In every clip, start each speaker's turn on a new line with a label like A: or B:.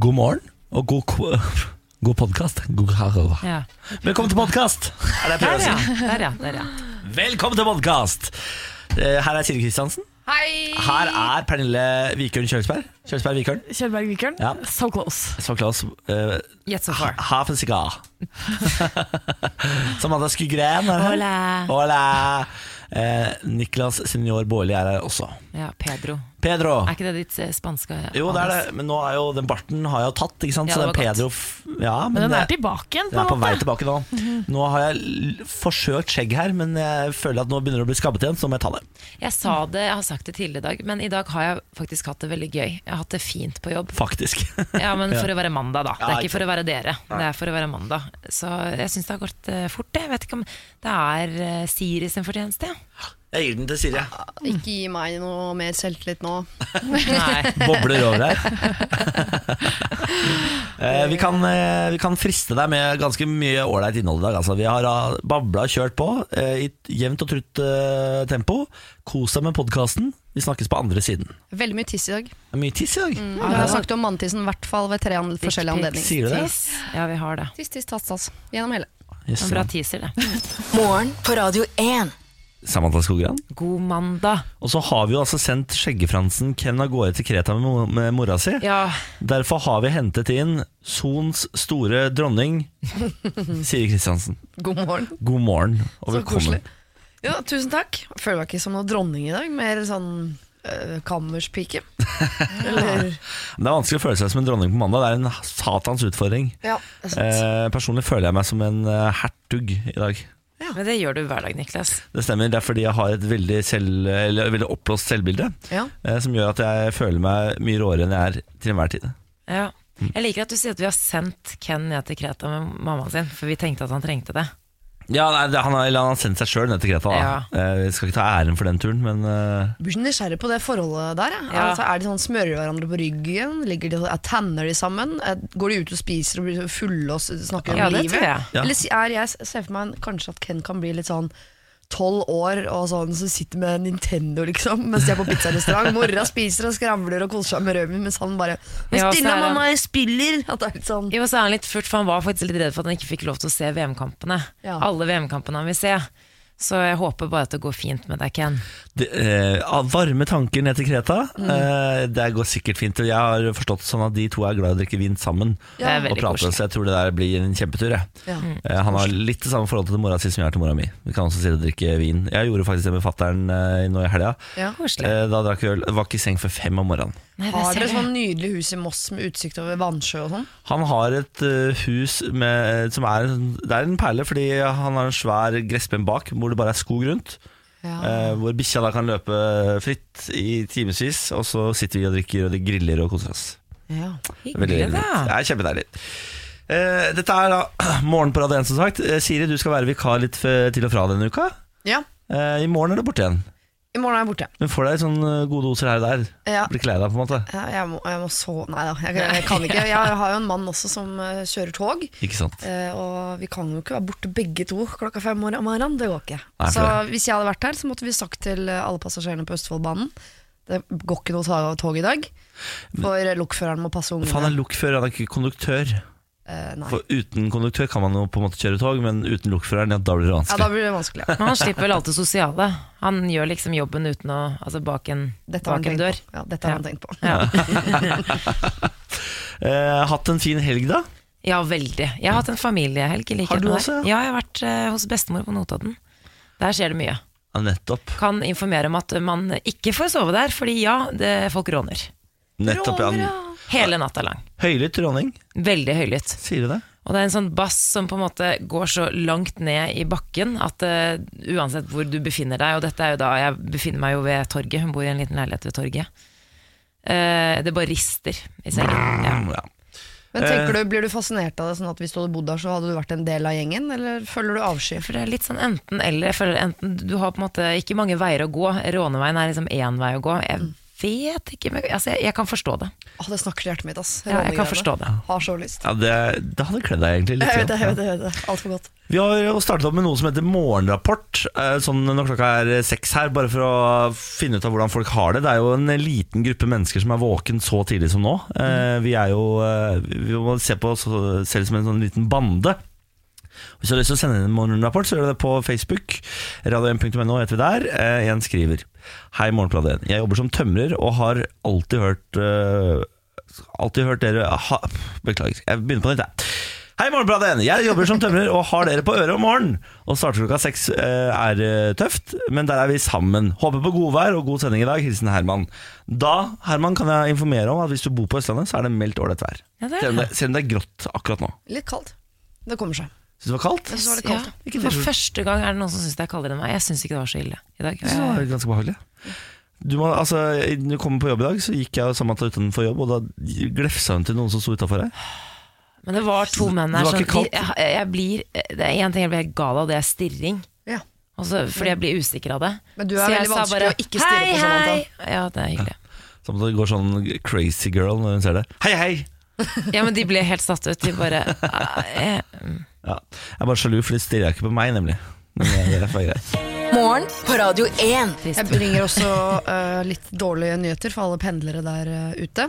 A: God morgen og god, k- god podkast.
B: Ja.
A: Velkommen til podkast!
B: Der, ja. Der, ja. Der, ja.
A: Velkommen til podkast! Her er Siri Kristiansen.
C: Hei!
A: Her er Pernille Vikørn Kjølsberg. Kjølsberg Vikørn.
C: Kjellberg Vikørn.
A: Ja.
C: So close.
A: Så close. Uh,
B: Yet so far.
A: half a cigar. Samantha Skygren er her.
B: Hola.
A: Hola. Eh, Niklas Senior Baarli er her også.
B: Ja, Pedro.
A: Pedro.
B: Er ikke det ditt eh, spanske
A: Jo, det er det, men nå er jo den barten har jeg jo tatt, ikke sant?
B: Ja,
A: så den
B: det var godt.
A: Pedro f- Ja, men,
C: Men den
A: det-
C: er tilbake igjen,
A: Den
C: på
A: er på
C: en
A: vei
C: måte.
A: tilbake nå. Nå har jeg l- forsøkt skjegg her, men jeg føler at nå begynner det å bli skabbet igjen, så må jeg ta det.
B: Jeg sa det, jeg har sagt det tidligere i dag, men i dag har jeg faktisk hatt det veldig gøy. Jeg har hatt det fint på jobb.
A: Faktisk.
B: Ja, men for å være mandag, da. Det
A: Ja,
B: er
A: ikke
B: ikke for å være dere, det er for å være mandag. Så jeg syns det har gått eh, fort, jeg. Vet ikke om det er eh, Siri sin fortjeneste.
A: Jeg gir den til Siri. jeg.
D: Ikke gi meg noe mer selvtillit nå.
B: Nei.
A: Bobler over her. Eh, vi, kan, eh, vi kan friste deg med ganske mye ålreit innhold i dag. Altså, vi har ah, babla og kjørt på eh, i et jevnt og trutt eh, tempo. Kos deg med podkasten. Vi snakkes på andre siden.
D: Veldig mye tiss i dag.
A: Det er mye tiss i
B: Mm.
A: dag.
D: Vi har snakket om manntissen i hvert fall ved tre an- forskjellige anledninger.
A: Sier du det?
B: Tiss. Ja, vi har det.
D: Tiss, tiss, tass, tass. Gjennom hele.
A: Yes.
B: En bra teaser, det.
E: Morgen på Radio 1.
A: Samantha Skogran.
B: God mandag.
A: Og så har vi jo altså sendt Skjeggefransen Ken av gårde til Kreta med, mo- med mora si.
B: Ja,
A: Derfor har vi hentet inn Sons store dronning, Siri Kristiansen.
F: God morgen.
A: God morgen og
F: Så
A: velkommen.
F: koselig. Ja, tusen takk. Jeg føler meg ikke som noen dronning i dag, mer sånn eh, kammerspike. Eller
A: Det er vanskelig å føle seg som en dronning på mandag. Det er en satans utfordring.
F: Ja, det er sant.
A: Eh, personlig føler jeg meg som en eh, hertug i dag.
B: men det gjør du hver dag, Niklas.
A: Det stemmer. Det er fordi jeg har et veldig, selv, eller, veldig oppblåst selvbilde
F: Ja.
A: eh, som gjør at jeg føler meg mye råere enn jeg er til enhver tid.
B: Ja. Jeg liker at du sier at vi har sendt Ken ned til Kreta med mammaen sin, for vi tenkte at han trengte det.
A: Ja, nei, det, han, har, eller han har sendt seg sjøl ned til Kreta. Da. Eh, jeg skal ikke ta æren for den turen, men eh,
F: Blir så nysgjerrig på det forholdet der. jeg.
B: Ja.
F: Altså, er de sånn, Smører de hverandre på ryggen? Ligger de, er Tanner de sammen? Er- Går de ut og spiser og blir så fulle og s- snakker om
B: Ja, det
F: livet?
B: tror jeg.
A: Ja.
F: Eller si- er jeg ser for meg en- kanskje at Ken kan bli litt sånn tolv år og sånn som sitter med Nintendo, liksom, mens de er på pizzarestaurant. Mora spiser og skravler og koser seg med rødvin, mens han bare Men
B: Ja, og så
F: stille,
B: er han-
F: mamma, jeg spiller! At det er litt sånn
B: Jo, så er han litt furt, for han var faktisk litt redd for at han ikke fikk lov til å se VM-kampene.
F: Ja.
B: Alle VM-kampene han vil se. Så jeg håper bare at det går fint med deg, Ken.
A: det, eh, ah, varme tanker ned til Kreta.
B: Mm.
A: Eh, det går sikkert fint. og Jeg har forstått sånn at de to er glad i å drikke vin sammen.
B: Det er Mm.
A: Og
B: veldig
A: prate,
B: koselig.
A: så jeg tror det der blir en kjempetur. Jeg.
F: Ja.
A: Eh, han har litt det samme forholdet til mora si som jeg har til mora mi. Vi kan også si det å drikke vin. Jeg gjorde faktisk det med fattern eh, nå i helga.
F: Ja.
B: Koselig.
A: Eh, da drakk vi øl. Jeg Var ikke i seng før fem om morgenen.
B: Nei, det
F: Har
B: ser
F: dere
B: jeg.
F: sånn nydelig hus i Moss med utsikt over vannsjø og sånn?
A: Han har et eh, hus med, som er, en- det er en perle, fordi han har en svær gressplen bak hvor det bare er skog rundt. Eh, hvor bikkja da kan løpe fritt i timevis, og så sitter vi og drikker og griller og koser oss.
F: Ja.
A: Veldig
B: Hyggelig,
A: hyggelig.
B: da.
A: Det er kjempedeilig. Eh, dette er da morgen på Radio 1, som sagt. Eh, Siri, du skal være vikar litt f- til og fra denne uka.
F: ja.
A: Eh, I morgen er du borte igjen.
F: I morgen er jeg borte.
A: Men får deg sånne gode doser her og der.
F: Ja.
A: Blir ikke lei deg, på en måte.
F: Ja, Jeg må, jeg må sove Nei da, jeg, jeg kan ikke. Jeg har jo en mann også som eh, kjører tog.
A: Ikke sant.
F: eh, og vi kan jo ikke være borte begge to klokka fem om morgenen. Det går ikke.
A: Nei, for
F: så hvis jeg hadde vært her, så måtte vi sagt til eh, alle passasjerene på Østfoldbanen Det går ikke noe ta- tog i dag, for eh, lokføreren må passe
A: Faen, er
F: ungene.
A: lokfører, han er ikke konduktør.
F: Eh, nei.
A: For uten konduktør kan man jo på en måte kjøre tog, men uten lokføreren, ja, da blir det
F: Ja, da
A: vanskelig.
F: blir det vanskelig. Ja.
B: Men han slipper vel alt det sosiale. Han gjør liksom jobben uten å Altså bak en,
F: Dette har
B: bak
F: han
B: en dør.
F: tenkt på. Ja, dette har han tenkt på.
B: Ja.
A: Eh, hatt en fin helg, da?
B: ja, veldig. Jeg har hatt en familiehelg. i likhet
A: Har du
B: med deg.
A: også,
B: Ja, jeg har vært eh, hos bestemor på Notodden. Der skjer det mye.
A: Ja, nettopp.
B: Kan informere om at man ikke får sove der, fordi ja, det, folk råner.
A: Nettopp, ja.
B: Hele natta lang.
A: Høylytt råning,
B: Veldig høylytt.
A: sier du det?
B: Og det er en sånn bass som på en måte går så langt ned i bakken at eh, uansett hvor du befinner deg, og dette er jo da jeg befinner meg jo ved torget, hun bor i en liten leilighet ved torget, Eh, det bare rister i sengen. Ja.
A: Ja.
F: Men tenker
A: Eh.
F: du, Blir du fascinert av det, sånn at hvis du hadde bodd der, så hadde du vært en del av gjengen, eller føler du avsky?
B: For det er litt sånn enten eller. Jeg føler enten du har på en måte ikke mange veier å gå. Råneveien er liksom én vei å gå. Jeg vet ikke men, altså, jeg, jeg kan forstå det.
F: Å, det snakker til hjertet mitt, ass.
B: Ja, jeg kan
F: Rånegreiene.
B: forstå det.
F: Har så lyst.
A: Ja, det, det hadde kledd deg egentlig litt.
F: Jeg vet det,
A: ja.
F: jeg vet det. jeg vet det. Altfor godt.
A: Vi har jo startet opp med noe som heter morgenrapport, eh, sånn når klokka er seks her, bare for å finne ut av hvordan folk har det. Det er jo en liten gruppe mennesker som er våken så tidlig som nå. Eh, Vi er jo, eh, vi må se på oss selv som en sånn liten bande. Hvis du har lyst til å sende inn en morgenrapport, så gjør du det på Facebook. Radio1.no heter vi der. Eh, En skriver Hei, Morgenplanet 1. Jeg jobber som tømrer og har alltid hørt eh, Alltid hørt dere ha, Beklager, jeg begynner på nytt, jeg. Hei, Morgenplanet 1. Jeg jobber som tømrer og har dere på øret om morgenen. Og starter klokka seks eh, er eh, tøft, men der er vi sammen. Håper på godvær og god sending i dag. Hilsen Herman. Da Herman, kan jeg informere om at hvis du bor på Østlandet, så er det meldt ålreit vær.
B: Ja, det er
A: Selv om det, selv om det er grått akkurat nå.
F: Litt kaldt. Det kommer seg.
A: Syns du det var kaldt?
F: Jeg synes det var litt
B: Ja,
F: kaldt.
A: Ikke
B: for
A: det.
B: første gang er det noen som syns det er kaldere enn meg. Jeg syns ikke det var så ille i dag.
A: Så var
B: Jeg,
A: det ganske behagelig. Du må, altså, når du kommer på jobb i dag, så gikk jeg og Samantha utenfor jobb, og da glefsa hun til noen som sto utafor her.
B: men det var to menn
A: Det
B: her
A: var
B: som
A: ikke kaldt.
B: jeg, jeg blir, Det er én ting jeg blir helt gal av, det er stirring.
F: Ja.
B: Og så- fordi jeg blir usikker av det.
F: Men du er
B: Så jeg
F: veldig
B: sa
F: vanskelig
B: bare,
F: å ikke stirre på,
B: hei,
F: sånn, Samantha.
B: hei. Ja, det er hyggelig.
A: Samantha går sånn crazy girl når hun ser det. Hei, hei!
B: Ja, men de ble helt satt ut. De bare «Ah, jeg, mm».
A: Ja, jeg er bare sjalu, for de stirrer ikke på meg, nemlig. Men det er derfor greit.
E: Morgen på Radio 1.
F: Jeg bringer også eh, litt dårlige nyheter for alle pendlere der eh, ute.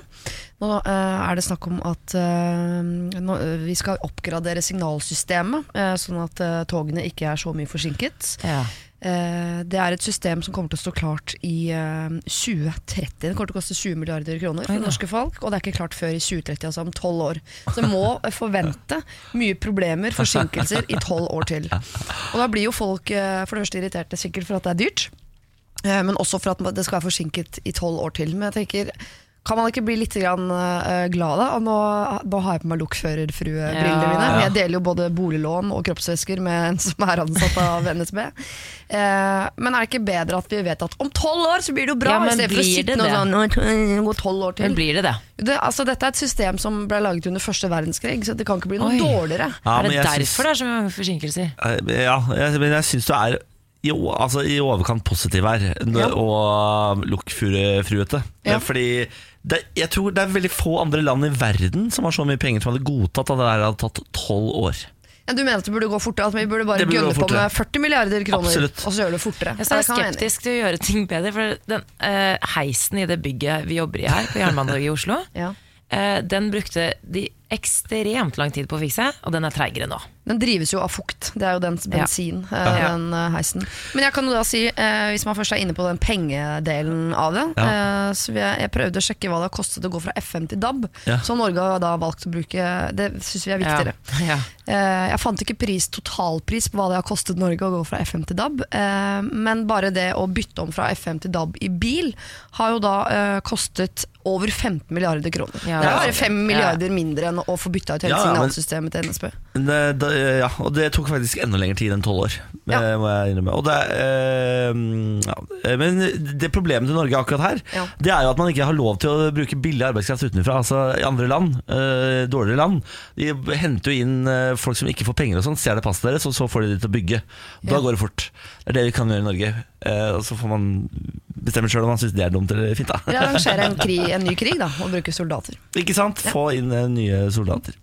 F: Nå eh, er det snakk om at eh, nå, eh, vi skal oppgradere signalsystemet, eh, sånn at eh, togene ikke er så mye forsinket.
B: Ja.
F: Eh, det er et system som kommer til å stå klart i eh, 2030. Det kommer til å koste 20 milliarder kroner for det norske folk, og det er ikke klart før i 2030, altså om tolv år. Så må eh, forvente mye problemer, forsinkelser, i tolv år til. Og da blir jo folk eh, for det første irriterte sikkert for at det er dyrt, eh, men også for at det skal være forsinket i tolv år til. Men jeg tenker, kan man ikke bli litt grann, eh, glad da? Og nå, nå har jeg på meg lokførerfruebrillene
B: Ja.
F: mine. Men jeg deler jo både boliglån og kroppsvæsker med en som er ansatt av NSB. Eh, men er det ikke bedre at vi vet at om tolv år så blir det jo bra?
B: Ja, men
F: i stedet for å
B: blir
F: sitte
B: det
F: nå
B: det?
F: sånn «Nå går 12 år
B: Men
F: til.
B: blir det det?
F: Det, altså, dette er et system som ble laget under første verdenskrig, så det kan ikke bli noe
B: Oi.
F: dårligere.
A: Ja,
B: er
A: men
B: det
A: jeg
B: derfor
A: syns-
B: det er så mange forsinkelser?
A: Eh, Ja, jeg, men jeg syns du er i o- altså, i overkant positiv her, n-
F: Ja.
A: og lukkfruete.
F: Ja.
A: Fordi det, jeg tror det er veldig få andre land i verden som har så mye penger som hadde godtatt at det her hadde tatt tolv år.
F: Ja, du mener at det burde gå fortere, at vi burde bare
A: Det burde
F: gønne
A: gå
F: på
A: fortere.
F: med 40 milliarder kroner,
A: Absolutt.
F: og så gjøre det fortere.
B: Jeg er
F: Ja, det kan være enig.
B: skeptisk til å gjøre ting bedre. For den eh, heisen i det bygget vi jobber i her, på Jernbanetorget i Oslo,
F: Ja.
B: eh, den brukte de ekstremt lang tid på å fikse, og den er treigere nå.
F: Den drives jo av fukt. Det er jo dens bensin, eh,
B: Ja.
F: den eh, heisen. Men jeg kan jo da si, eh, hvis man først er inne på den pengedelen av det eh, Så jeg, jeg prøvde å sjekke hva det har kostet å gå fra FM til DAB,
A: Ja.
F: så Norge har da valgt å bruke Det syns vi er viktigere.
B: Ja.
F: Eh, jeg fant ikke pris, totalpris på hva det har kostet Norge å gå fra FM til DAB, eh, men bare det å bytte om fra FM til DAB i bil har jo da eh, kostet over 15 milliarder kroner.
B: Ja.
F: det er bare
B: Ja.
F: 5 milliarder mindre enn å få bytta ut hele
A: Ja, ja, men-
F: signalsystemet til NSB.
A: Men Det, da, eh, ja, og det tok faktisk enda lengre tid enn tolv år.
F: Ja.
A: eh, Må jeg innrømme og det, er, eh, ja. Men det problemet til Norge akkurat her,
F: Ja.
A: det er jo at man ikke har lov til å bruke billig arbeidskraft utenfra. Altså i andre land, eh, dårligere land, de henter jo inn eh, folk som ikke får penger og sånn, stjeler passet deres, og så får de de til å bygge. Da går det fort. Det er det vi kan gjøre i Norge. Eh, og så får man bestemme sjøl om man syns det er dumt eller fint, da.
F: Eller arrangere en, krig, en ny krig da, og bruke soldater.
A: Ikke sant? Få inn eh, nye soldater.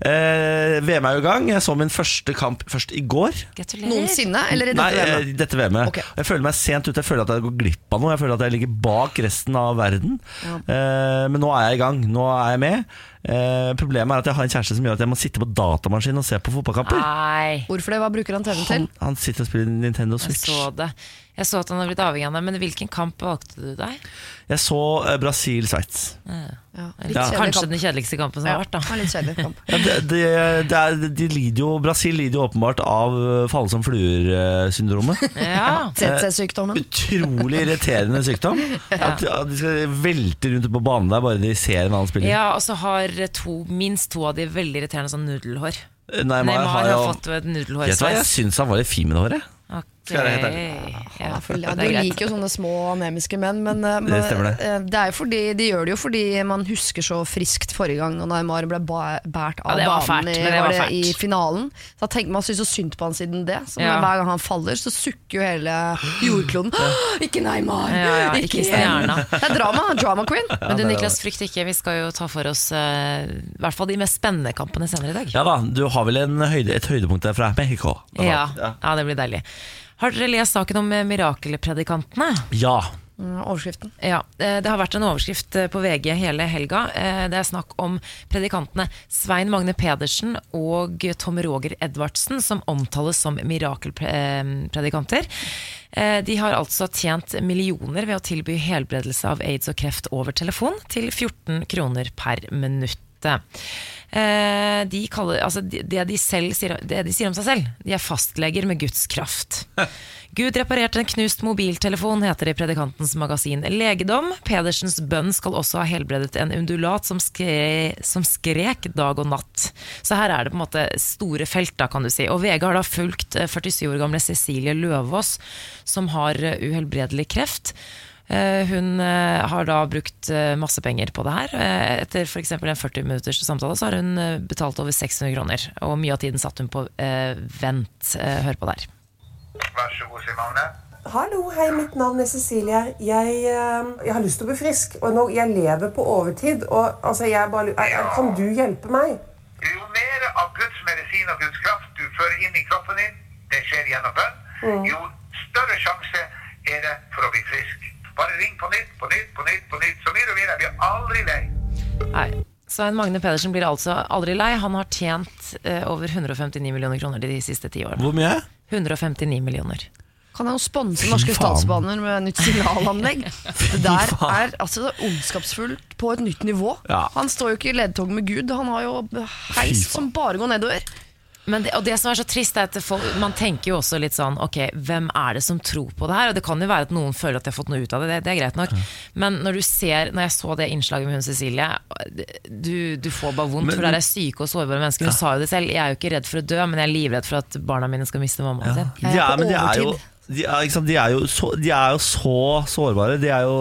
A: Eh, VM er jo i gang. Jeg så min første kamp først i går.
B: Gratulerer.
F: Noensinne, eller i dette
A: Nei,
F: VM-et?
A: eh, dette VM-et.
F: Ok.
A: Jeg føler meg sent ute. Jeg føler at jeg går glipp av noe. Jeg føler at jeg ligger bak resten av verden. Eh, men nå er jeg i gang. Nå er jeg med. Eh, problemet er at jeg har en kjæreste som gjør at jeg må sitte på datamaskin og se på
B: Ah,
A: fotballkamper.
B: Nei,
F: Hvorfor det? Hva bruker han TV-en til?
A: Han, han sitter og spiller Nintendo
B: jeg
A: Switch.
B: så det. Jeg så at han har blitt avhengig av det, men hvilken kamp valgte du deg?
A: Jeg så eh, Brasil-Sveits.
F: Ja, litt
B: Ja.
F: kjedelig
B: Kanskje
F: kamp.
B: den kjedeligste kampen som
F: Ja,
B: har vært, da.
F: en litt kjedelig kamp.
A: Ja, det, det, det er, de lider jo, Brasil lider jo åpenbart av eh, falle som fluer-syndromet.
B: Ja.
F: Eh, CC-sykdommen.
A: Utrolig irriterende sykdom. At, at de skal velte rundt på banen der bare de ser en annen spiller.
B: Ja, og så har to, minst to av de veldig irriterende sånn nudelhår.
A: Neymar
B: Neymar
A: jo-
B: har fått et
A: Vet du hva, jeg
B: nudelhårsveis.
A: syns han var litt fin med det håret.
B: Ok.
A: Skal jeg være helt ærlig.
B: Ja,
F: Ja,
B: det
F: du
B: er greit.
F: liker jo sånne små anemiske menn, men eh,
A: Det stemmer det.
F: eh, det er jo fordi, de gjør det jo fordi man husker så friskt forrige gang når Neymar ble ba- båret
B: Ja,
F: av
B: det var
F: banen
B: fælt,
F: i,
B: men det var
F: var det,
B: fælt.
F: i finalen. Så da tenker Man syns så synd på han siden det. Så
B: Ja.
F: Hver gang han faller, så sukker jo hele jordkloden. Ikke Neymar!
B: Ja, ja, ikke
F: igjen!»
B: stjerna.
F: Det er drama, drama queen.
B: Men du, Niklas, frykt ikke. Vi skal jo ta for oss eh, i hvert fall de mest spennende kampene senere i dag.
A: Ja da, du har vel en høyde, et høydepunkt der fra Mexico? blant
B: Ja,
A: annet.
B: ja. det blir deilig. Har dere lest saken om eh, mirakelpredikantene?
A: ja.
F: Mm, Overskriften.
B: Ja, eh, Det har vært en overskrift eh, på VG hele helga. Eh, Det er snakk om predikantene Svein Magne Pedersen og Tom Roger Edvardsen, som omtales som mirakelpredikanter. Eh, De har altså tjent millioner ved å tilby helbredelse av aids og kreft over telefon til 14 kroner per minutt. Eh, De kaller, altså de- det, de selv sier, det de sier om seg selv, de er fastleger med Guds kraft. Gud reparerte en knust mobiltelefon, heter det i Predikantens magasin Legedom. Pedersens bønn skal også ha helbredet en undulat som, skre, som skrek dag og natt. Så her er det på en måte store felt, da, kan du si. Og VG har da fulgt eh, 47 år gamle Cecilie Løvaas, som har eh, uhelbredelig kreft. Eh, Hun eh, har da brukt eh, masse penger på det her. Eh, Etter f.eks. en 40 minutters samtale så har hun eh, betalt over 600 kroner. Og mye av tiden satt hun på eh, vent. Eh, Hør på der.
C: Vær så god, Simone.
G: Hallo, hei, mitt navn er Cecilie. Jeg, eh, jeg har lyst til å bli frisk. Og nå, jeg lever på overtid. Og altså, jeg bare, lu- er- er- Kan du hjelpe meg?
C: Jo mer av Guds medisin og Guds kraft du fører inn i kroppen din, det skjer gjennom bønn, jo større sjanse er det for å bli frisk. Bare ring på nytt, på nytt, på nytt, på nytt. Så mye du vil. Jeg blir aldri lei.
B: Nei. Svein Magne Pedersen blir altså aldri lei. Han har tjent eh, over 159 millioner kroner de siste ti årene.
A: Hvor mye?
B: 159 millioner.
F: Kan jeg jo sponse norske
A: Fy faen.
F: statsbaner med nytt signalanlegg? Det der er altså ondskapsfullt på et nytt nivå.
A: Ja.
F: Han står jo ikke i ledtog med Gud, han har jo heis
A: faen.
F: som bare går nedover.
B: Men det, og det som er så trist, er at det folk, man tenker jo også litt sånn Ok, hvem er det som tror på det her? Og det kan jo være at noen føler at de har fått noe ut av det, det, det er greit nok. Men når du ser, når jeg så det innslaget med hun Cecilie, du, du får bare vondt,
A: Men-
B: for det er syke og sårbare mennesker. Hun sa jo det selv. Jeg er jo ikke redd for å dø, men jeg er livredd for at barna mine skal miste mammaen sin.
A: De er,
F: på
A: men de er jo
F: overtid.
A: de er, ikke sant? De, er jo så, de er jo så sårbare. De er jo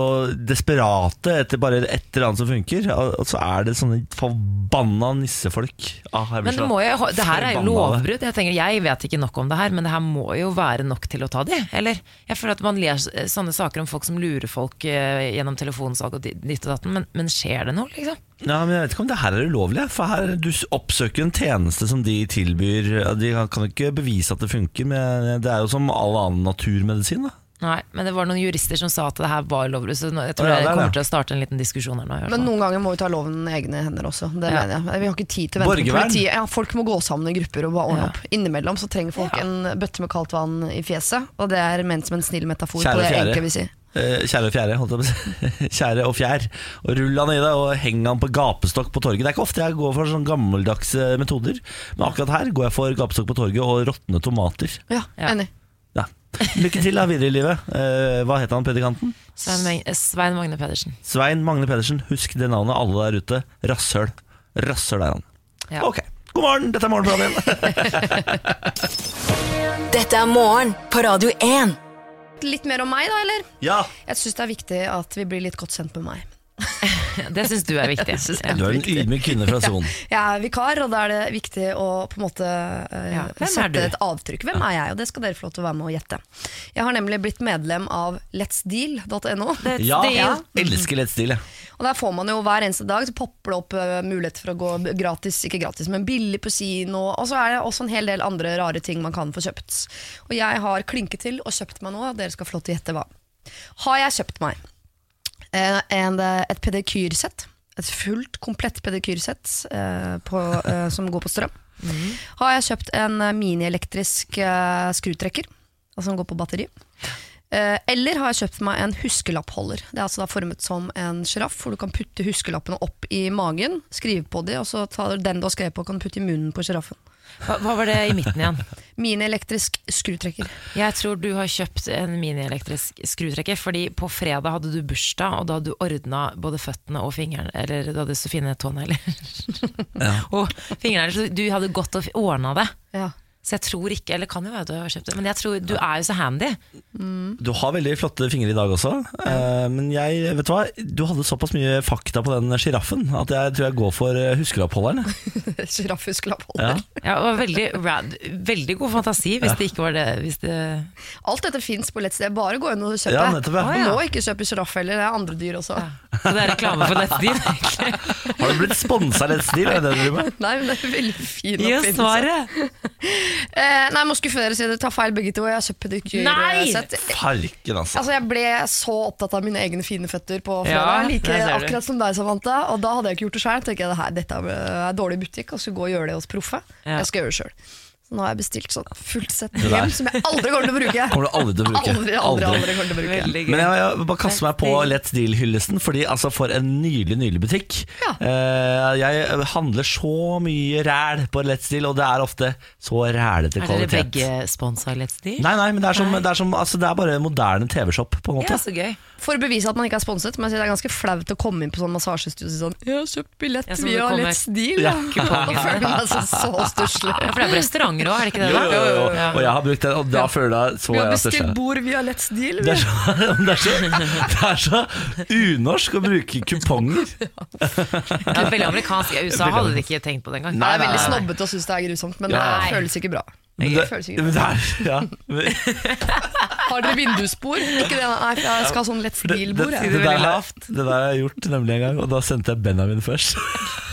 A: desperate etter bare et eller annet som funker. Og og så er det sånne forbanna nissefolk. Ah, jeg blir
B: Men det,
A: så
B: må jo, det her er
A: forbanna
B: jo
A: av det.
B: lovbrudd. Jeg tenker, jeg vet ikke nok om det her, men det her må jo være nok til å ta de, eller? Jeg føler at man ler s- sånne saker om folk som lurer folk eh, gjennom telefonsalg og di- ditt og datten, men, men skjer det noe, liksom?
A: Ja, men jeg vet ikke om det her er ulovlig, for her du oppsøker en tjeneste som de tilbyr. Ja, De kan jo ikke bevise at det funker, men det er jo som all annen naturmedisin. Da.
B: Nei, men det var noen jurister som sa at det her var lovbrudd, så nå- jeg tror
A: Å, ja,
B: jeg
A: det er
B: kommer
A: det.
B: til å starte en liten diskusjon her nå. i hvert
F: Men
B: fall.
F: noen ganger må vi ta loven i egne hender også. Det
B: Ja.
F: mener jeg. Vi har ikke tid til å vente på
A: Borgervern.
F: politiet. Ja, folk må gå sammen i grupper og bare ordne
B: Ja.
F: opp. Innimellom så trenger folk en bøtte med kaldt vann i fjeset, og det er ment som en snill metafor
A: Kjære
F: på det jeg
A: fjerde.
F: egentlig vil si.
A: Eh, Kjære og fjære, holdt jeg på å si. Kjære og fjær. Og Rull han i deg og heng han på gapestokk på torget. Det er ikke ofte jeg går for sånne gammeldagse metoder, men akkurat her går jeg for gapestokk på torget og råtne tomater.
F: Ja,
B: Ja.
F: enig.
A: Ja. Lykke til da videre i livet. Eh, hva het han predikanten?
B: Svein, Meng- eh, Svein Magne Pedersen.
A: Svein Magne Pedersen. Husk det navnet, alle der ute. Rasshøl. Rasshøl er han.
B: Ja.
A: Ok. God morgen, dette er Morgenbladet igjen.
E: Dette er morgen på Radio 1.
F: Litt mer om meg, da, eller?
A: ja.
F: Jeg syns det er viktig at vi blir litt godt kjent med meg.
B: Det syns du er viktig. Ja.
A: Du er en ydmyk kvinne fra Son.
F: Jeg er vikar, og da er det viktig å på en måte eh,
B: Ja, hvem er du?
F: sette et avtrykk. Hvem er jeg? Og det skal dere få lov til å være med og gjette. Jeg har nemlig blitt medlem av letsdeal.no.
A: Ja,
B: Deal.
A: jeg elsker lett stil, jeg.
F: Og der får man jo hver eneste dag Så popper det opp eh, muligheter for å gå b- gratis Ikke gratis, men billig på kino Og så er det også en hel del andre rare ting man kan få kjøpt Og jeg har klinket til og kjøpt meg noe og Dere skal få lov til å gjette hva Har jeg kjøpt meg eh, en, eh, et pedikyrsett Et fullt, komplett pedikyrsett eh, på, eh, Som går på strøm Har jeg kjøpt en eh, mini-elektrisk eh, skrutrekker altså Som går på batteri Eh, Eller har jeg kjøpt meg en huskelappholder. Det er altså da formet som en sjiraff, hvor du kan putte huskelappene opp i magen, skrive på de, og så tar du den du har skrevet på, kan du putte i munnen på sjiraffen.
B: Hva, hva var det i midten igjen?
F: Minielektrisk skrutrekker.
B: Jeg tror du har kjøpt en minielektrisk skrutrekker, fordi på fredag hadde du bursdag, og da hadde du ordna både føttene og fingeren, eller du hadde så fine tånegler. og fingrene, så du hadde gått og ordna det.
F: Ja.
B: Så jeg tror ikke, eller kan jo være du har kjøpt det, men jeg tror du er jo så handy.
A: Du har veldig flotte fingre i dag også, eh, men jeg, vet du hva, du hadde såpass mye fakta på den sjiraffen at jeg tror jeg går for eh, huskeoppholderen. jeg.
F: Sjiraffhuskelapphold.
A: Ja.
B: Ja, og veldig, rad, veldig god fantasi, hvis det ikke var det. Hvis det
F: Alt dette fins på nettsted. Bare gå inn og kjøp
A: Ja,
F: det.
A: nettopp, ja.
F: Og Må ikke kjøpe sjiraff heller, det er andre dyr også.
B: så det er reklame for nettdyr. egentlig.
A: Har du blitt sponsa av Let's Deal? Er det det du driver med?
F: Nei, men det er veldig fin
B: Gi oss
F: oppfinnelse.
B: svaret!
F: Eh, nei, jeg må skuffe dere, siden dere tar feil begge to. Jeg har kjøpt pedikyrsett.
A: Farken, altså.
F: Altså, jeg ble så opptatt av mine egne fine føtter på
B: Ja,
F: fredag. like
B: det ser du.
F: akkurat som deg, Samantha. Og da hadde jeg ikke gjort det sjøl. Tenkte jeg det her, dette er er dårlig butikk, og skulle gå og gjøre det hos proffe.
B: Ja.
F: Jeg skal gjøre det sjøl. Så nå har jeg bestilt sånn fullt sett
A: der.
F: hjem som jeg aldri kommer til å bruke.
A: Kommer du aldri til å bruke?
F: Aldri, aldri, aldri kommer til å bruke.
B: Veldig gøy.
A: Men jeg, jeg vil bare kaste meg på Let's Deal-hyllesten, Fordi altså for en nydelig nydelig butikk. Eh, jeg handler så mye ræl på Let's Deal, og det er ofte så rælete
B: Er dere
A: kvalitet.
B: begge sponsa Let's-dyr?
A: Nei, nei, men det er, som, det, er som, altså, det er bare en moderne TV-shop, på en måte.
B: Ja, så gøy.
F: For å bevise at man ikke er sponset, men jeg sier det er ganske flaut å komme inn på sånn massasjestudio og si sånn 'Jeg har kjøpt billett,
B: Ja, som
F: vi
B: det
F: har
B: kommer.
F: litt stil',
A: Ja,
F: da.
B: kupongen.
F: Og føler meg så, så stusslig.
B: Ja, for det er på restauranter òg, er det ikke det?
A: Jo,
B: da?
A: jo, jo, jo. Og jeg har brukt den, og da føler jeg så
F: Vi har
A: jeg at det
F: bestilt
A: skjer.
F: bord, vi har lett stil.
A: Det
F: Vi.
A: er, så, det, er så, det er så unorsk å bruke kuponger.
B: Ja, det er veldig amerikansk. I USA hadde de ikke tenkt på det engang.
F: Det
A: Nei,
F: er veldig
A: nei,
F: snobbete og syns det er grusomt, men
A: Ja.
F: det føles ikke bra.
A: Men
F: Det
A: det,
F: føles ikke
A: men
F: bra.
A: det er, ja. men, det,
F: Har dere vindusbord? Ikke det, nei, for jeg skal ha sånn lett
A: det, det,
F: stil-bord. jeg.
A: der, det der har jeg gjort nemlig en gang, og da sendte jeg Benjamin først.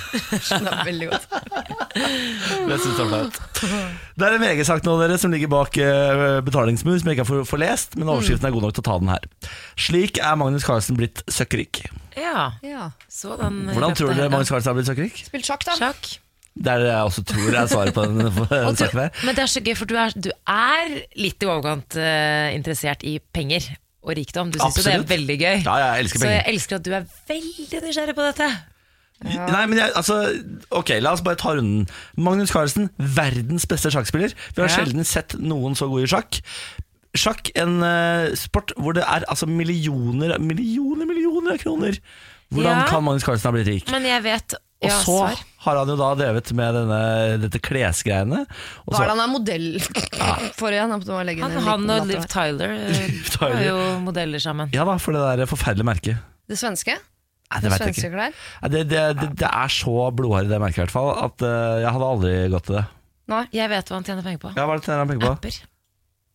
F: Det er veldig godt.
A: Det synes jeg var flaut. Det er en VG-sak nå dere som ligger bak eh, betalingsmur, som jeg ikke har får lest,
F: Mm.
A: men overskriften er god nok til å ta den her. Slik er Magnus Carlsen blitt søkkrik.
B: Ja,
F: Ja.
B: så den
A: Hvordan tror dere Magnus Carlsen har blitt søkkrik?
F: Spilt sjakk, da.
B: Sjakk.
A: Det er det jeg også tror er svaret på den, på
B: Og
A: den
B: du,
A: saken her.
B: men det er så gøy, for du er, du er litt i overkant eh, interessert i penger og rikdom. Du syns jo det er
A: Absolutt.
B: veldig gøy.
A: Ja, jeg elsker
B: Så jeg
A: penger.
B: elsker at du er veldig nysgjerrig på dette.
A: Nei, men jeg, altså, ok, La oss bare ta runden. Magnus Carlsen, verdens beste sjakkspiller. Vi har
B: Ja.
A: sjelden sett noen så god i sjakk. Sjakk, en eh, sport hvor det er altså millioner, millioner, millioner av kroner. Hvordan
B: Ja.
A: kan Magnus Carlsen ha blitt rik?
B: Men jeg vet
A: Og
B: ja,
A: så
B: svar.
A: har han jo da drevet med denne, dette klesgreiene. Og
F: Hva er det
A: så,
F: han er modell
A: Ah.
F: for igjen? Jeg må legge
B: Han,
F: inn en
B: han
F: liten
B: og Liv
F: latter.
B: Tyler eh,
A: Tyler.
B: var jo modeller sammen.
A: ja da, for det der forferdelige merket.
F: Det svenske?
A: Nei, det
F: Det
A: vet jeg
F: svenske
A: ikke.
F: klær?
A: Nei, Det, det, det, det er så blodharry, det merket i hvert fall, at eh, jeg hadde aldri gått til det.
B: Jeg vet hva han tjener penger på.
A: Ja, Hva er det han peker på?
B: Apper.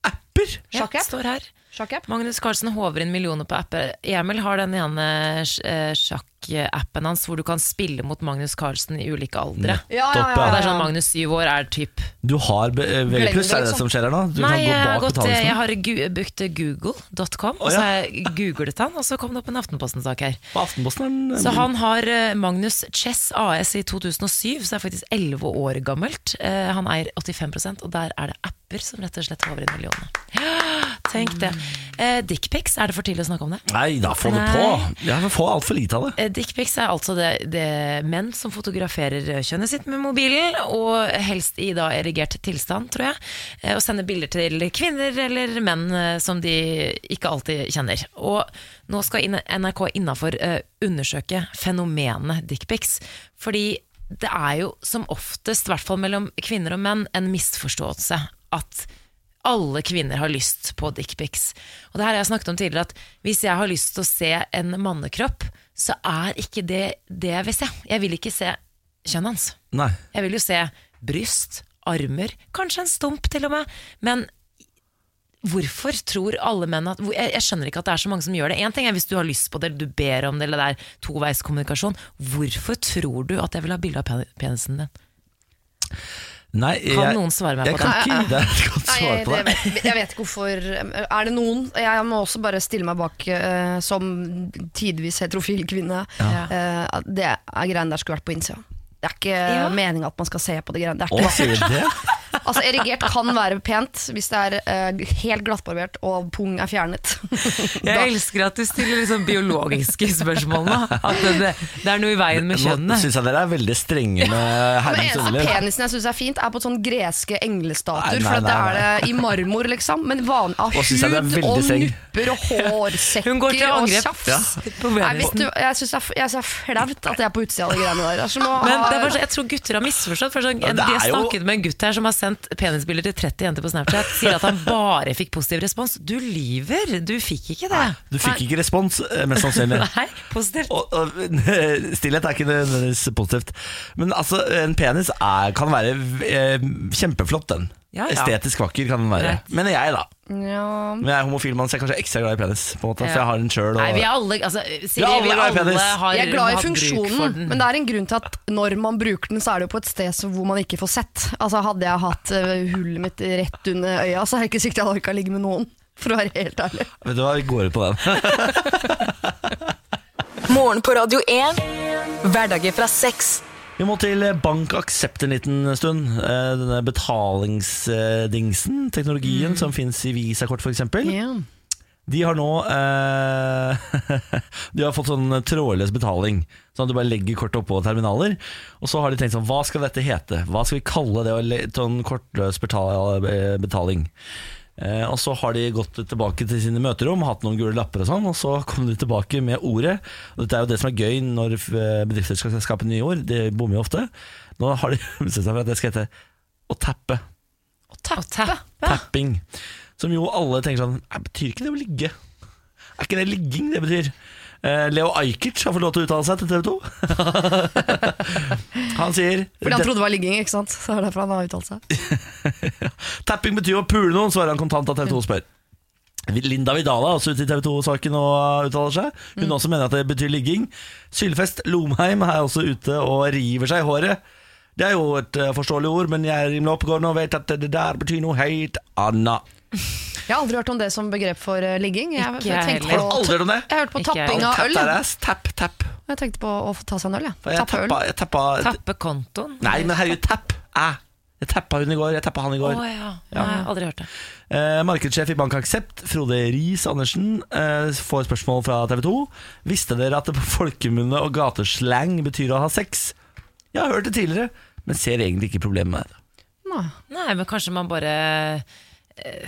A: Apper!
B: Ja,
F: Sjakk-app?
B: står her.
F: Sjakkapp?
B: Magnus Carlsen håver inn millioner på apper. Emil har den ene sj- eh, sjakkappen hans hvor du kan spille mot Magnus Carlsen i ulike aldre.
F: Ja, ja,
A: Topp,
F: ja,
A: ja.
B: Det
F: ja,
B: er sånn
F: ja.
B: Magnus syv år er typ
A: Du har B- eh, VG+, er
F: Glem det,
A: det det
F: liksom.
A: som skjer her nå? Du
B: Nei,
A: kan
B: jeg
A: gå
B: har,
A: bak liksom-
B: gått, eh, jeg
A: betalingsmuren.
B: har gu- brukt eh, google.com, og
A: Å,
B: så
A: ja.
B: har jeg googlet han, og så kom det opp en Aftenposten-sak her.
A: På Aftenposten er den-
B: Så han har eh, Magnus Chess AS i 2007, så er faktisk 11 år gammelt. Eh, Han eier 85 og der er det apper som rett og slett håver inn millionene. Ja, Tenk det.
A: Mm.
B: Eh, Dickpics, er det for tidlig å snakke om det?
A: Nei da, få det
B: Nei.
A: på! Jeg får altfor lite av det.
B: Eh, Dickpics er altså det, det menn som fotograferer eh, kjønnet sitt med mobilen, og helst i da erigert tilstand, tror jeg, eh, og sender bilder til kvinner eller menn eh, som de ikke alltid kjenner. Og nå skal inn- NRK innafor eh, undersøke fenomenet dickpics, fordi det er jo som oftest, i hvert fall mellom kvinner og menn, en misforståelse at alle kvinner har lyst på dickpics. Og det her har jeg snakket om tidligere, at hvis jeg har lyst til å se en mannekropp, så er ikke det det jeg vil se. Jeg vil ikke se kjønnet hans.
A: Nei.
B: Jeg vil jo se bryst, armer, kanskje en stump til og med. Men hvorfor tror alle menn at hvor- Jeg, jeg skjønner ikke at det er så mange som gjør det. Én ting er hvis du har lyst på det, eller du ber om det, eller det er toveiskommunikasjon. Hvorfor tror du at jeg vil ha bilde av pen- penisen din?
A: Nei jeg,
B: Kan noen svare meg
A: jeg
B: på
A: kan
B: det?
A: ikke gi deg et godt
F: Nei,
A: svar
F: jeg,
A: på det.
F: det, jeg vet ikke hvorfor eh, Er det noen Jeg må også bare stille meg bak eh, som tidvis heterofil kvinne.
B: Ja.
F: eh, at det er greiene der skulle vært på innsida. Det er ikke
B: Ja.
F: meninga at man skal se på de greiene. Det er
A: Å,
F: ikke
A: sier du det?
F: Altså, Erigert kan være pent hvis det er eh, helt glattbarbert og pung er fjernet.
B: Jeg elsker at du stiller liksom biologiske spørsmål nå. At det, det, det er noe i veien med
A: Nå
B: kjønnet.
A: syns jeg dere er veldig strenge med
F: Den
A: herrens
F: eneste
A: underliv.
F: penisen jeg syns er fint, er på sånne greske
A: Nei,
F: englestatuer.
A: nei,
F: For at det
A: nei,
F: er det i marmor, liksom. Men van, av
A: Og synes jeg
F: hud
A: det er
F: og
A: veldig streng.
F: nupper og hårsekker
B: Hun går til
F: og
B: angrep
F: tjafs.
B: på
F: Nei, vet
B: penisen.
F: du, jeg syns det, er f- jeg synes det er flaut at jeg er på utsida av de greiene der. Det er som å
B: Men det
F: ha-
B: er bare, så- jeg tror gutter har misforstått. For sånn,
A: Ja, det
B: de har
A: er jo-
B: snakket med en gutt her som har sendt sendt penisbilder til 30 jenter på Snapchat, sier at han bare fikk positiv respons. Du lyver! Du fikk ikke det.
A: Du fikk ikke respons, eh, mest sannsynlig.
B: Nei, positivt.
A: Og, og, stillhet er ikke nødvendigvis positivt. Men altså, en penis er, kan være eh, kjempeflott, den.
B: Ja, ja.
A: Estetisk vakker kan den være.
B: Greit.
A: Men jeg, da.
D: Ja.
A: Men jeg er homofil mann, så jeg er kanskje ekstra glad i penis. På en måte,
B: Ja.
A: For jeg har den sjøl.
B: Nei, vi
A: Og...
B: er alle altså, Siri,
A: Vi er alle
B: vi
A: glad i
B: alle
A: penis.
B: har
D: Jeg er glad i
B: hatt bruk for
D: funksjonen,
B: den.
D: men det er en grunn til at når man bruker den, så er det jo på et sted som- hvor man ikke får sett. Altså Hadde jeg hatt eh, hullet mitt rett under øya, så er det ikke sikkert jeg hadde orka ligge med noen. For å være helt ærlig.
A: Vet du hva, vi går ut på den.
E: Morgen på Radio 1. Hverdager fra seks.
A: Vi må til eh, Bank Accept en liten stund. Eh, Denne betalingsdingsen, teknologien
B: Mm.
A: som fins i Visakort f.eks. De har nå eh, De har fått sånn trådløs betaling. Sånn at du bare legger kortet oppå terminaler. Og så har de tenkt sånn Hva skal dette hete? Hva skal vi kalle det? å le- Sånn kortløs betal eh, betaling. Eh, og så har de gått tilbake til sine møterom, hatt noen gule lapper og sånn, og så kom de tilbake med ordet. Og dette er jo det som er gøy når eh, bedrifter skal skape nye ord, de bommer jo ofte. Nå har de bestemt seg for at det skal hete å tappe.
B: Å tappe.
A: Tapping. Som jo alle tenker sånn «Nei, Betyr ikke det å ligge? Er ikke det ligging det betyr? Eh, Leo Ajkic har fått lov til å uttale seg til TV 2. han sier
D: Fordi han trodde det var ligging, ikke sant. Så er det derfor han har uttalt seg.
A: Tapping betyr å pule noen, svarer han kontant at TV 2 spør. Linda Vidala er også ute i TV 2-saken og uttaler seg.
D: Mm.
A: Hun også mener at det betyr ligging. Sylfest Lomheim er også ute og river seg i håret. Det er jo et eh, forståelig ord, men jeg rimelig oppegående og vet at det der betyr noe helt annet.
D: Jeg har aldri hørt om det som begrep for eh, ligging. Jeg,
B: Ikke
D: jeg,
B: jeg
D: tenkte
B: heller.
A: Har du
D: på,
A: aldri hørt om det?
D: jeg hørte på
B: Ikke jeg
D: tapping av
A: Tapp
D: øl.
A: der ass. Tapp, tapp.
D: Jeg tenkte på å få ta seg en øl, jeg.
A: For Jeg
D: Tappe øl.
A: tappa, jeg tappa
B: Tappe kontoen.
A: Nei, men herregud, tapp! Æ. Jeg tappa hun i går, jeg tappa han i
B: Å
A: går.
B: ja. Nei, jeg har aldri hørt det.
A: Eh, markedssjef i Bank Aksept, Frode Riis Andersen, eh, får spørsmål fra TV 2. Visste dere at det på folkemunne og gateslang betyr å ha sex? Jeg har hørt det tidligere, men ser egentlig ikke problemet med det.
D: Nei.
B: Nei, men kanskje man bare eh,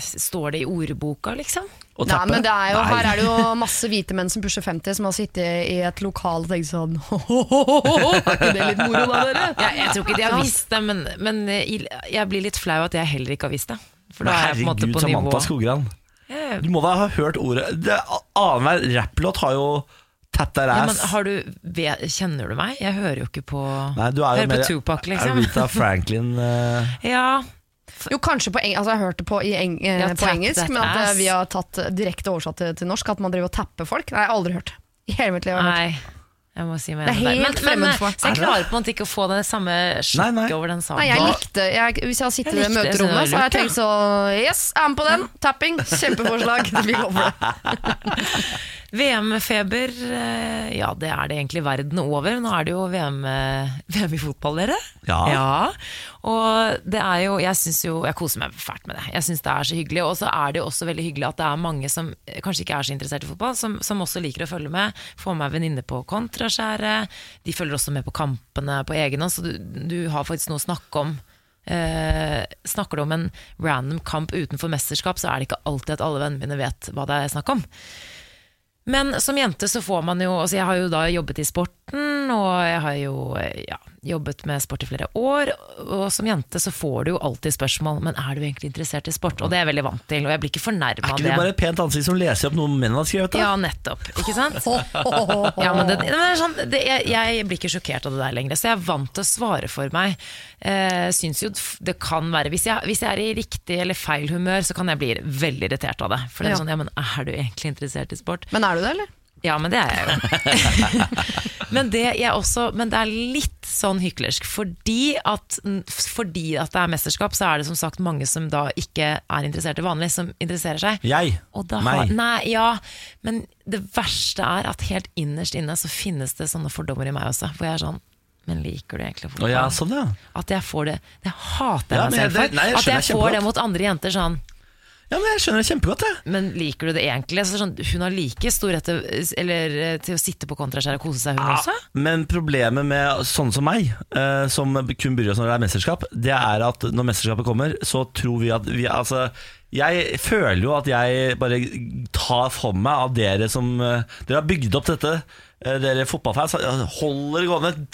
B: Står det i ordboka, liksom?
A: Å
D: Nei,
A: tappe?
D: men det er jo,
A: Nei.
D: her er det jo masse hvite menn som pusher 50, som har sittet i et lokal og tenkt sånn Er ikke det litt moro, da, dere?
B: Jeg, jeg tror ikke de har visst det, men, men i- jeg blir litt flau at jeg heller ikke har visst det. For da er jeg på en måte
A: Herregud,
B: på nivå
A: Samantha Skogran.
B: Ja,
A: Du må da ha hørt ordet Det- Annenhver rapplåt har jo tap der
B: Ja,
A: ass.
B: men har du, ve- kjenner du meg? Jeg hører jo ikke på
A: Nei, du er jo
B: Hører
A: mer
B: på Tupac, liksom.
A: Aretha Franklin. eh,
B: Ja,
D: Jo, kanskje på eng altså Jeg har hørt det på, i eng eh,
B: Ja,
D: på
B: tap
D: engelsk,
B: that
D: men at eh,
B: ass.
D: vi har tatt eh, direkte oversatt til, til norsk. At man driver og tapper folk. Nei, jeg har aldri hørt. I hele mitt liv har jeg hørt.
B: nei. Jeg må si meg
D: Det er
B: enig der.
D: helt fremmed for meg.
B: eh, Så jeg klarer på en måte ikke å få det samme
A: Nei, nei.
B: sjokket over den saken.
D: Nei, jeg likte, jeg, Hvis jeg har sittet i
B: Jeg likte det, så det var
D: møterommet, så har jeg
B: lurt,
D: tenkt så Yes, jeg er med på den! Tapping! Kjempeforslag! Vi går for det.
B: VM-feber, eh, ja det er det egentlig verden over. Nå er det jo VM, eh, VM i fotball, dere.
A: Ja.
B: Og det er jo, jeg syns jo Jeg koser meg fælt med det. Jeg syns det er så hyggelig. Og så er det jo også veldig hyggelig at det er mange som eh, kanskje ikke er så interessert i fotball, som, som også liker å følge med. Får meg venninne på kontraskjæret. De følger også med på kampene på egen hånd, så du, du har faktisk noe å snakke om. Eh, snakker du om en random kamp utenfor mesterskap, så er det ikke alltid at alle vennene mine vet hva det er snakk om. Men som jente så får man jo altså Jeg har jo da jobbet i sporten, og jeg har jo eh, ja, jobbet med sport i flere år. Og som jente så får du jo alltid spørsmål Men er du egentlig interessert i sport. Og det er jeg veldig vant til, og jeg blir ikke
A: Er
B: fornærma av
A: ikke
B: det.
A: du bare et pent ansikt som leser opp noe menn har skrevet? Da?
B: Ja, nettopp. Ikke sant? Ja, men det, men det er sånn, det, jeg, jeg blir ikke sjokkert av det der lenger, så jeg er vant til å svare for meg. Eh, syns jo det kan være hvis jeg, hvis jeg er i riktig eller feil humør, så kan jeg bli veldig irritert av det. For det er
D: Ja.
B: sånn, ja, men er du egentlig interessert i sport?
D: Men er du det, eller?
B: Ja, men det er jeg jo. men, det jeg også, men det er litt sånn hyklersk. Fordi at, fordi at det er mesterskap, så er det som sagt mange som da ikke er interessert i vanlig, som interesserer seg.
A: Jeg.
B: Og da har,
A: Meg.
B: nei, ja, men det verste er at helt innerst inne så finnes det sånne fordommer i meg også. Hvor jeg er sånn Men liker du egentlig
A: Å
B: fotball?
A: ja, sånn ja.
B: At jeg får det Det hater jeg
A: Ja,
B: meg
A: men
B: selv
A: det-
B: for.
A: nei, jeg
B: at
A: skjønner
B: jeg
A: jeg
B: får
A: kjempegodt.
B: det mot andre jenter sånn
A: Ja, men Jeg skjønner det kjempegodt. Jeg.
B: Men liker du det egentlig? Så sånn, hun har like stor rett til, eller, eh, til å sitte på kontraskjæret og kose seg, hun også?
A: Men problemet med sånne som meg, eh, som kun bryr oss når det er mesterskap, det er at når mesterskapet kommer, så tror vi at vi Altså, jeg føler jo at jeg bare tar for meg av dere som eh, Dere har bygd opp dette. eh, eh, dere fotballfans eh, holder det gående.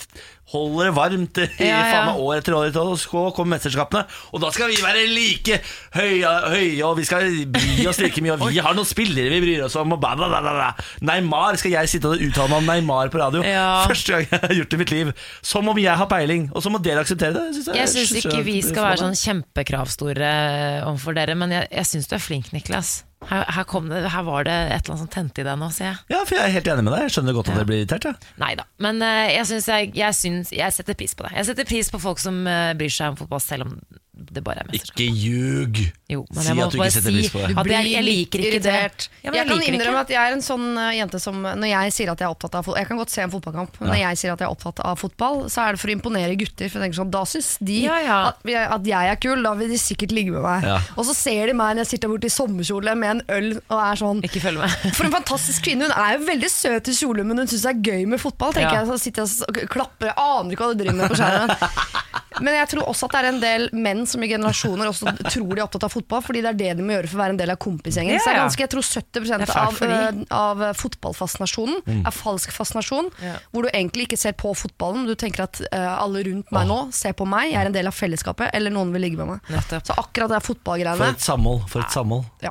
A: Holder det varmt i
B: Ja, ja.
A: faen meg år etter år, etter år, og så kommer mesterskapene. Og da skal vi være like høye, høye og vi skal bry oss like mye. Og vi har noen spillere vi bryr oss om, og bla, bla, bla, bla, bla. Neymar skal jeg sitte og uttale meg om Neymar på radio.
B: Ja.
A: Første gang jeg har gjort det i mitt liv. Som om jeg har peiling, og så må dere akseptere det. synes
B: Jeg syns
A: synes
B: ikke vi
A: det er
B: skal være
A: flott.
B: sånn kjempekravstore eh, overfor dere, men jeg, jeg syns du er flink, Niklas. Her, her, kom det, her var det et eller annet som tente i deg nå, ser jeg.
A: Ja, for jeg er helt enig med deg. Jeg skjønner godt at dere blir irritert. Ja.
B: Nei da. Men eh, jeg, syns jeg, jeg, syns- jeg setter pris på det. Jeg setter pris på folk som eh, bryr seg om fotball, selv om det bare er mesterskap.
A: Ikke ljug!
B: Jo, men
A: si
B: jeg må
A: at du
B: bare
A: ikke setter
B: si-
A: pris på det.
B: At jeg- jeg liker ikke det.
F: irritert.
B: Ja, men jeg
F: jeg, kan
B: liker det ikke.
F: innrømme at jeg er en sånn eh, jente som eh, Når jeg sier at jeg er opptatt av fotball Jeg kan godt se en fotballkamp, men når jeg sier at jeg er opptatt av fotball, så er det for å imponere gutter. For jeg tenker sånn, Da syns de
B: Ja, ja.
F: At, vi- at jeg er kul, da vil de sikkert ligge med meg.
A: Ja.
F: Og så ser de meg når jeg sitter borte i sommerkjole med en øl og er sånn
B: Ikke følg med.
F: For en fantastisk kvinne. Hun er jo veldig søt i kjole, men hun syns det er gøy med fotball. tenker
B: Ja.
F: jeg, så sitter jeg og klapper, jeg aner ikke hva du driver med på skjermen. Men jeg tror også at det er en del menn som i generasjoner også tror de er opptatt av fotball, fordi det er det de må gjøre for å være en del av kompisgjengen.
B: Ja,
F: Så det er
B: ja.
F: ganske, jeg tror 70
B: Det er fælt
F: av,
B: for de.
F: eh, av eh, fotballfascinasjonen
A: Mm.
F: er falsk fascinasjon,
B: Ja.
F: hvor du egentlig ikke ser på fotballen, men du tenker at eh, alle rundt meg nå ser på meg, jeg er en del av fellesskapet, eller noen vil ligge med meg.
B: Nettopp.
F: Så akkurat det er
A: For
F: fotballgreiene.
A: et samhold. For et samhold.
F: Ja.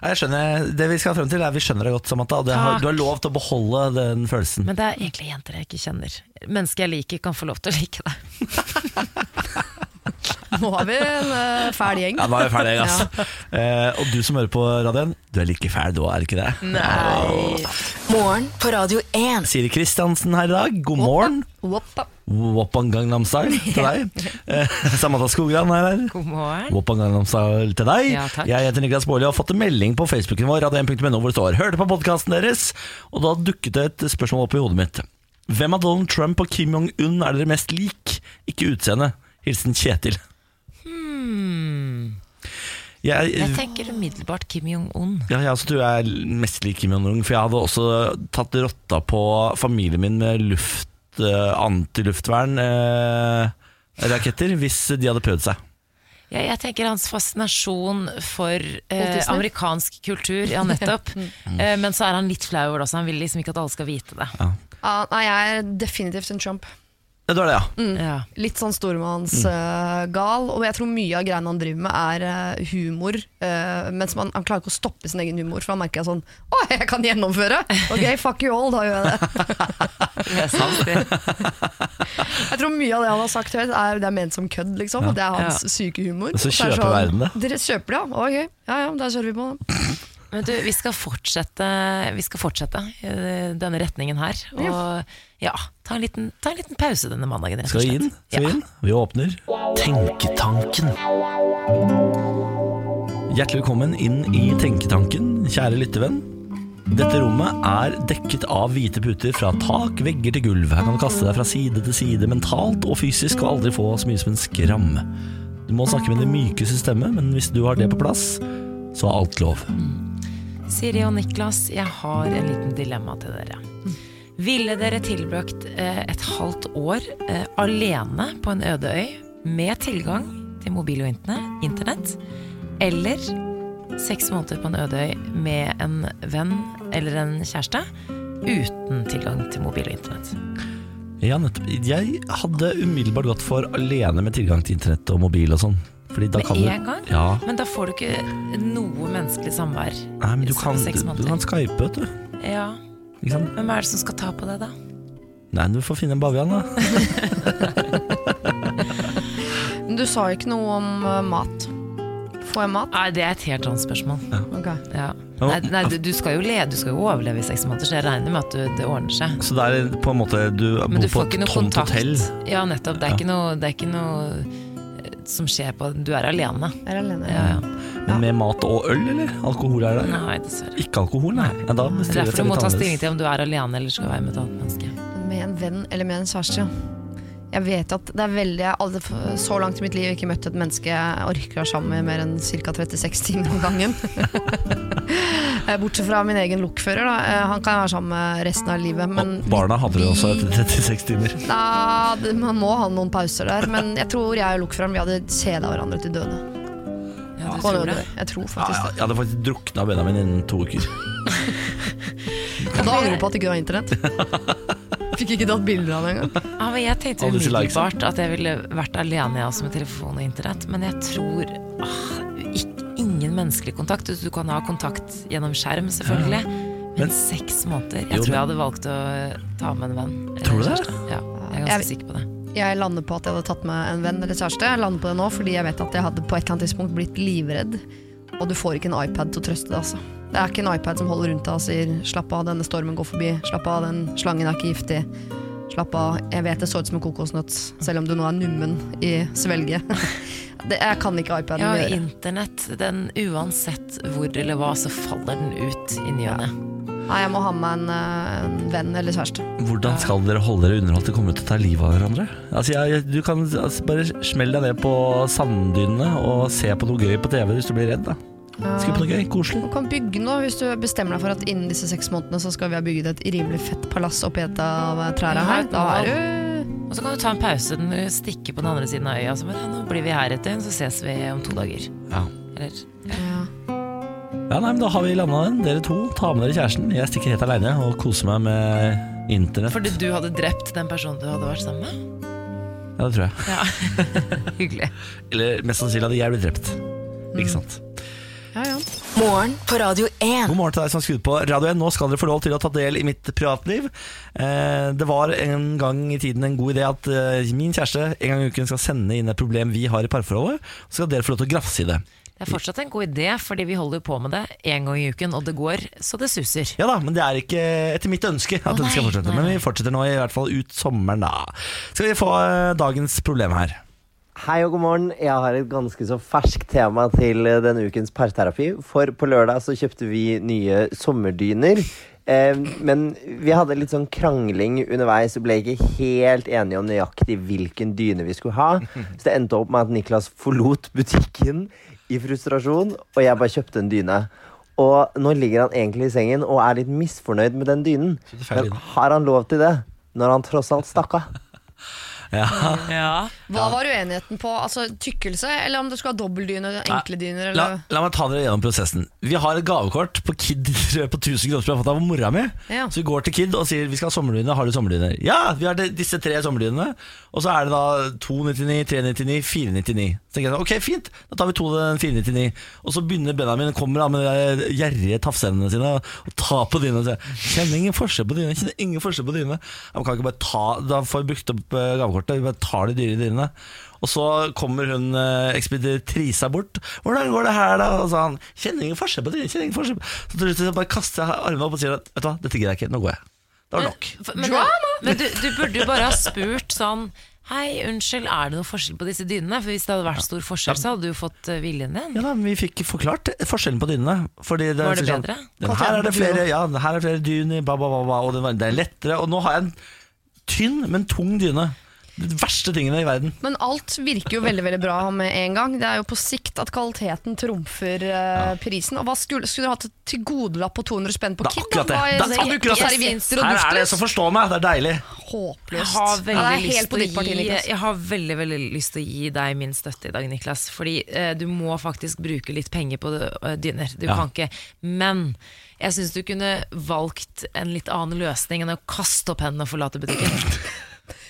A: Nei, Jeg skjønner, det vi skal frem til, er vi skjønner deg godt, Samantha. Og det har,
B: Takk.
A: du har lov til å beholde den følelsen.
B: Men det er egentlig jenter jeg ikke kjenner. Mennesker jeg liker, kan få lov til å like deg.
F: Nå har vi en eh, fæl gjeng.
A: Ja, nå er vi ferdige, ass. Eh, og du som hører på radioen, du er like fæl du òg, er du ikke det?
E: Morgen på Radio 1.
A: Siri Kristiansen her i dag, god morgen.
F: Woppa.
A: Woppan Gangnam Style til deg. Eh, Samantha Skogran er her.
B: God morgen.
A: Woppan Gangnam Style til deg.
B: Ja, takk.
A: jeg heter Niklas Baarli og har fått en melding på Facebooken vår radio1.no hvor det står 'Hørte på podkasten deres', og da dukket det et spørsmål opp i hodet mitt. Hvem av Donald Trump og Kim Jong-un er dere mest lik? Ikke utseende. Hilsen Kjetil. Jeg,
B: Hmm. Jeg tenker umiddelbart Kim Jong-un.
A: ja, jeg også tror jeg er mest lik Kim Jong-un, for jeg hadde også tatt rotta på familien min med luft, eh, antiluftvern eh, raketter hvis de hadde prøvd seg.
B: Ja, jeg tenker hans fascinasjon for eh,
F: Disney?
B: amerikansk kultur, ja nettopp. eh, men så er han litt flau over det også, han vil liksom ikke at alle skal vite det.
F: Ja, Ah, nei, jeg er definitivt en Trump.
A: Ja, det var det, ja.
B: Ja.
F: Litt sånn stormannsgal. og jeg tror mye av greiene han driver med, er eh, humor. eh, mens man, han klarer ikke å stoppe sin egen humor, for han merker sånn Å, jeg kan gjennomføre! Ok, fuck you all, da gjør jeg det.
B: Det er sant, det.
F: Jeg tror mye av det han har sagt høyt, er, det er ment som kødd, liksom. og Det er hans syke humor.
A: Så
F: Og er det sånn,
A: kjøper verden det.
F: Dere kjøper det, ja? Ok, ja ja, da kjører vi på det.
B: Men du, vi skal fortsette, vi skal fortsette eh, denne retningen her. Og ja, ta en liten, ta en liten pause denne mandagen, rett og
A: Skal vi
B: slett.
A: inn? Skal vi inn? Vi åpner. Tenketanken. Hjertelig velkommen inn i Tenketanken, kjære lyttevenn. Dette rommet er dekket av hvite puter fra tak, vegger til gulv. Her kan du kaste deg fra side til side mentalt og fysisk og aldri få så mye som en skram. Du må snakke med det mykeste stemmet, men hvis du har det på plass, så er alt lov.
B: Siri og Niklas, jeg har en liten dilemma til dere. Ville dere tilbrakt eh, et halvt år eh, alene på en øde øy med tilgang til mobil og interne- internett, eller seks måneder på en øde øy med en venn eller en kjæreste uten tilgang til mobil og internett?
A: Ja, nettopp. Jeg hadde umiddelbart gått for alene med tilgang til internett og mobil og sånn. Fordi da
B: Med
A: kan du-
B: en gang?
A: Ja.
B: Men da får du ikke noe menneskelig samvær
A: Nei, men du
B: på
A: kan, du,
B: seks
A: du
B: måneder.
A: kan skype, vet du.
B: Ja.
A: Ikke sant?
B: Hvem er det som skal ta på det, da?
A: Nei, du får finne en bavian, da.
F: Men du sa jo ikke noe om eh, mat. Får jeg mat?
B: Nei, det er et helt annet spørsmål.
F: Ok.
B: Ja.
A: Ja.
B: Nei, nei du, du skal jo le, du skal jo overleve i seks måneder, så jeg regner med at du, det ordner seg.
A: Så det er på en måte Du
B: Men
A: bor
B: du
A: på
B: får
A: et
B: ikke noe
A: tomt
B: kontakt.
A: hotell.
B: Ja, nettopp. Det er ikke noe, det er ikke noe eh, som skjer på Du er alene.
F: Jeg er alene.
B: Ja, ja.
A: Men med mat og øl, eller? Alkohol er der?
B: Nei, dessverre.
A: Ikke alkohol, nei. Ja, da
B: Det er
A: bestiller jeg
B: derfor du
A: seg
B: må
A: litt
B: ta stilling
A: annerledes.
B: til om du er alene eller skal være med et annet menneske.
F: Med en venn eller med en kjæreste. Jeg vet at det er veldig Jeg har aldri f- så langt i mitt liv ikke møtt et menneske jeg orker å være sammen med mer enn ca. 36 timer om gangen. Eh, Bortsett fra min egen lokfører, da. Eh, Han kan jeg være sammen med resten av livet. Men
A: Og Barna hadde det også etter 36 timer.
F: da, det- man må ha noen pauser der. Men jeg tror jeg og lokføreren vi hadde kjeda hverandre til døde.
B: Ja, du
F: På en
B: tror det.
F: øde øy. Jeg tror
A: Ja,
F: faktisk
A: ja,
F: det.
A: jeg hadde faktisk drukna Benjamin innen to uker.
F: Og da angrer du på at du ikke har internett. Fikk ikke tatt bilder av det engang.
B: Ja, men jeg tenkte
A: Alle disse likes.
B: umiddelbart at jeg ville vært alene jeg også med telefon og internett, men jeg tror ah, ikk- ingen menneskelig kontakt. Du kan ha kontakt gjennom skjerm, selvfølgelig. Men,
A: Men-
B: seks måneder Jeg
A: Jo,
B: tror jeg
A: men-
B: hadde valgt å eh, ta med en venn. eller
A: Tror du
B: en
A: det?
B: kjæreste. Ja, jeg er ganske
F: Jeg-
B: sikker på det.
F: Jeg lander på at jeg hadde tatt med en venn eller kjæreste. Jeg lander på det nå fordi jeg vet at jeg hadde på et eller annet tidspunkt blitt livredd. Og du får ikke en iPad til å trøste deg, altså. Det er ikke en iPad som holder rundt deg og sier 'slapp av, denne stormen går forbi', 'slapp av, den slangen er ikke giftig'. Slapp av, jeg vet det så ut som en kokosnøtt, selv om du nå er nummen i svelget. Det, jeg kan ikke iPaden
B: Ja,
F: gjøre.
B: internett, den uansett hvor eller hva, så faller den ut i ny og ne.
F: Nei, jeg må ha med meg en, eh, en venn eller kjæreste.
A: Hvordan skal dere holde dere underholdt til å komme ut og ta livet av hverandre? Altså, jeg, du kan altså, bare smelle deg ned på sanddynene og se på noe gøy på TV hvis du blir redd. da. Skru på noe gøy, koselig.
F: Du kan bygge noe hvis du bestemmer deg for at innen disse seks månedene så skal vi ha bygget et rimelig fett palass oppi et av eh, trærne her. Da er du
B: Og så kan du ta en pause, den stikke på den andre siden av øya. Så bare, nå blir vi her et døgn, så ses vi om to dager.
A: Ja.
B: Eller
A: Ja, nei, men Da har vi landa den. Dere to, ta med dere kjæresten. Jeg stikker helt aleine og koser meg med internett.
B: Fordi du hadde drept den personen du hadde vært sammen med?
A: Ja, det tror jeg.
B: Ja, hyggelig.
A: Eller mest sannsynlig hadde jeg blitt drept. Ikke sant?
B: Mm.
E: Morgen på Radio 1.
A: God morgen til deg som har skrudd på Radio 1. Nå skal dere få lov til å ta del i mitt privatliv. Eh, det var en gang i tiden en god idé at eh, min kjæreste en gang i uken skal sende inn et problem vi har i parforholdet, og så skal dere få lov til å grafse i det.
B: Det er fortsatt en god idé, fordi vi holder jo på med det én gang i uken, og det går så det suser.
A: Ja da, men det er ikke etter mitt ønske at
B: Å,
A: den skal
B: nei,
A: fortsette.
B: nei,
A: Men
B: nei.
A: vi fortsetter nå i hvert fall ut sommeren, da. Skal vi få eh, dagens problem her.
H: Hei og god morgen. Jeg har et ganske så ferskt tema til eh, denne ukens parterapi. For på lørdag så kjøpte vi nye sommerdyner. Eh, men vi hadde litt sånn krangling underveis og ble ikke helt enige om nøyaktig hvilken dyne vi skulle ha. Så det endte opp med at Niklas forlot butikken i frustrasjon, og jeg bare kjøpte en dyne. Og nå ligger han egentlig i sengen og er litt misfornøyd med den dynen.
A: Kjøpte feil
H: Men
A: dyne.
H: har han lov til det når han tross alt stakk av?
A: Ja.
B: Ja.
F: Hva var uenigheten på? Altså Tykkelse, eller om du skal ha dobbeltdyne, enkle dyner?
A: La,
F: Eller?
A: la meg ta dere gjennom prosessen. Vi har et gavekort på Kid på 1000 kroner som jeg har fått av mora mi.
F: Ja.
A: Så vi går til Kid og sier vi skal ha sommerdyne. Har du sommerdyner? Ja, vi har det- disse tre sommerdynene. Og så er det da 299, 399, 499. Så tenker jeg sånn, ok, fint, da tar vi to av den 499. Og så begynner Benjamin kommer da med de der gjerrige tafsehendene sine og tar på dyna og sier kjenner ingen forskjell på dyna. Kjenner ingen forskjell på dyna. Ja, Man kan ikke bare ta, Da får vi brukt opp eh, gavekortet. Vi bare tar de dyre dyrene. Og så kommer hun eh, ekspeditrisa bort. 'Hvordan går det her, da?' Og så han 'Kjenner ingen forskjell på det.' kjenner ingen forskjell på det». Så til slutt så bare kaster jeg armene opp og sier at 'Vet du hva, dette gidder jeg ikke. Nå går jeg'. Det var nok.
B: Men, men du, du burde jo bare ha spurt sånn Hei, unnskyld, er det noen forskjell på disse dynene? For hvis det hadde vært stor forskjell, så hadde du jo fått eh, viljen din.
A: Ja da, men Vi fikk forklart forskjellen på dynene. Fordi det,
B: Var det
A: sånn,
B: bedre?
A: Den, her er det flere ja, den her er flere dyner, ba, ba, ba, ba, og den, var- det er lettere. Og nå har jeg en tynn, men tung dyne. De verste tingene i verden.
F: Men alt virker jo veldig veldig bra med en gang. Det er jo på sikt at kvaliteten trumfer eh, prisen. Og hva skulle, skulle dere hatt et tilgodelapp på 200 spenn på
A: Det er
F: Kid?
A: akkurat det.
F: Hva
A: Det er akkurat det.
F: Servietter og
A: Her er det, så
F: duftlys?
A: forstå meg, det er deilig.
B: Jeg
F: Håpløst.
B: har
F: Ja,
B: veldig,
F: det er helt på ditt
B: lyst,
F: parti,
B: til å gi,
F: Niklas.
B: jeg har veldig, veldig lyst til å gi deg min støtte i dag, Niklas. Fordi eh, du må faktisk bruke litt penger på eh, dyner. Du
A: Ja.
B: kan ikke Men jeg syns du kunne valgt en litt annen løsning enn å kaste opp hendene og forlate butikken.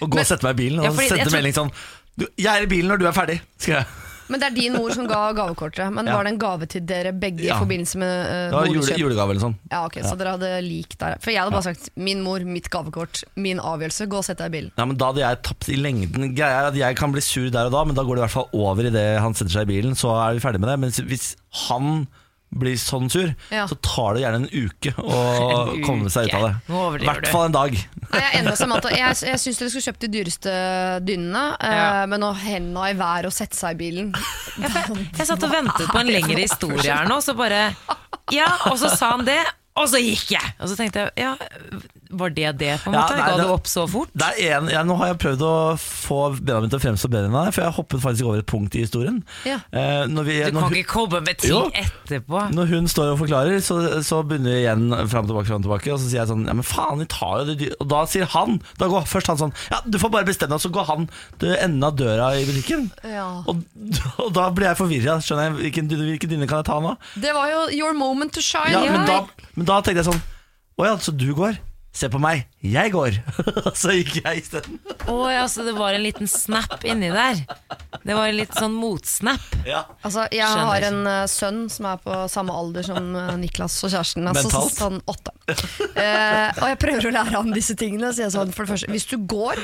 A: Og gå og sette meg i bilen og
B: Ja, fordi jeg
A: sende
B: tror-
A: melding sånn du, 'Jeg er i bilen når du er ferdig', skal jeg.
F: Men det er din mor som ga gavekortet. Men
A: Ja.
F: var det en gave til dere begge
A: Ja.
F: i forbindelse med
A: Det
F: uh,
A: var jule,
F: boligkjøp?
A: julegave eller sånn.
F: Ja, ok, Så dere hadde lik der. For jeg hadde bare sagt 'min mor, mitt gavekort, min avgjørelse'. Gå og sett deg i bilen.
A: Ja, men Da hadde jeg tapt i lengden. Greia er at Jeg kan bli sur der og da, men da går det i hvert fall over idet han setter seg i bilen. Så er vi ferdig med det. Men hvis han blir sånn sur,
F: Ja.
A: så tar det gjerne en uke å
B: En
A: komme seg ut av det.
B: uke. Nå
A: I
B: overdriver
A: hvert
B: du.
A: fall en dag.
F: Nei, Jeg er enig med Samantha. Jeg, jeg syns dere skulle kjøpt de dyreste dynene, eh,
B: Ja.
F: men å henda i været og sette seg i bilen
B: Jeg satt og ventet på en lengre historie her nå, så bare Ja, og så sa han det, og så gikk jeg! Og så tenkte jeg, ja, var det det, på en
A: Ja,
B: måte?
A: nei,
B: Ga
A: det-
B: du opp så fort?
A: Det er en, ja, nå har jeg prøvd å få Benjamin til å fremstå bedre enn han er, for jeg hoppet faktisk over et punkt i historien.
F: Ja.
A: Eh, når vi,
B: Du
A: når
B: kan
A: hun-
B: ikke komme med ting
A: Jo.
B: etterpå.
A: Når hun står og forklarer, så, så begynner vi igjen fram tilbake, fram tilbake. Og så sier jeg sånn Ja, men faen, vi tar jo det dyre Og da sier han Da går først han sånn Ja, du får bare bestemme deg, så går han til enden av døra i butikken.
F: Ja.
A: Og, og da blir jeg forvirra. Skjønner jeg hvilken dyne, hvilken dyne kan jeg ta nå?
F: Det var jo your moment to shine.
A: Ja, men da, men da tenkte jeg sånn Å ja, så du går? Se på meg, jeg går! så gikk jeg isteden.
B: Å ja, så det var en liten snap inni der. Det var en litt sånn motsnap.
A: Ja.
F: Altså, jeg
B: Skjønner.
F: har en eh, sønn som er på samme alder som eh, Niklas og kjæresten. Altså,
A: Mentalt?
F: Sånn åtte. Eh, og jeg prøver å lære han disse tingene. Så jeg sånn, for det første, hvis du går,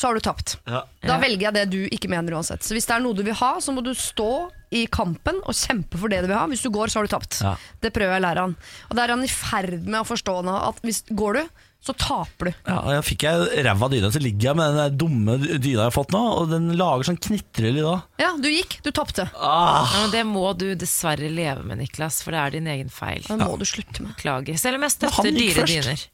F: så har du tapt.
A: Ja.
F: Da velger jeg det du ikke mener uansett. Så hvis det er noe du vil ha, så må du stå i kampen og kjempe for det du vil ha. Hvis du går, så har du tapt.
A: Ja.
F: Det prøver jeg å lære han. Og da er han i ferd med å forstå nå at hvis går du, så taper du.
A: Ja, og jeg fikk jeg ræva dyna, så ligger jeg med den der dumme dyna jeg har fått nå, og den lager sånn knitrelyd da.
F: Ja, du gikk, du tapte.
A: Ah.
B: Ja, men det må du dessverre leve med, Niklas, for det er din egen feil.
F: Det må du slutte med.
B: Beklager. Selv om jeg
A: Men
B: støtter
A: han gikk
B: dyre
A: først.
B: dyner.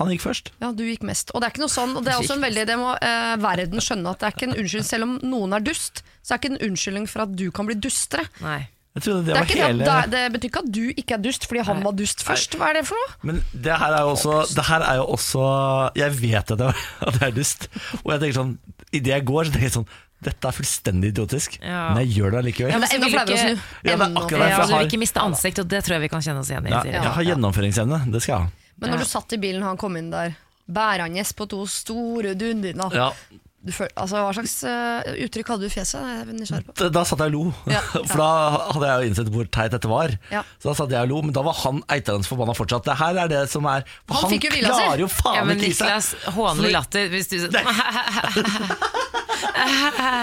A: Han gikk først.
F: Ja, du gikk mest. Og det er ikke noe sånn, og det er også en veldig, det må eh, verden skjønne at det er ikke en unnskyld, selv om noen er dust, så er ikke en unnskyldning for at du kan bli dustere.
B: Nei.
A: Jeg trodde det,
F: Det, er
A: var
F: ikke det, at-
A: hele
F: det, er- det betyr ikke at du ikke er dust fordi han var dust først. Hva er det for noe?
A: Men det her er jo også, det her er jo også Jeg vet at det, at det er dust, og jeg tenker sånn Idet jeg går, så tenker jeg sånn Dette er fullstendig idiotisk,
B: Ja.
A: men jeg gjør det allikevel.
B: Ja,
A: Ja,
B: men
F: Det er enda
B: vil du
F: flauere å
B: ikke-
F: snu.
A: Ja, det er
F: Enda
A: akkurat derfor.
F: flauere.
B: Ja,
A: jeg
B: du vil
A: har-
B: ikke miste ansikt, og det tror jeg vi kan kjenne oss igjen i. Siri.
A: jeg har gjennomføringsevne, det skal jeg ha.
F: Men når du satt i bilen og han kom inn der, bærende på to store dundiner
A: Ja,
F: du føl- altså, Hva slags eh, uttrykk hadde du i fjeset? Det er jeg nysgjerrig på.
A: Da da satt jeg og lo,
F: Ja.
A: for da hadde jeg jo innsett hvor teit dette var.
F: Ja.
A: Så da satt jeg og lo, Men da var han eitrende forbanna fortsatt. Det her er det som er for
F: Han fikk jo hvila seg.
A: klarer jo
B: Ja,
A: faen
B: men
A: ikke i seg!
B: Niklas, hånlig latter hvis du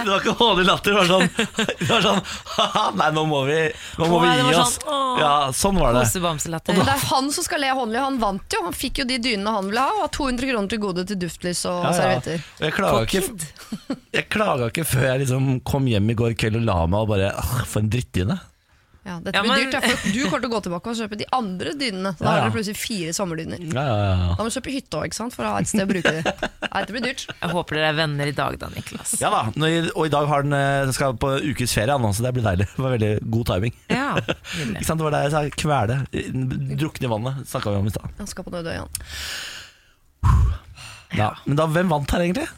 A: Det var ikke hånlig latter, det var sånn, det var sånn haha, Nei, nå må vi, nå må
B: Å,
A: vi
B: det var
A: gi
B: sånn,
A: oss.
B: åh.
A: Ja, sånn var det.
F: Men det
B: Kosebamselatter.
F: er han som skal le håndlig. Han vant jo. Han fikk jo de dynene han ville ha, og har 200 kroner til gode til duftlys og
A: Ja, ja.
F: servietter.
A: Og Jeg klaga ikke, jeg klaga ikke før jeg liksom kom hjem i går kveld og la meg og bare ah, For en drittdyne.
F: Ja, dette
B: Ja,
F: blir
B: men-
F: dyrt, ja, for du kommer til å gå tilbake og kjøpe de andre dynene.
A: Ja,
F: Da
A: ja.
F: har dere plutselig fire sommerdyner.
A: Ja, ja, ja.
F: Da må du kjøpe hytte òg, for å ha et sted å bruke det. Nei, dette blir dyrt.
B: Jeg håper dere er venner i dag da, Niklas.
A: ja da. Nå i- Og i dag har den, eh, den skal på ukes ferie, han nå, så det blir deilig. Det var veldig god timing.
B: Ja,
A: Ikke
B: nydelig.
A: sant, Det var det jeg sa. Kvele. Drukne i vannet, snakka vi om i stad.
F: Han skal på Nødøya.
A: Ja. Men da, hvem vant her, egentlig?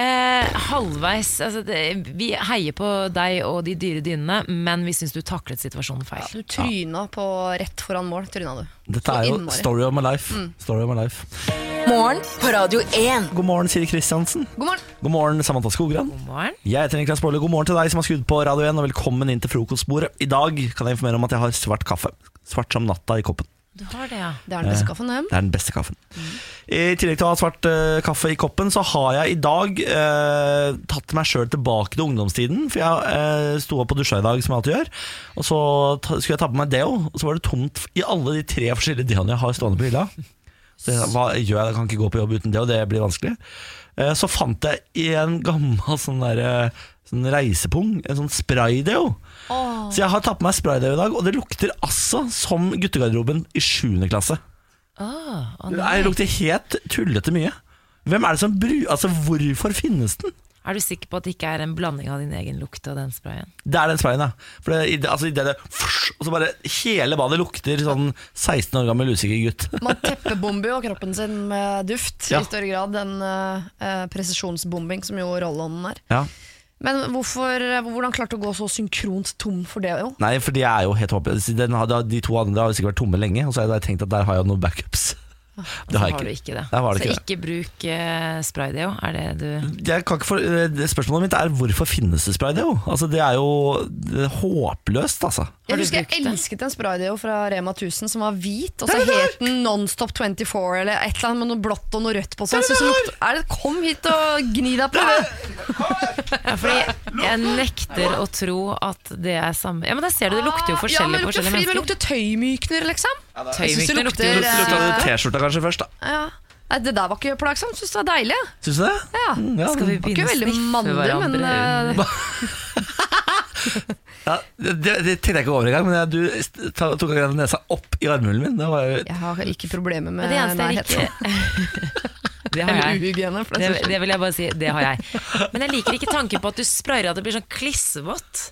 B: Eh, halvveis altså det, Vi heier på deg og de dyre dynene, men vi syns du taklet situasjonen feil.
F: Du tryna på rett foran mål. Tryna du.
A: Dette er jo
F: innmari.
A: story of my life.
B: Mm.
A: Story of my life.
E: Morgen på Radio 1.
A: God morgen, Siri Kristiansen.
F: God morgen!
A: God morgen, Samantha Skogran.
B: God morgen.
A: Jeg heter Niklas Baarli. God morgen til deg som har skrudd på Radio 1, og velkommen inn til frokostbordet. I dag kan jeg informere om at jeg har svart kaffe. Svart som natta i koppen.
B: Du har det, ja.
F: Det er
A: Eh.
F: den beste kaffen hjem.
A: Det er den beste kaffen. I tillegg til å ha svart eh, kaffe i koppen, så har jeg i dag eh, tatt meg sjøl tilbake til ungdomstiden. For jeg eh, sto opp og dusja i dag, som jeg alltid gjør. Og så ta, skulle jeg ta på meg deo, og så var det tomt i alle de tre forskjellige deoene jeg har stående på hylla. Så jeg, hva gjør jeg? Jeg kan ikke gå på jobb uten deo, det blir vanskelig. Eh, så fant jeg en gammel sånn der, eh, Sånn reisepung, en sånn spraydeo. Så jeg har tatt på meg spraydeo i dag, og det lukter altså som guttegarderoben i 7. klasse.
B: Åh, å
A: Nei,
B: nei.
A: det lukter helt tullete mye. Hvem er det som bru... Altså, hvorfor finnes den?
B: Er du sikker på at det ikke er en blanding av din egen lukt og den sprayen?
A: Det er den sprayen, ja. For det, i det- altså, i det, det Og så bare hele badet lukter sånn 16 år gammel usikker gutt.
F: Man teppebomber jo kroppen sin med duft
A: Ja.
F: i større grad enn eh, eh, presisjonsbombing, som jo rolleånden er.
A: Ja.
F: Men hvorfor, eh, hvordan klarte du å gå så synkront tom for det? jo?
A: Nei, for de er jo helt håpløse. Den har- De to andre har jo sikkert vært tomme lenge, og så har jeg tenkt at der har jeg noen backups. Det har
B: Ah, Så
A: jeg
B: har du
A: ikke.
B: ikke det.
A: Der var det
B: så
A: ikke det.
B: ikke bruk eh, spraydeo, er det du
A: Jeg kan ikke for, eh, spørsmålet mitt er hvorfor finnes det spraydeo? Altså, det er jo det er håpløst, altså.
F: Jeg
B: du
F: husker
B: brukt
F: jeg
B: det?
F: elsket en spraydeo fra Rema 1000 som var hvit, og så het den Nonstop 24 eller et eller annet med noe blått og noe rødt på seg. Jeg synes det lukter- er det, kom hit og gni deg på det!
B: ja, Fordi jeg nekter å tro at det er samme Ja, men der ser du, det lukter jo
F: ja,
B: forskjellig
F: men
B: på
F: lukter
B: forskjellige
F: fri, men
B: mennesker.
F: lukter tøymykner, liksom. Jeg synes det
B: Tøymykner lukter jo
F: lukter,
A: Lukta
B: absolutt-
A: det T-skjorta kanskje først, da?
F: Ja. Nei, det der var ikke plagsomt. Syns det var deilig.
A: Syns du det?
F: Ja.
A: Mm, ja.
B: Skal vi
F: Det var ikke
B: begynne å
F: veldig
B: sniffe
F: mandig, men
B: hverandre?
F: eh,
A: Ja, det, det det tenkte jeg ikke over engang, men jeg, du st- ta- tok akkurat nesa opp i armhulen min. Det var jo
F: jeg har ikke problemer med
B: Men det eneste jeg
F: nærhet.
B: ikke Det har
F: Eller
B: jeg.
F: uhygiene, for
B: Det,
F: det er så
B: det vil jeg bare si. Det har jeg. Men jeg liker ikke tanken på at du sprayer at det blir sånn klissvått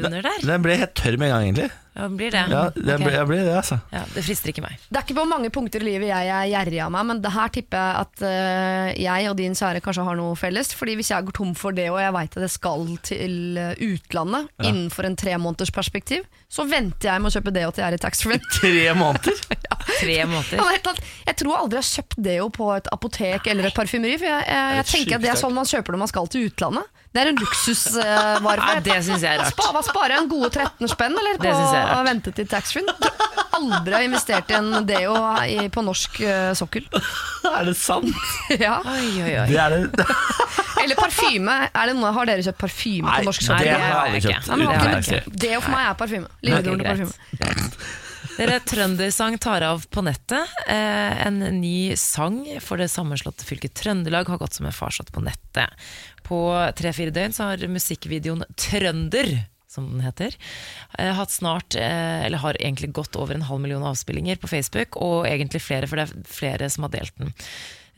B: under der.
A: Den ble helt tørr med en gang, egentlig.
B: Ja, blir det?
A: Ja, det
B: Mm, Ok.
A: ble, jeg ble det, altså.
B: ja, det frister ikke meg.
F: Det er ikke på mange punkter i livet jeg er gjerrig av meg, men det her tipper jeg at eh, jeg og din kjære kanskje har noe felles. Fordi hvis jeg går tom for det, og jeg veit at jeg skal til eh, utlandet innenfor en tre måneders perspektiv, så venter jeg med å kjøpe det og til jeg er i taxfree.
A: Tre måneder?
B: tre
F: Ja,
B: måneder.
F: men helt klart, Jeg tror aldri jeg har kjøpt Deo på et apotek eller et parfymeri. For jeg, jeg, jeg
A: Det er
F: tenker at
A: sjukt
F: det er
A: sterkt.
F: sånn man kjøper når man skal til utlandet. Det er en luksusvare.
B: Ja, det synes jeg er rart.
F: Hva sparer jeg en gode 13 spenn eller,
B: Det
F: på
B: synes jeg er
F: å
B: rart.
F: vente til taxfree? Jeg tror Aldri har investert i en Deo i, på norsk eh, sokkel.
A: Er det sant?
F: Ja.
B: Oi, oi, oi.
A: Det er det.
F: Eller parfyme. Er det noe, har dere kjøpt parfyme
A: Nei,
F: på norsk
A: det har
B: Nei,
F: sokkel?
B: det
A: jeg
B: har
A: aldri
B: jeg ikke.
A: kjøpt.
F: Nei, men
B: det
A: Uten
B: har
F: akkurat
B: jeg
A: merke.
B: ikke.
F: ikke. Deo for meg er parfyme.
B: Ok,
F: Lillebror til
B: greit.
F: parfyme.
B: Dere, Trøndersang tar av på nettet. Eh, en ny sang for det sammenslåtte fylket Trøndelag har gått som en farsott på nettet. På tre-fire døgn så har musikkvideoen Trønder, som den heter, eh, hatt snart, eh, eller har egentlig gått over en halv million avspillinger på Facebook, og egentlig flere, for det er flere som har delt den.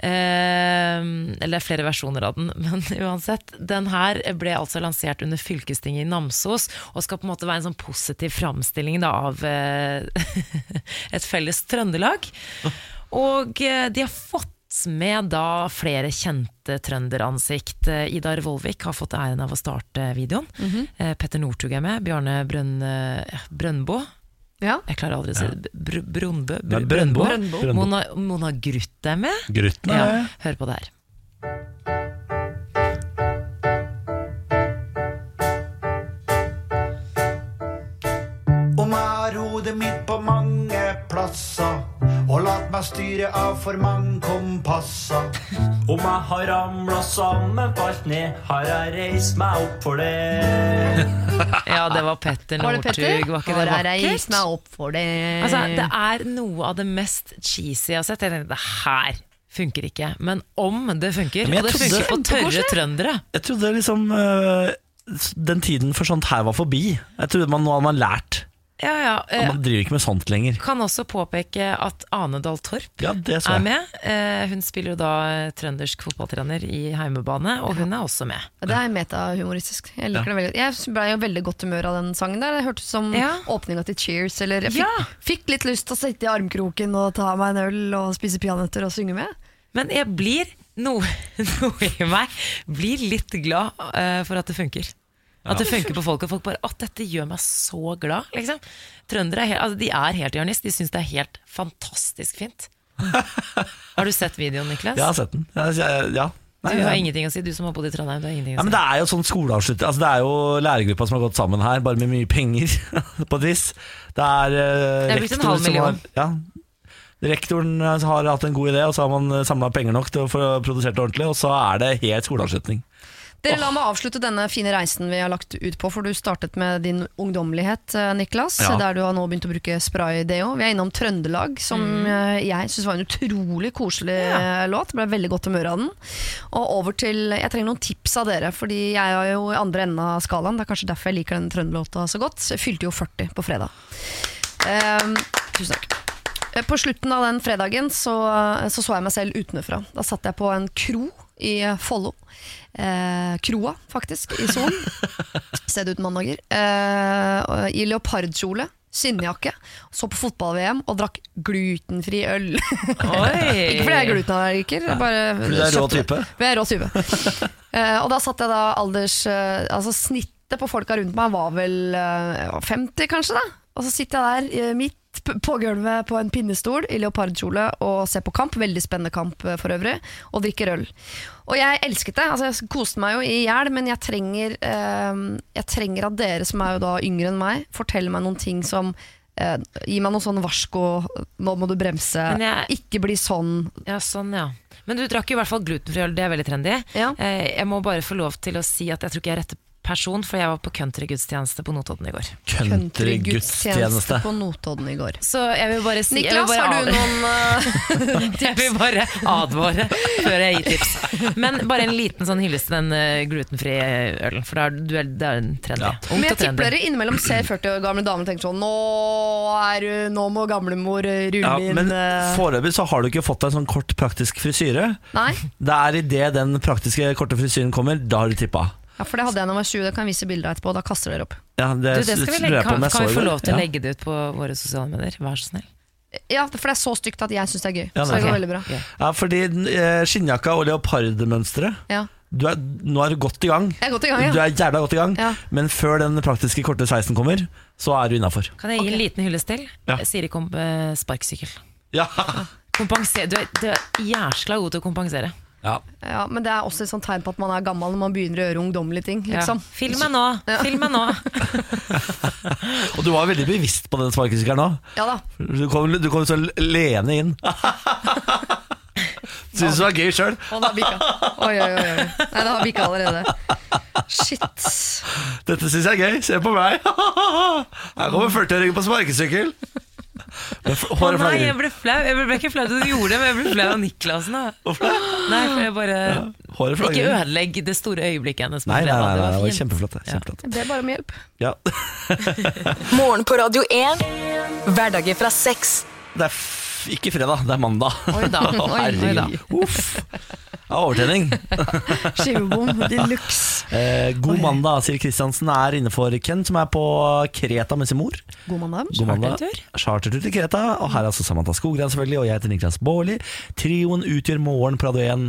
B: Eh, eller det er flere versjoner av den, men uansett. Den her ble altså lansert under fylkestinget i Namsos, og skal på en måte være en sånn positiv framstilling da, av eh, et felles Trøndelag. Og eh, de har fått med da flere kjente trønderansikt. Eh, Idar Vollvik har fått æren av å starte videoen. eh, Petter Northug er med. Bjarne Brønn, eh, Brøndbo.
F: Ja.
B: Jeg klarer aldri å si det. Br Brunbø?
A: Nei,
B: Br
A: Brøndbo. Brøndbo.
B: Mona, Mona Gruth er med.
A: Grytten
B: Ja,
A: er det.
B: hør på det her.
I: Om jeg har hodet mitt på mange plasser og latt meg styre av for mange kompasser.
J: Om jeg har ramla sammen, falt ned, har jeg reist meg opp for det.
B: Ja, det var Petter
F: Var det
B: Northug.
F: Petter?
B: Var ikke
F: Har
B: det
F: jeg reist
B: vakkert?
F: meg opp for det?
B: Altså,
A: Eh.
B: det er noe av det mest cheesy jeg har sett. Jeg tenkte, det her funker ikke. Men om det funker,
A: Men jeg
B: og det
A: trodde-
B: funker på tørre trøndere
A: Jeg trodde liksom øh, den tiden for sånt her var forbi. Jeg trodde man, Nå hadde man lært.
B: Ja, ja.
A: Og
B: eh,
A: man driver ikke med sånt lenger.
B: Kan også påpeke at Anedal Torp
A: Ja, det så
B: er
A: jeg.
B: med. Eh, Hun spiller jo da eh, trøndersk fotballtrener i heimebane, og hun er også med.
F: Ja, det er metahumoristisk. Jeg liker det veldig godt. Jeg ble jo veldig godt humør av den sangen der. Det hørtes som
B: Ja.
F: åpninga til Cheers. Eller jeg fikk,
B: Ja.
F: fikk litt lyst til å sitte i armkroken og ta meg en øl og spise peanøtter og synge med.
B: Men jeg blir, noe, noe i meg, blir litt glad eh, for at det funker. At det funker på folk, og folk bare at dette gjør meg så glad. liksom. Trøndere er, he- altså, de er helt hjørnist. De syns det er helt fantastisk fint. Har du sett videoen, Niklas?
A: Jeg har sett den. Jeg, jeg, ja. Nei,
B: du har
A: jeg-
B: ingenting å si, du som har bodd i Trondheim. du har ingenting
A: Ja,
B: å
A: men
B: si.
A: Det er jo sånn skoleavslutter altså, Det er jo lærergruppa som har gått sammen her, bare med mye penger. på et vis Det er, eh,
B: Det er blitt en halv
A: som har
B: million.
A: ja, Rektoren eh, har hatt en god idé, og så har man samla penger nok til å få produsert det ordentlig, og så er det helt skoleavslutning.
F: Dere, La meg avslutte denne fine reisen vi har lagt ut på, for du startet med din ungdommelighet, eh, Niklas.
A: Ja.
F: Der du har nå begynt å bruke spray-deo. Vi er innom Trøndelag, som eh, jeg syns var en utrolig koselig eh, låt. Ble veldig godt humør av den. Og over til Jeg trenger noen tips av dere, fordi jeg er jo i andre enden av skalaen. Det er kanskje derfor jeg liker denne trønderlåta så godt. Så jeg fylte jo 40 på fredag. Ehm, tusen takk. Eh, På slutten av den fredagen så, eh, så så jeg meg selv utenfra. Da satt jeg på en kro i Follo. Eh, kroa, faktisk, i solen. Sett ut mandager. Eh, og I leopardkjole, skinnjakke. Så på fotball-VM og drakk glutenfri øl.
B: Oi!
F: Ikke fordi jeg er glutenallergiker. jeg bare
A: Fordi du er rå
F: kjøpte det.
A: type.
F: For jeg er rå type. Eh, og da satt jeg da alders eh, Altså snittet på folka rundt meg var vel eh, 50, kanskje, da. Og så sitter jeg der eh, midt p- på gulvet på en pinnestol i leopardkjole og ser på kamp. Veldig spennende kamp eh, for øvrig. Og drikker øl. Og jeg elsket det. altså Jeg koste meg jo i hjel, men jeg trenger, eh, jeg trenger at dere som er jo da yngre enn meg, forteller meg noen ting som eh, Gi meg noen sånn varsko, nå må du bremse,
B: Men jeg-
F: ikke bli sånn.
B: Ja, sånn, ja. Men du drakk i hvert fall glutenfri øl, det er veldig trendy.
F: Ja.
B: Eh, jeg må bare få lov til å si at jeg tror ikke jeg er rette person, for jeg var på countrygudstjeneste på Notodden i går.
A: Countrygudstjeneste.
F: på Notodden i går.
B: Så jeg vil bare si jeg vil
F: Niklas,
B: bare
F: har du
B: av-
F: noen eh,
B: Jeg vil bare advare før jeg gir tips. Men bare en liten sånn hyllest til den eh, glutenfrie ølen, for da er du- det er en trendy.
A: Ja.
B: Ungt
F: Men jeg
B: og trendy.
F: tipper dere innimellom ser 40 år gamle damer og tenker sånn Nå, er, du- nå må gamlemor eh, rulle
A: Ja,
F: inn
A: men
F: eh."
A: foreløpig så har du ikke fått deg en sånn kort, praktisk frisyre.
F: Nei,
A: Det er idet den praktiske, korte frisyren kommer, da har du tippa.
F: ja, for det hadde jeg da jeg var 20. Det kan jeg vise bilder av etterpå. Da kaster dere opp.
A: Ja, det,
B: Du, det skal vi
A: lurer
B: legge,
A: jeg på om
B: kan,
A: jeg så
B: kan vi
A: i
B: få
A: går.
B: lov til å
A: Ja.
B: legge det ut på våre sosiale medier? Vær så snill.
F: Ja, for det er så stygt at jeg syns det er gøy.
A: Ja,
F: så det
A: det er
F: går
B: Ok.
F: veldig bra.
B: Ok.
A: Ja, fordi eh, skinnjakka og leopardmønsteret
F: Ja.
A: du er, Nå er du godt i gang.
F: Jeg er godt i gang,
A: Du
F: ja.
A: er jævla godt i gang,
F: Ja.
A: men før den praktiske korte sveisen kommer, så er du innafor.
B: Kan jeg gi en liten hyllest til?
A: Ja.
B: Siri kom på eh, sparkesykkel.
A: Ja.
B: Kompenser, du, er, du er jæskla god til å kompensere.
A: ja.
F: Ja, men det er også et sånt tegn på at man er gammel når man begynner å gjøre ungdommelige ting. Liksom.
B: Ja. Film meg nå! Film meg nå!
A: Og du var veldig bevisst på den sparkesykkelen nå.
F: Ja da.
A: Du kom, du kom så lene inn. Syns det var gøy sjøl.
F: Å, det har bikka. Oi, oi, oi. oi. Nei, det har bikka allerede. Shit.
A: Dette syns jeg er gøy. Se på meg. Her kommer 40-åringen på sparkesykkel. Med f-
B: Å
A: Håret
B: nei, jeg
A: flagrer.
B: ble flau. Jeg ble, ble ikke flau til at du gjorde det, men jeg ble flau av Niklasen. Da.
A: Hvorfor det?
B: Nei, for jeg bare
A: Håret
B: Ikke
A: flagrer.
B: ødelegg det store øyeblikket hennes. på
A: Nei, nei, nei,
B: fredag,
A: nei, det var
B: fint.
A: kjempeflott. det,
B: Ja.
A: kjempeflott.
F: Jeg ber bare om hjelp.
A: Ja.
E: Morgen på Radio 1. Hverdager fra seks.
A: Det er f ikke fredag, det er mandag.
B: Oi da,
A: Å,
B: oi, oi da.
A: herregud. Uff. Ja, overtenning.
F: Skivebom de luxe.
A: Eh, god mandag, Siri Kristiansen er inne for Ken, som er på Kreta med sin mor.
F: God mandag.
A: God mandag.
B: Chartertur.
A: Chartertur til Kreta. Og her er altså Samantha Skogran, selvfølgelig. Og jeg heter Niklas Baarli. Trioen utgjør morgen på Radio 1.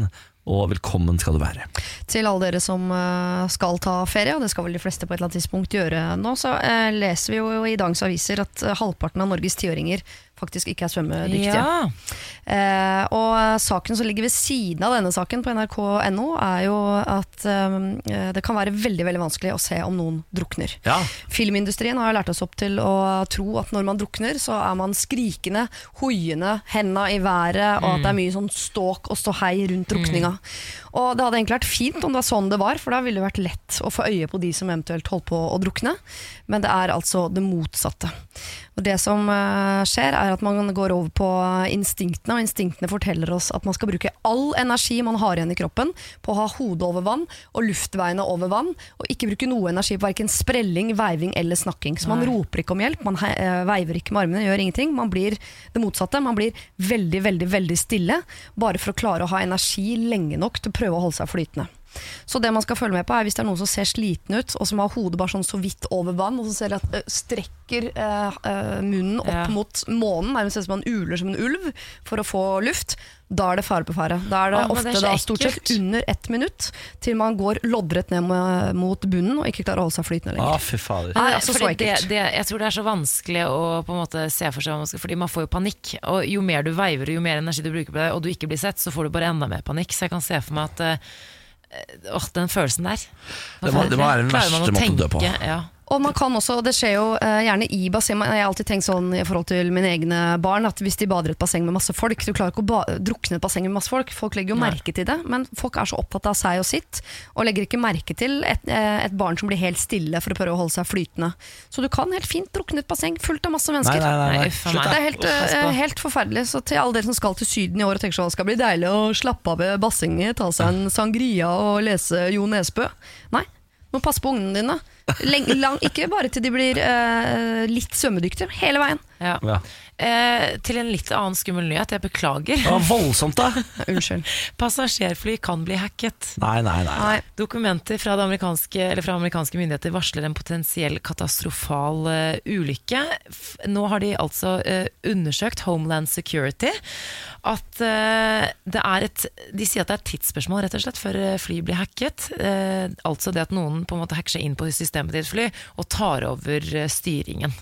A: Og velkommen skal du være.
F: Til alle dere som eh, skal ta ferie, og det skal vel de fleste på et eller annet tidspunkt gjøre nå, så eh, leser vi jo i dagens aviser at eh, halvparten av Norges tiåringer faktisk ikke er svømmedyktige.
B: Ja.
F: Eh, og eh, saken som ligger ved siden av denne saken på nrk.no, er jo at eh, det kan være veldig veldig vanskelig å se om noen drukner.
A: Ja.
F: Filmindustrien har jo lært oss opp til å tro at når man drukner, så er man skrikende, hoiende, henda i været, og at det er mye sånn ståk og ståhei rundt drukninga. Og det hadde egentlig vært fint om det var sånn det var, for da ville det vært lett å få øye på de som eventuelt holdt på å drukne, men det er altså det motsatte. Og det som eh, skjer, er at man går over på instinktene, og instinktene forteller oss at man skal bruke all energi man har igjen i kroppen på å ha hodet over vann og luftveiene over vann, og ikke bruke noe energi på verken sprelling, veiving eller snakking. Så man roper ikke om hjelp, man he- eh, veiver ikke med armene, gjør ingenting. Man blir det motsatte. Man blir veldig, veldig, veldig stille, bare for å klare å ha energi lenge nok til å prøve å holde seg flytende. Så det man skal følge med på er hvis det er noen som ser sliten ut, og som har hodet bare sånn så vidt over vann, og som ser at ø, strekker eh, eh, munnen opp
B: Ja.
F: mot månen, nærmest ser ut som han uler som en ulv for å få luft, da er det fare på ferde. Da er det
B: Å, men
F: ofte
B: det er så
F: da stort sett
B: ekkelt.
F: under ett minutt til man går loddrett ned med- mot bunnen og ikke klarer å holde seg flytende
A: Å,
F: lenger.
A: Ah, fy fader.
F: Nei,
B: Nei,
F: altså, så
B: fordi det,
F: ekkelt.
B: det, jeg tror det er så vanskelig å på en måte se for seg hva man skal, Fordi man får jo panikk. Og jo mer du veiver og jo mer energi du bruker på det, og du ikke blir sett, så får du bare enda mer panikk. Så jeg kan se for meg at eh, Åh, den følelsen der.
A: Det må- det må være den
B: Klarer man
A: verste måten å dø på.
B: tenke? Ja.
F: Og man kan også, det skjer jo eh, gjerne i basseng Man- Jeg har alltid tenkt sånn i forhold til mine egne barn At hvis de bader i et basseng med masse folk Du klarer ikke å ba drukne i et basseng med masse folk Folk legger jo merke til det Men folk er så opptatt av seg og sitt Og legger ikke merke til et, eh, et barn som blir helt stille For å prøve å holde seg flytende Så du kan helt fint drukne i et basseng Fullt av masse
A: Nei,
F: mennesker
A: nei, nei.
B: Nei,
A: nei.
B: uff a
A: Slutt,
B: meg.
A: da.
F: det er helt,
B: Pass på.
F: eh, helt forferdelig. Så til alle dere som skal til Syden i år og tenker sånn, det skal bli deilig å slappe av ved bassenget, ta seg en sangria og lese Jo Nesbø. Nei, du må passe på ungene dine. Leng, lang, ikke bare til de blir eh, litt svømmedyktige, hele veien.
B: Ja.
A: Ja.
B: Eh, til en litt annen skummel nyhet. Jeg beklager.
A: Det var voldsomt, da.
F: Unnskyld.
B: Passasjerfly kan bli hacket.
A: Nei, nei, nei.
F: Nei.
B: Dokumenter fra, det amerikanske, eller fra amerikanske myndigheter varsler en potensiell katastrofal eh, ulykke. F Nå har de altså eh, undersøkt Homeland Security. At eh, det er et De sier at det er et tidsspørsmål rett og slett før eh, fly blir hacket. Eh, altså det at noen på en måte hacker seg inn på systemet til et fly og tar over eh, styringen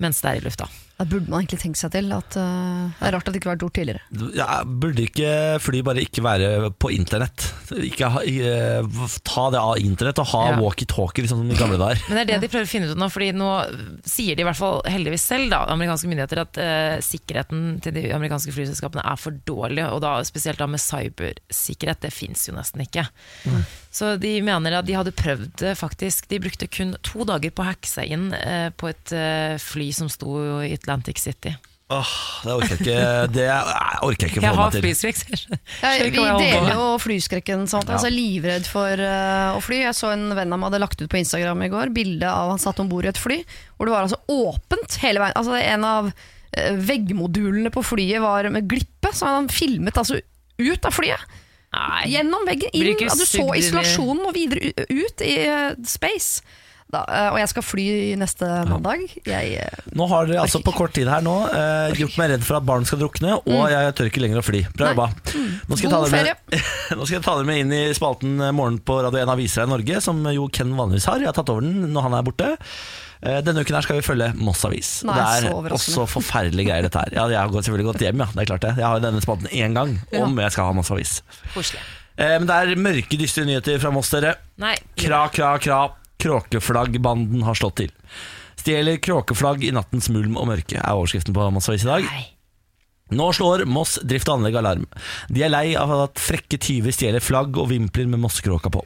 B: mens det er i lufta.
F: Da burde man egentlig tenke seg til at eh, det er rart at det ikke har vært gjort tidligere.
A: Ja, burde ikke fly bare ikke være på internett? Ikke ha, eh, ta det av internett og ha
B: Ja.
A: walkietalkie, liksom som i gamle dager.
B: Men det er det de prøver å finne ut nå, fordi nå sier de i hvert fall heldigvis selv, da, amerikanske myndigheter, at eh, sikkerheten til de amerikanske flyselskapene er for dårlig, og da spesielt da med cybersikkerhet, det fins jo nesten ikke. Så de mener at de hadde prøvd det faktisk. De brukte kun to dager på å hacke seg inn eh, på et eh, fly som sto i Atlantic City.
A: Åh, det orker jeg ikke Det nei, orker jeg ikke
B: Jeg
A: forholde
B: har
A: meg til.
B: flyskrekk, så jeg skjønner- skjønner
F: Jeg,
B: ikke
F: vi
B: hva jeg holder på
F: deler
B: med.
F: jo flyskrekken. Sant? Altså, jeg er livredd for eh, å fly. Jeg så en venn av meg hadde lagt ut på Instagram i går bilde av han satt om bord i et fly, hvor det var altså åpent hele veien. Altså, en av eh, veggmodulene på flyet var med glippe, så han filmet altså ut av flyet.
B: Nei.
F: Gjennom veggen,
B: Blir
F: inn.
B: ikke
F: Ja, du så
B: sugd inn i-
F: isolasjonen og videre u- ut i eh, space. Da, eh, og jeg skal fly neste mandag. Jeg, eh,
A: Nå har dere altså på kort tid her nå eh, gjort meg redd for at barn skal drukne, og jeg tør ikke lenger å fly. Bra jobba. Nå skal, jeg ta
F: Mm. God
A: dere med, nå skal jeg ta dere med inn i eh, spalten Morgen på Radio 1 Aviser i Norge, som jo Ken vanligvis har. Jeg har tatt over den når han er borte. Eh, Denne uken her skal vi følge Moss Avis.
F: Nei,
A: det
F: så
A: er
F: overraskende.
A: også forferdelige greier, dette her. Ja, jeg har gått- selvfølgelig gått hjem, ja. Det er klart det. Jeg har jo denne spalten én gang, om jeg skal ha Moss Avis.
B: Koselig.
A: Eh, Men det er mørke, dystre nyheter fra Moss, dere.
B: Nei.
A: Kra, kra, kra. Kråkeflaggbanden har slått til. Stjeler kråkeflagg i nattens mulm og mørke, er overskriften på Moss Avis i dag.
B: Nei.
A: Nå slår Moss drift og anlegg alarm. De er lei av at frekke tyver stjeler flagg og vimpler med mossekråka på.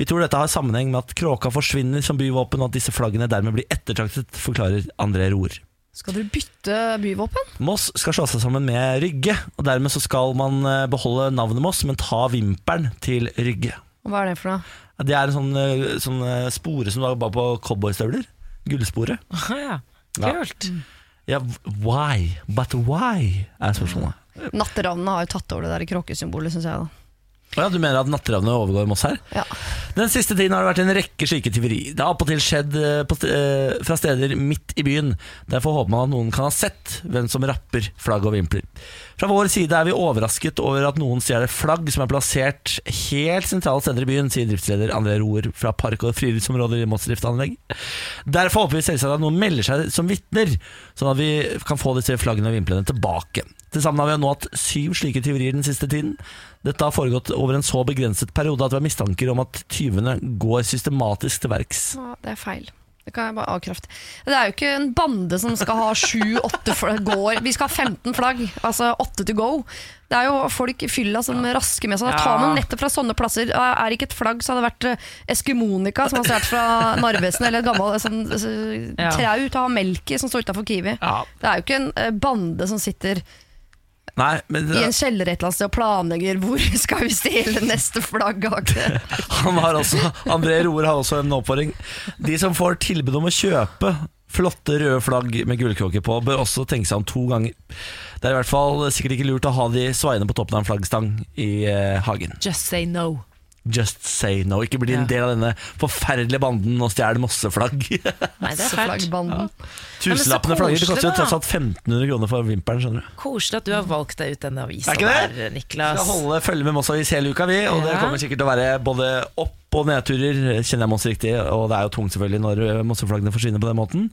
A: Vi tror dette har sammenheng med at kråka forsvinner som byvåpen, og at disse flaggene dermed blir ettertraktet, forklarer André Roer.
F: Skal dere bytte byvåpen?
A: Moss skal slå seg sammen med Rygge, og dermed så skal man eh, beholde navnet Moss, men ta vimpelen til Rygge.
F: Og Hva er det for noe?
A: Ja, Det er en sånn, eh, sånn eh, spore som du har bare på cowboystøvler. Gullspore.
B: Ja.
A: Ja.
B: Kult.
A: Ja, why? But why? er spørsmålet.
F: Natteravnene har jo tatt over det der kråkesymbolet, syns jeg. da
A: Å Ja, du mener at natteravnene overgår Moss her?
F: Ja.
A: Den siste tiden har det vært en rekke slike tyveri. Det har appåtil skjedd eh, på, st- eh, fra steder midt i byen. Derfor håper man at noen kan ha sett hvem som rapper flagg og vimpler. Fra vår side er vi overrasket over at noen stjeler flagg som er plassert helt sentrale steder i byen, sier driftsleder André Roer fra Park- og friluftsområder i Moss Driftanlegg. Derfor håper vi selvsagt at noen melder seg som vitner, sånn at vi kan få disse flaggene og vimplene tilbake. Til sammen har vi nå hatt syv slike tyverier den siste tiden. Dette har foregått over en så begrenset periode at vi har mistanker om at tyvene går systematisk til verks.
F: Ja, Det er feil. Det kan jeg bare avkrefte. Det er jo ikke en bande som skal ha sju-åtte flagg. Går. Vi skal ha 15 flagg, altså åtte to go. Det er jo folk i fylla som rasker med seg. Da tar man nettopp fra sånne plasser. Er det ikke et flagg, så hadde det vært eh, Eskimonika som har stjålet fra Narvesen, eller et gammelt sånn, eh,
B: Ja.
F: trau til å ha melk i som står utafor Kiwi.
A: Ja.
F: Det er jo ikke en eh, bande som sitter
A: Nei, men
F: i en kjeller et eller annet sted og planlegger hvor skal vi stjele neste flagg. har ikke-
A: Han har også, André Roer har også en oppfordring. De som får tilbud om å kjøpe flotte røde flagg med gullkråke på, bør også tenke seg om to ganger. Det er i hvert fall sikkert ikke lurt å ha de svaiende på toppen av en flaggstang i eh, hagen.
B: Just say no.
A: Just say no. Ikke bli
B: Ja.
A: en del av denne forferdelige banden og stjel mosseflagg.
B: Nei, det er fælt.
F: Flaggbanden.
A: Tusenlappene
B: så
A: flagger. Det
B: koselig,
A: koster jo
B: da.
A: tross alt 1500 kroner for vimpelen, skjønner du.
B: Koselig at du har valgt deg ut denne avisa
A: Er ikke det?
B: der,
A: Vi
B: Niklas.
A: skal holde følge med Moss Avis hele uka, vi. Og det
B: Ja.
A: kommer sikkert til å være både opp- og nedturer, kjenner jeg Moss riktig. Og det er jo tungt selvfølgelig når eh, mosseflaggene forsvinner på den måten.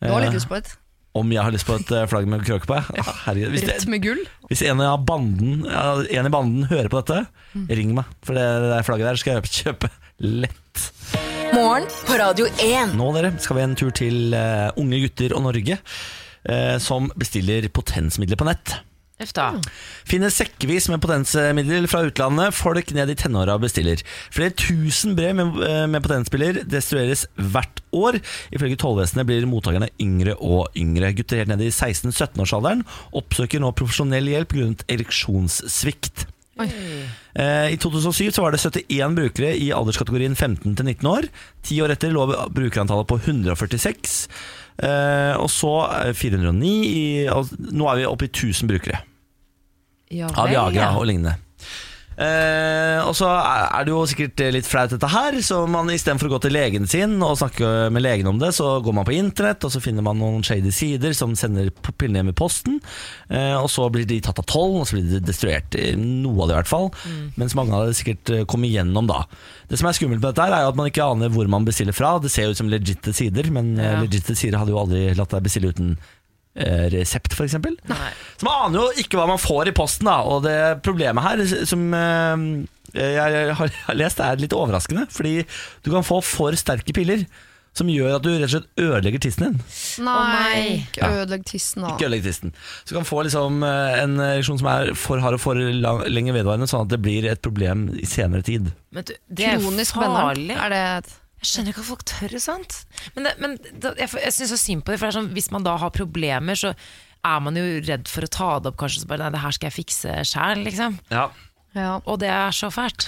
F: Du har litt
A: Eh,
F: lyst på et
A: Om jeg har lyst på et eh, flagg med kråke på? jeg? Ah, herregud. Hvis,
F: rødt
A: det,
F: med gull.
A: hvis en, av banden, ja, en i banden hører på dette,
B: Mm.
A: ring meg. For det, det flagget der skal jeg kjøpe lett.
E: Morgen på Radio 1.
A: Nå dere, skal vi en tur til eh, unge gutter og Norge, eh, som bestiller potensmidler på nett.
B: Uff da.
A: Finner sekkevis med potensmidler fra utlandet. Folk ned i tenåra bestiller. Flere tusen brev med, eh, med potensmidler destrueres hvert år. Ifølge tollvesenet blir mottakerne yngre og yngre. Gutter helt ned i 16-17-årsalderen oppsøker nå profesjonell hjelp grunnet ereksjonssvikt. Eh, I 2007 så var det 71 brukere i alderskategorien 15-19 år. Ti år etter lå brukerantallet på 146. Eh, og så eh, 409 i, og Nå er vi oppe i 1000 brukere
B: Ja,
A: av
B: vel,
A: Viagra
B: ja.
A: og lignende. Eh, og så er er det jo sikkert litt flaut dette her, så man istedenfor å gå til legen sin og snakke med legen om det, så går man på internett, og så finner man noen shady sider som sender p- pillene hjem i posten. Eh, og så blir de tatt av tollen, og så blir de destruert. eh, Noe av det i hvert fall. Mens mange av det sikkert eh, kommer igjennom, da. Det som er skummelt med dette, her er jo at man ikke aner hvor man bestiller fra. Det ser jo ut som legitte sider, men eh,
B: Ja.
A: legitte sider hadde jo aldri latt deg bestille uten eh, resept, f.eks.
B: Nei.
A: Så man aner jo ikke hva man får i posten, da. Og det problemet her som eh, jeg har har lest, er litt overraskende. Fordi du kan få for sterke piller som gjør at du rett og slett ødelegger tissen din.
F: Nei,
B: nei.
F: ikke ødelegg tissen da.
A: Ikke ødelegger tissen. Så du kan få liksom eh, en ereksjon som er for hard og for lang, lenge vedvarende, sånn at det blir et problem i senere tid.
B: Men du, det er
F: Kronisk
B: farlig.
F: benneren. Er det et
B: Jeg skjønner ikke at folk tør det, sant? Men, det, men da, jeg, jeg syns så synd på det, for det er sånn, hvis man da har problemer, så er man jo redd for å ta det opp, kanskje. Så bare, nei, det her skal jeg fikse sjæl, liksom.
A: Ja.
F: ja.
B: Og det er så fælt.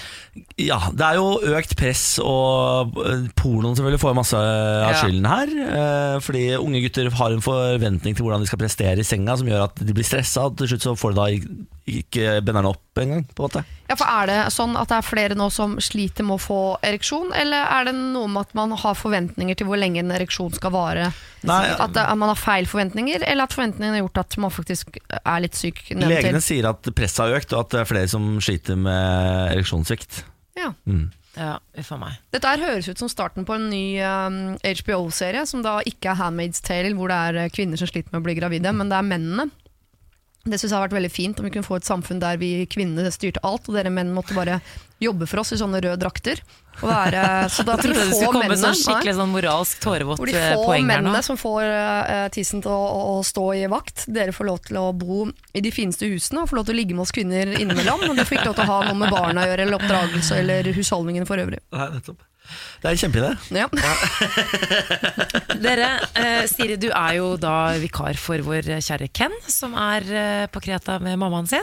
A: Ja, det er jo økt press, og eh, pornoen selvfølgelig får masse av
B: Ja.
A: skylden her. eh, Fordi unge gutter har en forventning til hvordan de skal prestere i senga, som gjør at de blir stressa, og til slutt så får de da ikke- ikke benderne opp engang. på en måte.
F: ja, for er det sånn at det er flere nå som sliter med å få ereksjon, eller er det noe med at man har forventninger til hvor lenge en ereksjon skal vare?
A: Nei,
F: at, det, at man har feil forventninger, eller at forventningene har gjort at man faktisk er litt syk
A: Legene
F: nedentil?
A: sier at presset har økt, og at det er flere som sliter med ereksjonssvikt.
F: Ja.
A: Mm.
B: Ja, uff a meg.
F: Dette her høres ut som starten på en ny um, HBO-serie, som da ikke er Handmaid's Tale, hvor det er eh, kvinner som sliter med å bli gravide, men det er mennene. Det synes jeg har vært veldig fint om vi kunne få et samfunn der vi kvinnene styrte alt, og dere menn måtte bare jobbe for oss i sånne røde drakter. Og være, eh, så da
B: Jeg
F: de
B: trodde det
F: få
B: skulle komme
F: mennene-
B: sånn
F: Nei.
B: skikkelig sånn moralsk tårevått
F: Hvor de
B: eh,
F: få
B: poeng her nå.
F: mennene som får eh, tissen til å, å stå i vakt, dere får lov til å bo i de fineste husene og får lov til å ligge med oss kvinner innimellom. Og du får ikke lov til å ha noe med barna å gjøre, eller oppdragelse, eller husholdningen for øvrig.
A: Nei, nettopp. Det er en kjempeidé.
F: Ja.
B: Dere, eh, Siri, du er jo da vikar for vår kjære Ken, som er eh, på Kreta med mammaen sin.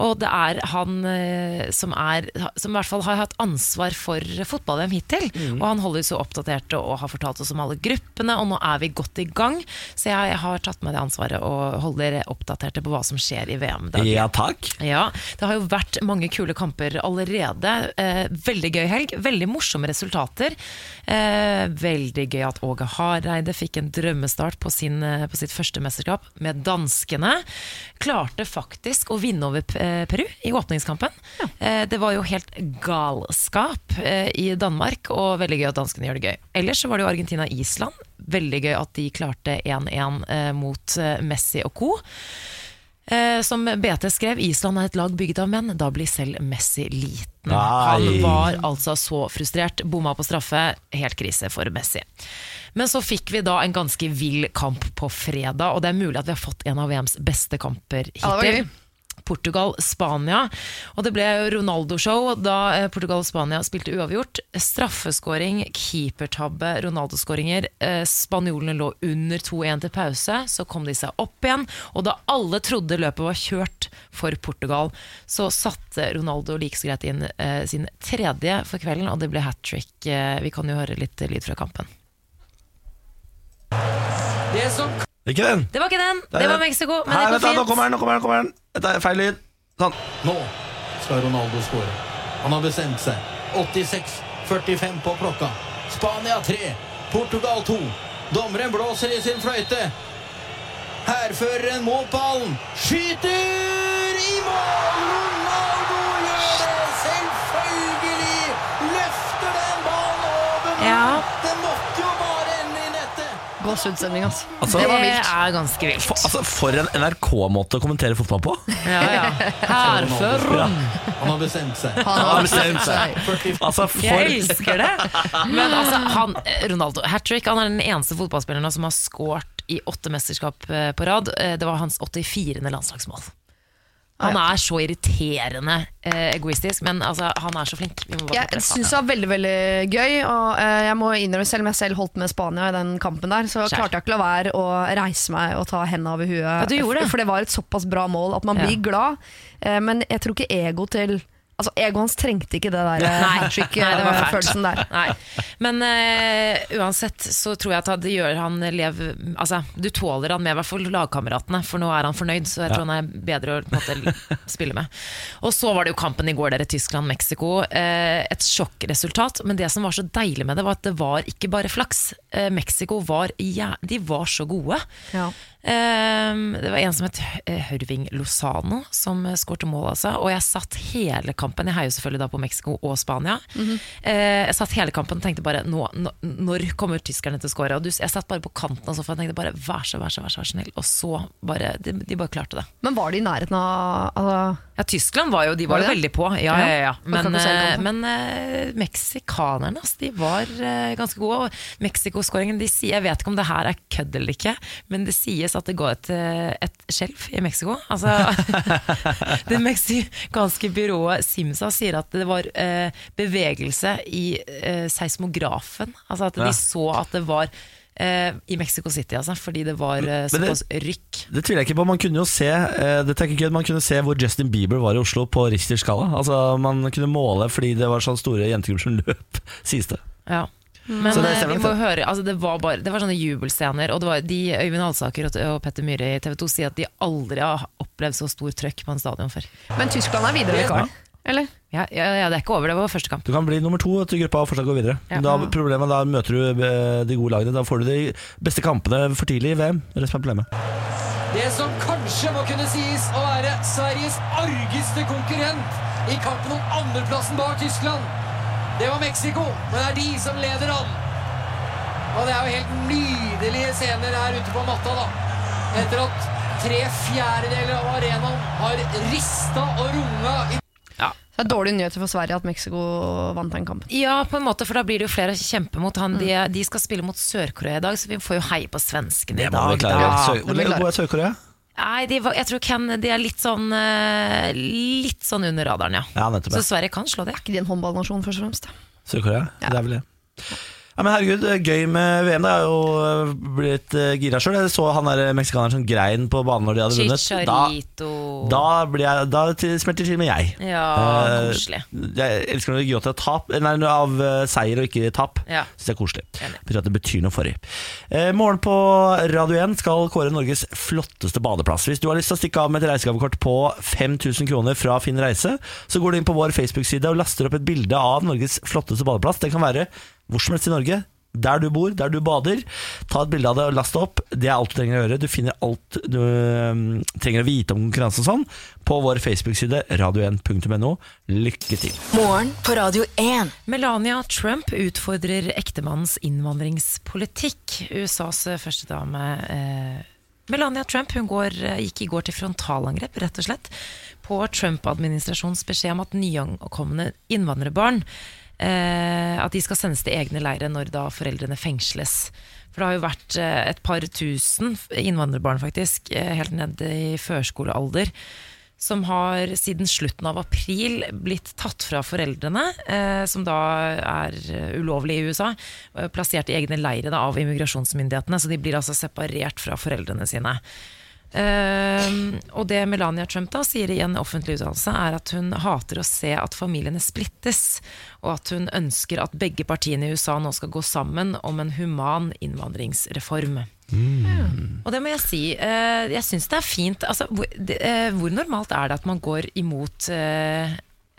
B: Og det er han eh, som, er, som i hvert fall har hatt ansvar for fotball-VM hittil. Og han holder så oppdatert og har fortalt oss om alle gruppene, og nå er vi godt i gang. Så jeg har tatt med det ansvaret og holder dere oppdaterte på hva som skjer i VM. daglig.
A: Ja takk.
B: Ja, det har jo vært mange kule kamper allerede. Eh, veldig gøy helg, veldig morsomme resultater. Eh, veldig gøy at Åge Hareide fikk en drømmestart på, sin, eh, på sitt første mesterskap med danskene. Klarte faktisk å vinne over P- eh, Peru i åpningskampen. Eh, det var jo helt galskap eh, i Danmark, og veldig gøy at danskene gjør det gøy. Ellers så var det jo Argentina-Island. Veldig gøy at de klarte 1-1 eh, mot eh, Messi og co. Eh, som BT skrev, Island er et lag bygd av menn. Da blir selv Messi liten. Han
A: Nei.
B: var altså så frustrert. Bomma på straffe. Helt krise for Messi. Men så fikk vi da en ganske vill kamp på fredag, og det er mulig at vi har fått en av VMs beste kamper
F: var
B: hittil.
F: gøy.
B: Portugal-Spania. Og det ble jo Ronaldo-show da eh, Portugal og Spania spilte uavgjort. Straffeskåring, keepertabbe, Ronaldo-skåringer. Eh, Spanjolene lå under 2-1 til pause, så kom de seg opp igjen. Og da alle trodde løpet var kjørt for Portugal, så satte Ronaldo like så greit inn eh, sin tredje for kvelden, og det ble hat trick. Eh, vi kan jo høre litt eh, lyd fra kampen.
A: Ikke den.
B: Det var ikke den!
A: er
B: Det var
A: den.
B: Mexico, men
A: Her,
B: det
A: vet du,
B: går
A: nå
B: fint.
A: kommer den, nå kommer den. nå kommer den Dette er feil lyd. Sånn.
I: Nå skal Ronaldo skåre. Han har bestemt seg. 86-45 på klokka. Spania 3, Portugal 2. Dommeren blåser i sin fløyte. Hærføreren mot ballen. Skyter i mål! Ronaldo gjør det! Selvfølgelig! Løfter den ballen over mål!
B: Ja.
I: Det måtte jo bare ende i nettet!
F: Gåsehudstemning, altså.
A: Altså,
B: Det er ganske vilt.
A: for, altså, for en NRK-måte å kommentere fotball på.
B: Ja, ja. Hærfører.
I: Han har bestemt seg.
F: Han
A: Har
F: har
A: bestemt seg.
I: 45
A: Altså, for
B: Jeg elsker det! Men altså, han, Ronaldo Hattrick han er den eneste fotballspilleren nå som har skåret i åtte mesterskap eh, på rad. Eh, Det var hans 84. landslagsmål. Han er så irriterende eh, egoistisk, men altså, han er så flink. Vi må bare
F: Jeg
B: fortreffe han.
F: syns det var veldig veldig gøy, og eh, jeg må innrømme selv om jeg selv holdt med Spania i den kampen der, så
B: Skjær.
F: klarte jeg ikke la være å reise meg og ta henda over huet.
B: du gjorde det.
F: For det var et såpass bra mål at man
B: Ja.
F: blir glad, eh, men jeg tror ikke ego til Altså, Egoet hans trengte ikke det der eh,
B: Nei.
F: hat
B: Nei, det var fælt.
F: trick-følelsen der.
B: Nei. Men eh, uansett så tror jeg at det gjør han lev Altså, du tåler han med, i hvert fall lagkameratene, for nå er han fornøyd, så jeg tror han er bedre å på en måte, spille med. Og så var det jo kampen i går, dere. Tyskland-Mexico. Eh, et sjokkresultat, men det som var så deilig med det, var at det var ikke bare flaks. Eh, Mexico var jæ- De var så gode.
F: Ja.
B: Ehm, det var en som het Hø- eh, Hørving Lozano som eh, skårte mål, altså. Og jeg satt hele kampen, jeg heier jo selvfølgelig da på Mexico og Spania. Eh, jeg satt hele kampen og tenkte bare nå, nå, når kommer tyskerne til å skåre? Og du, jeg satt bare på kanten av sofaen og tenkte bare vær så, vær så, vær så, vær så snill. Og så bare de, de bare klarte det.
F: Men var det i nærheten av altså,
B: Ja, Tyskland var jo, de var,
F: Var
B: jo
F: det?
B: veldig på. Ja, ja, ja, ja.
F: Man kan
B: Men,
F: ikke se
B: eh,
F: kampen.
B: men eh, meksikanerne, ass, de var eh, ganske gode. Og Mexico-skåringen, de sier, jeg vet ikke om det her er kødd eller ikke, men det sies at det går et, eh, et skjelv i Mexico. Altså, det meksikanske byrået Simsa sier at det var eh, bevegelse i eh, seismografen. Altså at de
A: Ja.
B: så at det var eh, i Mexico City, altså, fordi det var eh,
A: Men det-
B: såpass rykk.
A: Det tviler jeg ikke på. Man kunne jo se eh, dette er ikke kødd, man kunne se hvor Justin Bieber var i Oslo på Richters skala. Altså, man kunne måle fordi det var sånne store jentegrupper som løp, sies det.
B: Ja. Men
A: Så det
B: eh,
A: stemmer
B: vi
A: nok,
B: må
A: det.
B: høre, altså det, var bare, det var sånne jubelscener. Og det var, de, Øyvind Alsaker og, og Petter Myhre i TV 2 sier at de aldri har opplevd så stor trøkk på en stadion før.
F: Men Tyskland er videre, Karl. Eller?
B: Ja, ja, ja, Det er ikke over, det var første kamp.
A: Du kan bli nummer to til gruppa og fortsatt gå videre.
B: Ja. Mm.
A: Da, problemet, da møter du eh, de gode lagene. Da får du de beste kampene for tidlig i VM. Det er det som er problemet.
K: Det som kanskje må kunne sies å være Sveriges argeste konkurrent i kampen om andreplassen bak Tyskland, Det var Mexico, men det er de som leder an. Og det er jo helt nydelige scener her ute på matta, da. Etter at tre fjerdedeler av arenaen har rista og runga i
F: Det er dårlige nyheter for Sverige at Mexico vant den kampen.
B: Ja, på en måte, for da blir det jo flere å kjempe mot. Han, de, de skal spille mot Sør-Korea i dag, så vi får jo heie på svenskene i
A: Det må vi
B: dag.
A: klare.
B: da.
A: Sør- Hvor god er Sør-Korea?
B: Nei, de, var- jeg tror Ken, de er litt sånn, eh, litt sånn under radaren, ja.
A: Ja, nettopp, ja.
B: Så Sverige kan slå det.
F: Ikke de en håndballnasjon, først og fremst.
A: Sør-Korea, det er vel det. Ja, men herregud, gøy med VM. Det er jo blitt eh, gira sjøl. Jeg så han der meksikaneren som grein på banen når de hadde vunnet.
B: Chicharito.
A: Da, blir jeg, da til- smelter til med jeg.
B: Ja,
A: Eh,
B: koselig.
A: Jeg elsker når det gråter av tap Nei, av eh, seier og ikke tap.
B: Ja.
A: Syns det er koselig.
B: Enig.
A: Betyr at det betyr noe for dem. Eh, morgen på Radio 1 skal kåre Norges flotteste badeplass. Hvis du har lyst til å stikke av med et reisegavekort på 5000 kroner fra Finn Reise, så går du inn på vår Facebook-side og laster opp et bilde av Norges flotteste badeplass. Det kan være hvor som helst i Norge. Der du bor, der du bader. Ta et bilde av det og last det opp. Det er alt du trenger å gjøre. Du finner alt du eh, trenger å vite om konkurransen og sånn på vår Facebook-side radio1.no. Lykke til.
E: Morgen på Radio 1.
B: Melania Trump utfordrer ektemannens innvandringspolitikk. USAs førstedame eh, Melania Trump hun går, eh, gikk i går til frontalangrep, rett og slett, på Trump-administrasjonens beskjed om at nyankomne innvandrerbarn eh, at de skal sendes til egne leirer når da foreldrene fengsles. For det har jo vært eh, et par tusen innvandrerbarn, faktisk, eh, helt ned i førskolealder, som har siden slutten av april blitt tatt fra foreldrene, eh, som da er eh, ulovlig i USA, eh, plassert i egne leire da, av immigrasjonsmyndighetene. Så de blir altså separert fra foreldrene sine. Ehm, og det Melania Trump da sier i en offentlig uttalelse, er at hun hater å se at familiene splittes, og at hun ønsker at begge partiene i USA nå skal gå sammen om en human innvandringsreform. Og det må jeg si. eh, jeg syns det er fint. Altså, hvor, det, eh, hvor normalt er det at man går imot eh,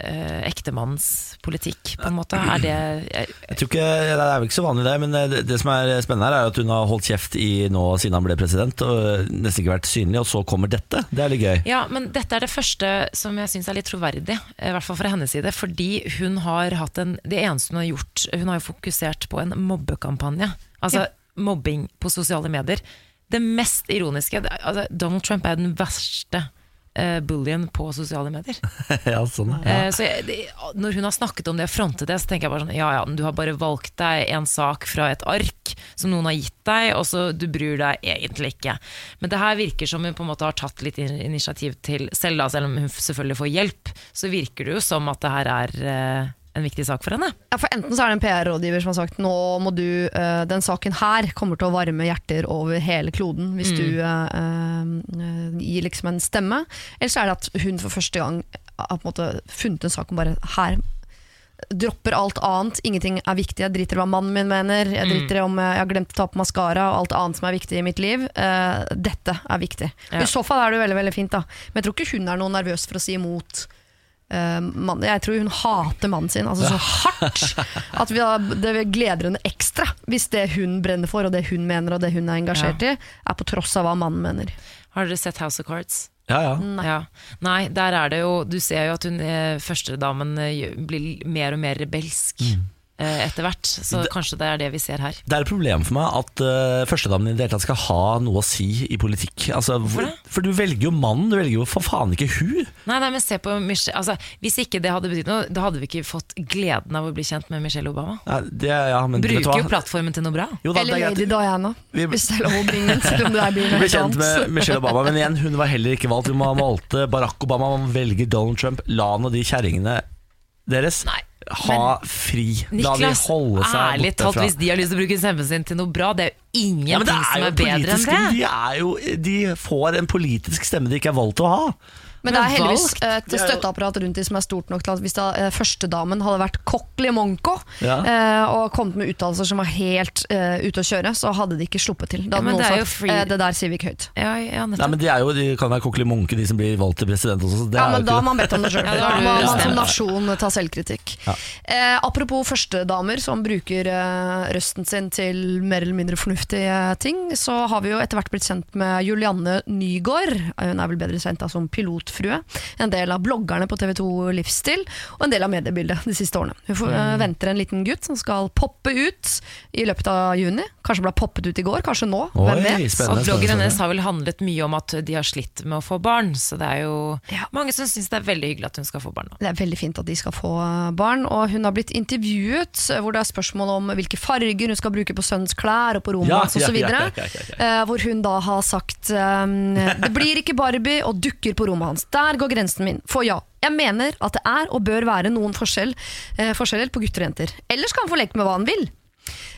B: eh, ektemannens politikk, på en måte? Er det eh, jeg,
A: Jeg tror ikke, Det er vel ikke så vanlig, det. Men eh, det, det som er spennende, her er at hun har holdt kjeft i nå siden han ble president. Og eh, nesten ikke vært synlig. Og så kommer dette. Det er litt gøy.
B: Ja, men dette er det første som jeg syns er litt troverdig, eh, i hvert fall fra hennes side. Fordi hun har hatt en Det eneste hun har gjort Hun har jo fokusert på en mobbekampanje. Altså mobbing på sosiale medier. Det mest ironiske det, er- altså, Donald Trump er den verste uh, bullien på sosiale medier.
A: ja, sånn ja.
B: Eh, så jeg, det, når hun har snakket om det og frontet det, så tenker jeg bare sånn Ja ja, du har bare valgt deg en sak fra et ark som noen har gitt deg, og så du bryr deg egentlig ikke. Men det her virker som hun på en måte har tatt litt in- initiativ til selv, da, selv om hun selvfølgelig får hjelp. Så virker det jo som at det her er eh, en viktig sak for henne.
F: Ja, for Enten så er det en PR-rådgiver som har sagt Nå må du, eh, den saken her kommer til å varme hjerter over hele kloden hvis du eh, eh, gir liksom en stemme. Eller så er det at hun for første gang har på en måte funnet en sak om bare her Dropper alt annet, ingenting er viktig. Jeg driter i hva mannen min mener, jeg driter i om eh, jeg har glemt å ta på maskara og alt annet som er viktig i mitt liv. Eh, dette er viktig.
B: Ja.
F: Og I så fall er det jo veldig veldig fint, da. Men jeg tror ikke hun er noe nervøs for å si imot. Eh, mann, jeg tror hun hater mannen sin altså så hardt at vi da, det gleder henne ekstra hvis det hun brenner for, og det hun mener og det hun er engasjert i, er på tross av hva mannen mener.
B: Har dere sett House of Cards?
A: ja, ja.
B: Nei. Ja. Nei, der er det jo Du ser jo at hun eh, førstedamen eh, gjør- blir mer og mer rebelsk eh, etter hvert. Så kanskje det er det vi ser her.
A: Det er et problem for meg at eh, førstedamen i det hele tatt skal ha noe å si i politikk. Altså, hvor-
B: det?
A: For du velger jo mannen, du velger jo for faen ikke hun.
B: Nei, nei, men se på Michelle altså, Hvis ikke det hadde betydd noe, da hadde vi ikke fått gleden av å bli kjent med Michelle Obama.
A: Nei, det, ja, men, vet du
B: Bruker
A: hva?
B: jo plattformen til noe bra.
A: Jo da,
F: Eller
A: det er greit.
F: Lady Diana,
A: Vi-
F: hvis det er lov å bringe den, selv om det er blir
A: Du
F: noe
A: ble
F: helt
A: kjent med
F: annet.
A: Michelle Obama, men igjen, hun var heller ikke valgt. Man valgte Barack Obama, man velger Donald Trump. La nå de kjerringene deres
B: Nei,
A: ha fri. La de
B: Niklas,
A: holde seg
B: ærlig
A: borte
B: talt,
A: fra
B: hvis de har lyst til å bruke stemmen sin til noe bra, det er jo ingenting
A: ja, men det er
B: som
A: jo
B: er bedre enn
A: politiske
B: det.
A: de, er jo, de får en politisk stemme de ikke er valgt til å ha.
F: Men det er
B: Men
F: heldigvis
B: valgt.
F: et støtteapparat rundt de som er stort nok til at hvis da eh, førstedamen hadde vært Cockli Monco
A: Ja.
F: eh, og kommet med uttalelser som var helt eh, ute å kjøre, så hadde de ikke sluppet til.
B: Ja,
F: Da hadde
B: men
F: noen
B: det er jo
F: sagt
B: free-
F: eh, det der sier vi ikke høyt.
B: Ja, ja, nettopp.
A: Nei, men De, er jo, de kan være kokkelig munke, de som blir valgt til president. Også, så det
F: Ja,
A: er
F: men
A: jo
F: da
A: ikke
F: har man bedt om det sjøl.
B: Ja, da
F: da
B: har du
F: må man
B: bestemt
F: som
B: det.
F: nasjon ta selvkritikk. Eh, apropos førstedamer som bruker eh, røsten sin til mer eller mindre fornuftige Eh, ting, så har vi jo etter hvert blitt kjent med Julianne Nygaard. Hun er vel bedre kjent da, som pilot Saltfrue, en del av bloggerne på TV2 Livsstil og en del av mediebildet de siste årene. Hun får,
B: Mm.
F: eh, venter en liten gutt som skal poppe ut i løpet av juni. Kanskje ble poppet ut i går, kanskje nå. Hvem vet?
B: Og bloggen hennes har vel handlet mye om at de har slitt med å få barn, så det er jo mange som syns det er veldig hyggelig at hun skal få barn nå.
F: Det er veldig fint at de skal få barn. Og hun har blitt intervjuet eh, hvor det er spørsmål om hvilke farger hun skal bruke på sønnens klær og på rommet
B: Ja,
F: hans og
B: ja,
F: så videre.
B: ja, ja, ja,
F: Eh, Hvor hun da har sagt eh, Det blir ikke Barbie og dukker på rommet hans. Der går grensen min. For ja, jeg mener at det er og bør være noen forskjell, eh, forskjeller på gutter og jenter. Ellers kan han få leke med hva han vil.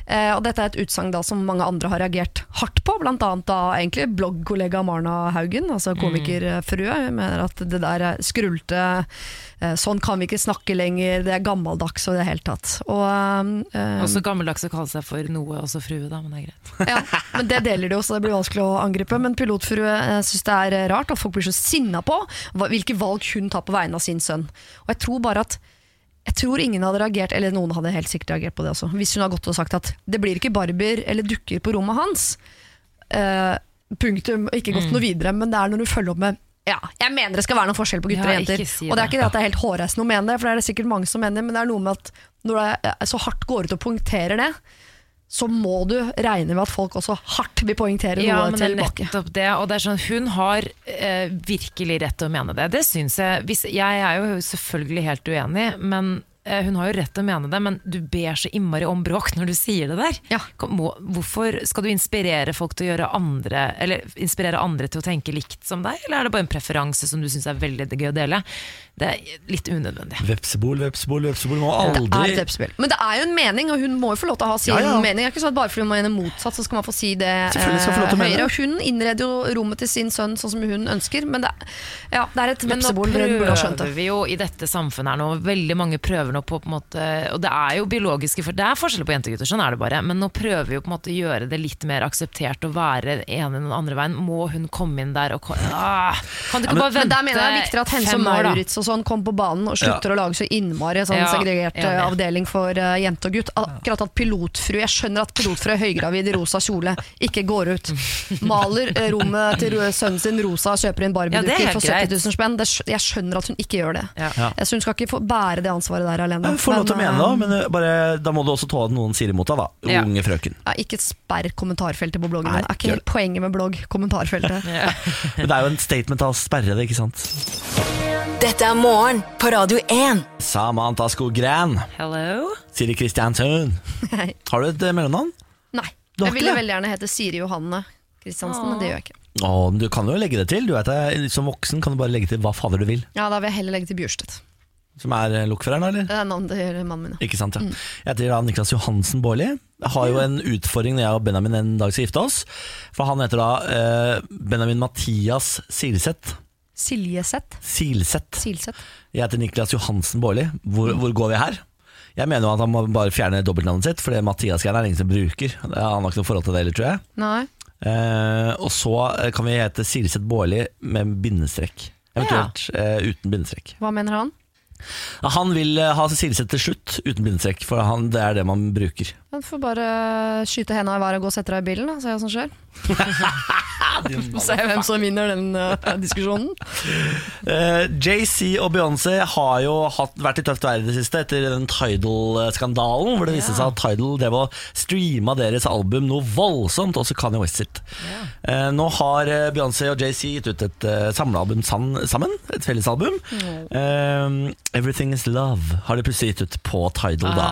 F: Eh, og dette er et utsagn da som mange andre har reagert hardt på, blant annet da egentlig bloggkollega Marna Haugen, altså komiker eh, Frø, hun mener at det der er skrulte, eh, sånn kan vi ikke snakke lenger, det er gammeldags og i det hele tatt. Og, eh,
B: Også gammeldags å kalle seg for noe, også frue, da, men det er greit.
F: ja, men Det deler de jo, så det blir vanskelig å angripe. Men pilotfrue eh, syns det er eh, rart at folk blir så sinna på hva- hvilke valg hun tar på vegne av sin sønn. Og jeg tror bare at jeg tror ingen hadde reagert, eller noen hadde helt sikkert reagert på det også, hvis hun hadde gått og sagt at det blir ikke barbier eller dukker på rommet hans. Eh, punktum. og Ikke
B: Mm.
F: gått noe videre, men det er når du følger opp med ja, jeg mener det skal være noen forskjell på gutter
B: Ja,
F: og jenter.
B: ikke si
F: og det er
B: det.
F: ikke det at det er helt hårreisende å mene det, for det er det sikkert mange som mener, men det er noe med at når det er eh, så hardt går ut og poengterer det, så må du regne med at folk også hardt vil poengtere
B: Ja,
F: noe
B: men det er
F: tilbake.
B: nettopp det. Og det er sånn, hun har eh, virkelig rett til å mene det. Det syns jeg. Hvis, jeg er jo selvfølgelig helt uenig, men eh, hun har jo rett til å mene det. Men du ber så innmari om bråk når du sier det der. Kom, må, hvorfor skal du inspirere folk til å gjøre andre Eller inspirere andre til å tenke likt som deg, eller er det bare en preferanse som du syns er veldig gøy å dele? Det er litt unødvendig.
A: Vepsebol, vepsebol, vepsebol. Må
F: Det
A: aldri
F: er et vepsespill. Men det er jo en mening, og hun må jo få lov til å ha sin
A: Ja, ja.
F: mening. Det er ikke sånn at Bare fordi hun mener motsatt, så skal man få si det eh,
A: Selvfølgelig skal hun få lov til å mene
F: høyere.
A: det.
F: Og hun innreder jo rommet til sin sønn sånn som hun ønsker, men det er, ja, det er et
B: Men nå
F: vepsebol. hvor hun burde ha skjønt
B: prøver
F: det.
B: vi jo i dette samfunnet her nå, veldig mange prøver nå på på en måte Og det er jo biologiske for Det er forskjeller på jenter og gutter, sånn er det bare. Men nå prøver vi jo på en måte å gjøre det litt mer akseptert å være ene den andre veien. Må hun komme inn der og ko- ah, Kan du ikke bare
F: Men
B: vente
F: der mener jeg det er viktigere at Hense
B: fem år, da?
F: Maurits og sånn kom på banen og slutter
B: Ja.
F: å lage så innmari sånn
B: Ja,
F: segregert
B: enig.
F: eh, avdeling for eh, jente og gutt. Akkurat at pilotfru Jeg skjønner at pilotfru er høygravid i rosa kjole, ikke går ut. Maler eh, rommet til eh, sønnen sin rosa og kjøper
B: Ja,
F: inn
B: det er
F: Barbie-dukker
B: helt
F: for
B: greit.
F: 70 000 spenn. Det, skj- jeg skjønner at hun ikke gjør det.
A: Ja.
F: Jeg synes hun skal ikke få bære det ansvaret der alene.
A: Få lov til å
F: Men,
A: mene
F: eh,
A: det, men eh, bare, da må du også tåle at noen sier imot deg, da.
F: Ja.
A: Unge frøken.
F: ja, ikke sperr kommentarfeltet på bloggen.
A: Nei,
F: Det er ikke helt poenget med blogg. Kommentarfeltet.
A: Men det er jo en statement av å sperre det, ikke sant?
E: Dette er morgen på Radio 1.
A: Samantha Skogran.
B: Hello?
A: Siri Kristiansund.
F: Nei.
A: Har du et eh, mellomnavn? Du har ikke
F: Jeg ville
A: det?
F: veldig gjerne hete Siri Johanne Kristiansen, men det gjør jeg ikke.
A: Å, men du kan jo legge det til. Du vet, det, Som voksen kan du bare legge til hva fader du vil.
F: Ja, Da vil jeg heller legge til Bjurstedt.
A: Som er eh, lokføreren, da, eller?
F: Det er navnet til mannen min. ja.
A: Ikke sant, ja. Jeg heter da Niklas Johansen Baarli. Jeg har jo en utfordring når jeg og Benjamin en dag skal gifte oss. For han heter da eh, Benjamin Mathias Silseth.
F: Siljeseth.
A: Silseth.
F: Silseth.
A: Jeg heter Niklas Johansen Baarli. Hvor, hvor går vi her? Jeg mener jo at han må bare fjerne dobbeltnavnet sitt, for det Mathias-greiene er det ingen som bruker. Det- Han har ikke noe forhold til det heller, tror jeg.
F: Nei.
A: Eh, og så eh, kan vi hete Silseth Baarli med bindestrek. Eventuelt eh, uten bindestrek.
F: Hva mener han?
A: Ja, Han vil eh, ha Silseth til slutt uten bindestrek, for han, det er det man bruker.
F: Du får bare skyte henda i været og gå og sette deg i bilen, da. Se hva som skjer. Se hvem som vinner den eh, diskusjonen.
A: Eh, JC og Beyoncé har jo hatt, vært i tøft vær i det siste etter den Tidal-skandalen, hvor det viste seg at Tidal drev og streama deres album noe voldsomt, også Kanye West sitt. Eh, nå har eh, Beyoncé og JC gitt ut et eh, samlealbum san- sammen, et fellesalbum. Eh, 'Everything Is Love' har de plutselig gitt ut på
B: Ah.
A: Tidal da.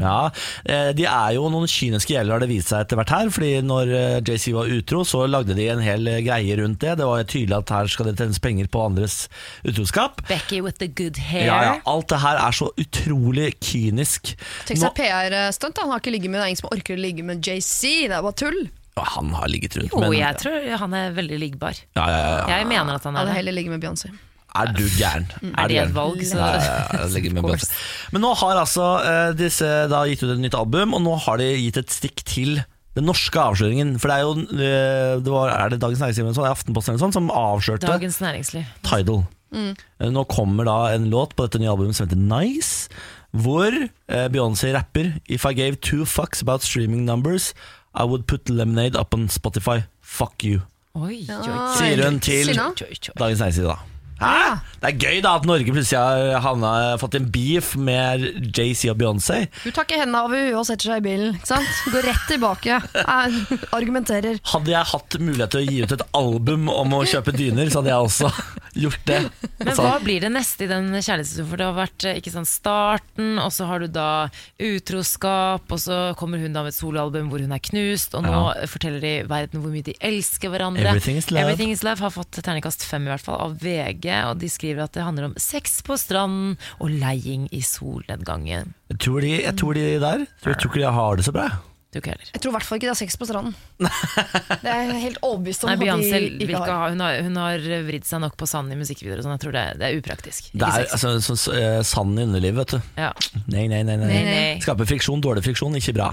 A: Ja, eh, De er jo noen kyniske gjeller, har det vist seg etter hvert her. Fordi når eh, JC var utro, så lagde de en hel eh, greie rundt det. Det var tydelig at her skal det tjenes penger på andres utroskap.
B: Becky with the good hair.
A: Ja, ja, Alt det her er så utrolig kynisk.
F: Tenk seg PR-stunt, da. Han har ikke ligget med, det er ingen som orker å ligge med JC. Det er bare tull.
A: Nå- Han har ligget rundt,
B: Jo,
A: men
B: jeg tror han er veldig liggbar.
A: ja, ja, ja.
B: Jeg mener at han
F: Jeg
B: er
F: hadde
B: det.
F: heller ligget med Beyoncé.
A: Mm. Er du gæren?
B: Er
A: du
B: det
A: gæren?
B: et valg, så-
A: Ja, ja, ja, jeg legger meg
B: Of
A: bøtte. Men nå har altså eh, disse da gitt ut et nytt album, og nå har de gitt et stikk til den norske avsløringen. For det er jo eh, det var, Er det Dagens Næringsliv eller noe sånt, Aftenposten eller noe sånt, som avslørte
B: Dagens Mm. Næringsliv.
A: Tidal? Eh, Nå kommer da en låt på dette nye albumet som heter Nice, hvor eh, Beyoncé rapper If I gave two fucks about streaming numbers, I would put lemonade up on Spotify. Fuck you.
B: Oi, oi, oi.
A: Sier hun til
F: Sinna?
A: Dagens Næringsliv, da. Hæ? Det er gøy da at Norge plutselig har havna- fått en beef med JC og Beyoncé.
F: Hun tar ikke hendene over huet og setter seg i bilen. ikke sant? Går rett tilbake. Er- Argumenterer.
A: Hadde jeg hatt mulighet til å gi ut et album om å kjøpe dyner, så hadde jeg også gjort det.
B: Men
A: Altså-
B: hva blir det neste i den kjærlighetshistorien? For det har vært eh, ikke sant, starten, og så har du da utroskap, og så kommer hun da med et soloalbum hvor hun er knust, og nå
A: Ja.
B: forteller de verden hvor mye de elsker hverandre.
A: Everything is love.
B: Everything is love har fått terningkast fem i hvert fall av VG, og de skriver at det handler om sex på stranden og leiing i solnedgangen.
A: Jeg tror de, jeg tror de der tror, jeg tror ikke de har det så bra.
B: Du ikke heller.
F: Jeg tror i hvert fall ikke det er sex på stranden. Det er jeg helt overbevist om
B: Nei,
F: at
B: Beyoncé
F: de
B: vil
F: ikke
B: ikke
F: har.
B: ha Hun har, hun har vridd seg nok på sand i musikkvideoer og sånn. Jeg tror det, det er upraktisk.
A: Det
B: Ikke
A: er
B: sex.
A: altså, sånn så, eh, sand i underlivet, vet du.
B: Ja.
A: Nei, nei, nei. nei.
B: Nei, nei.
A: Skaper friksjon, dårlig friksjon, ikke bra.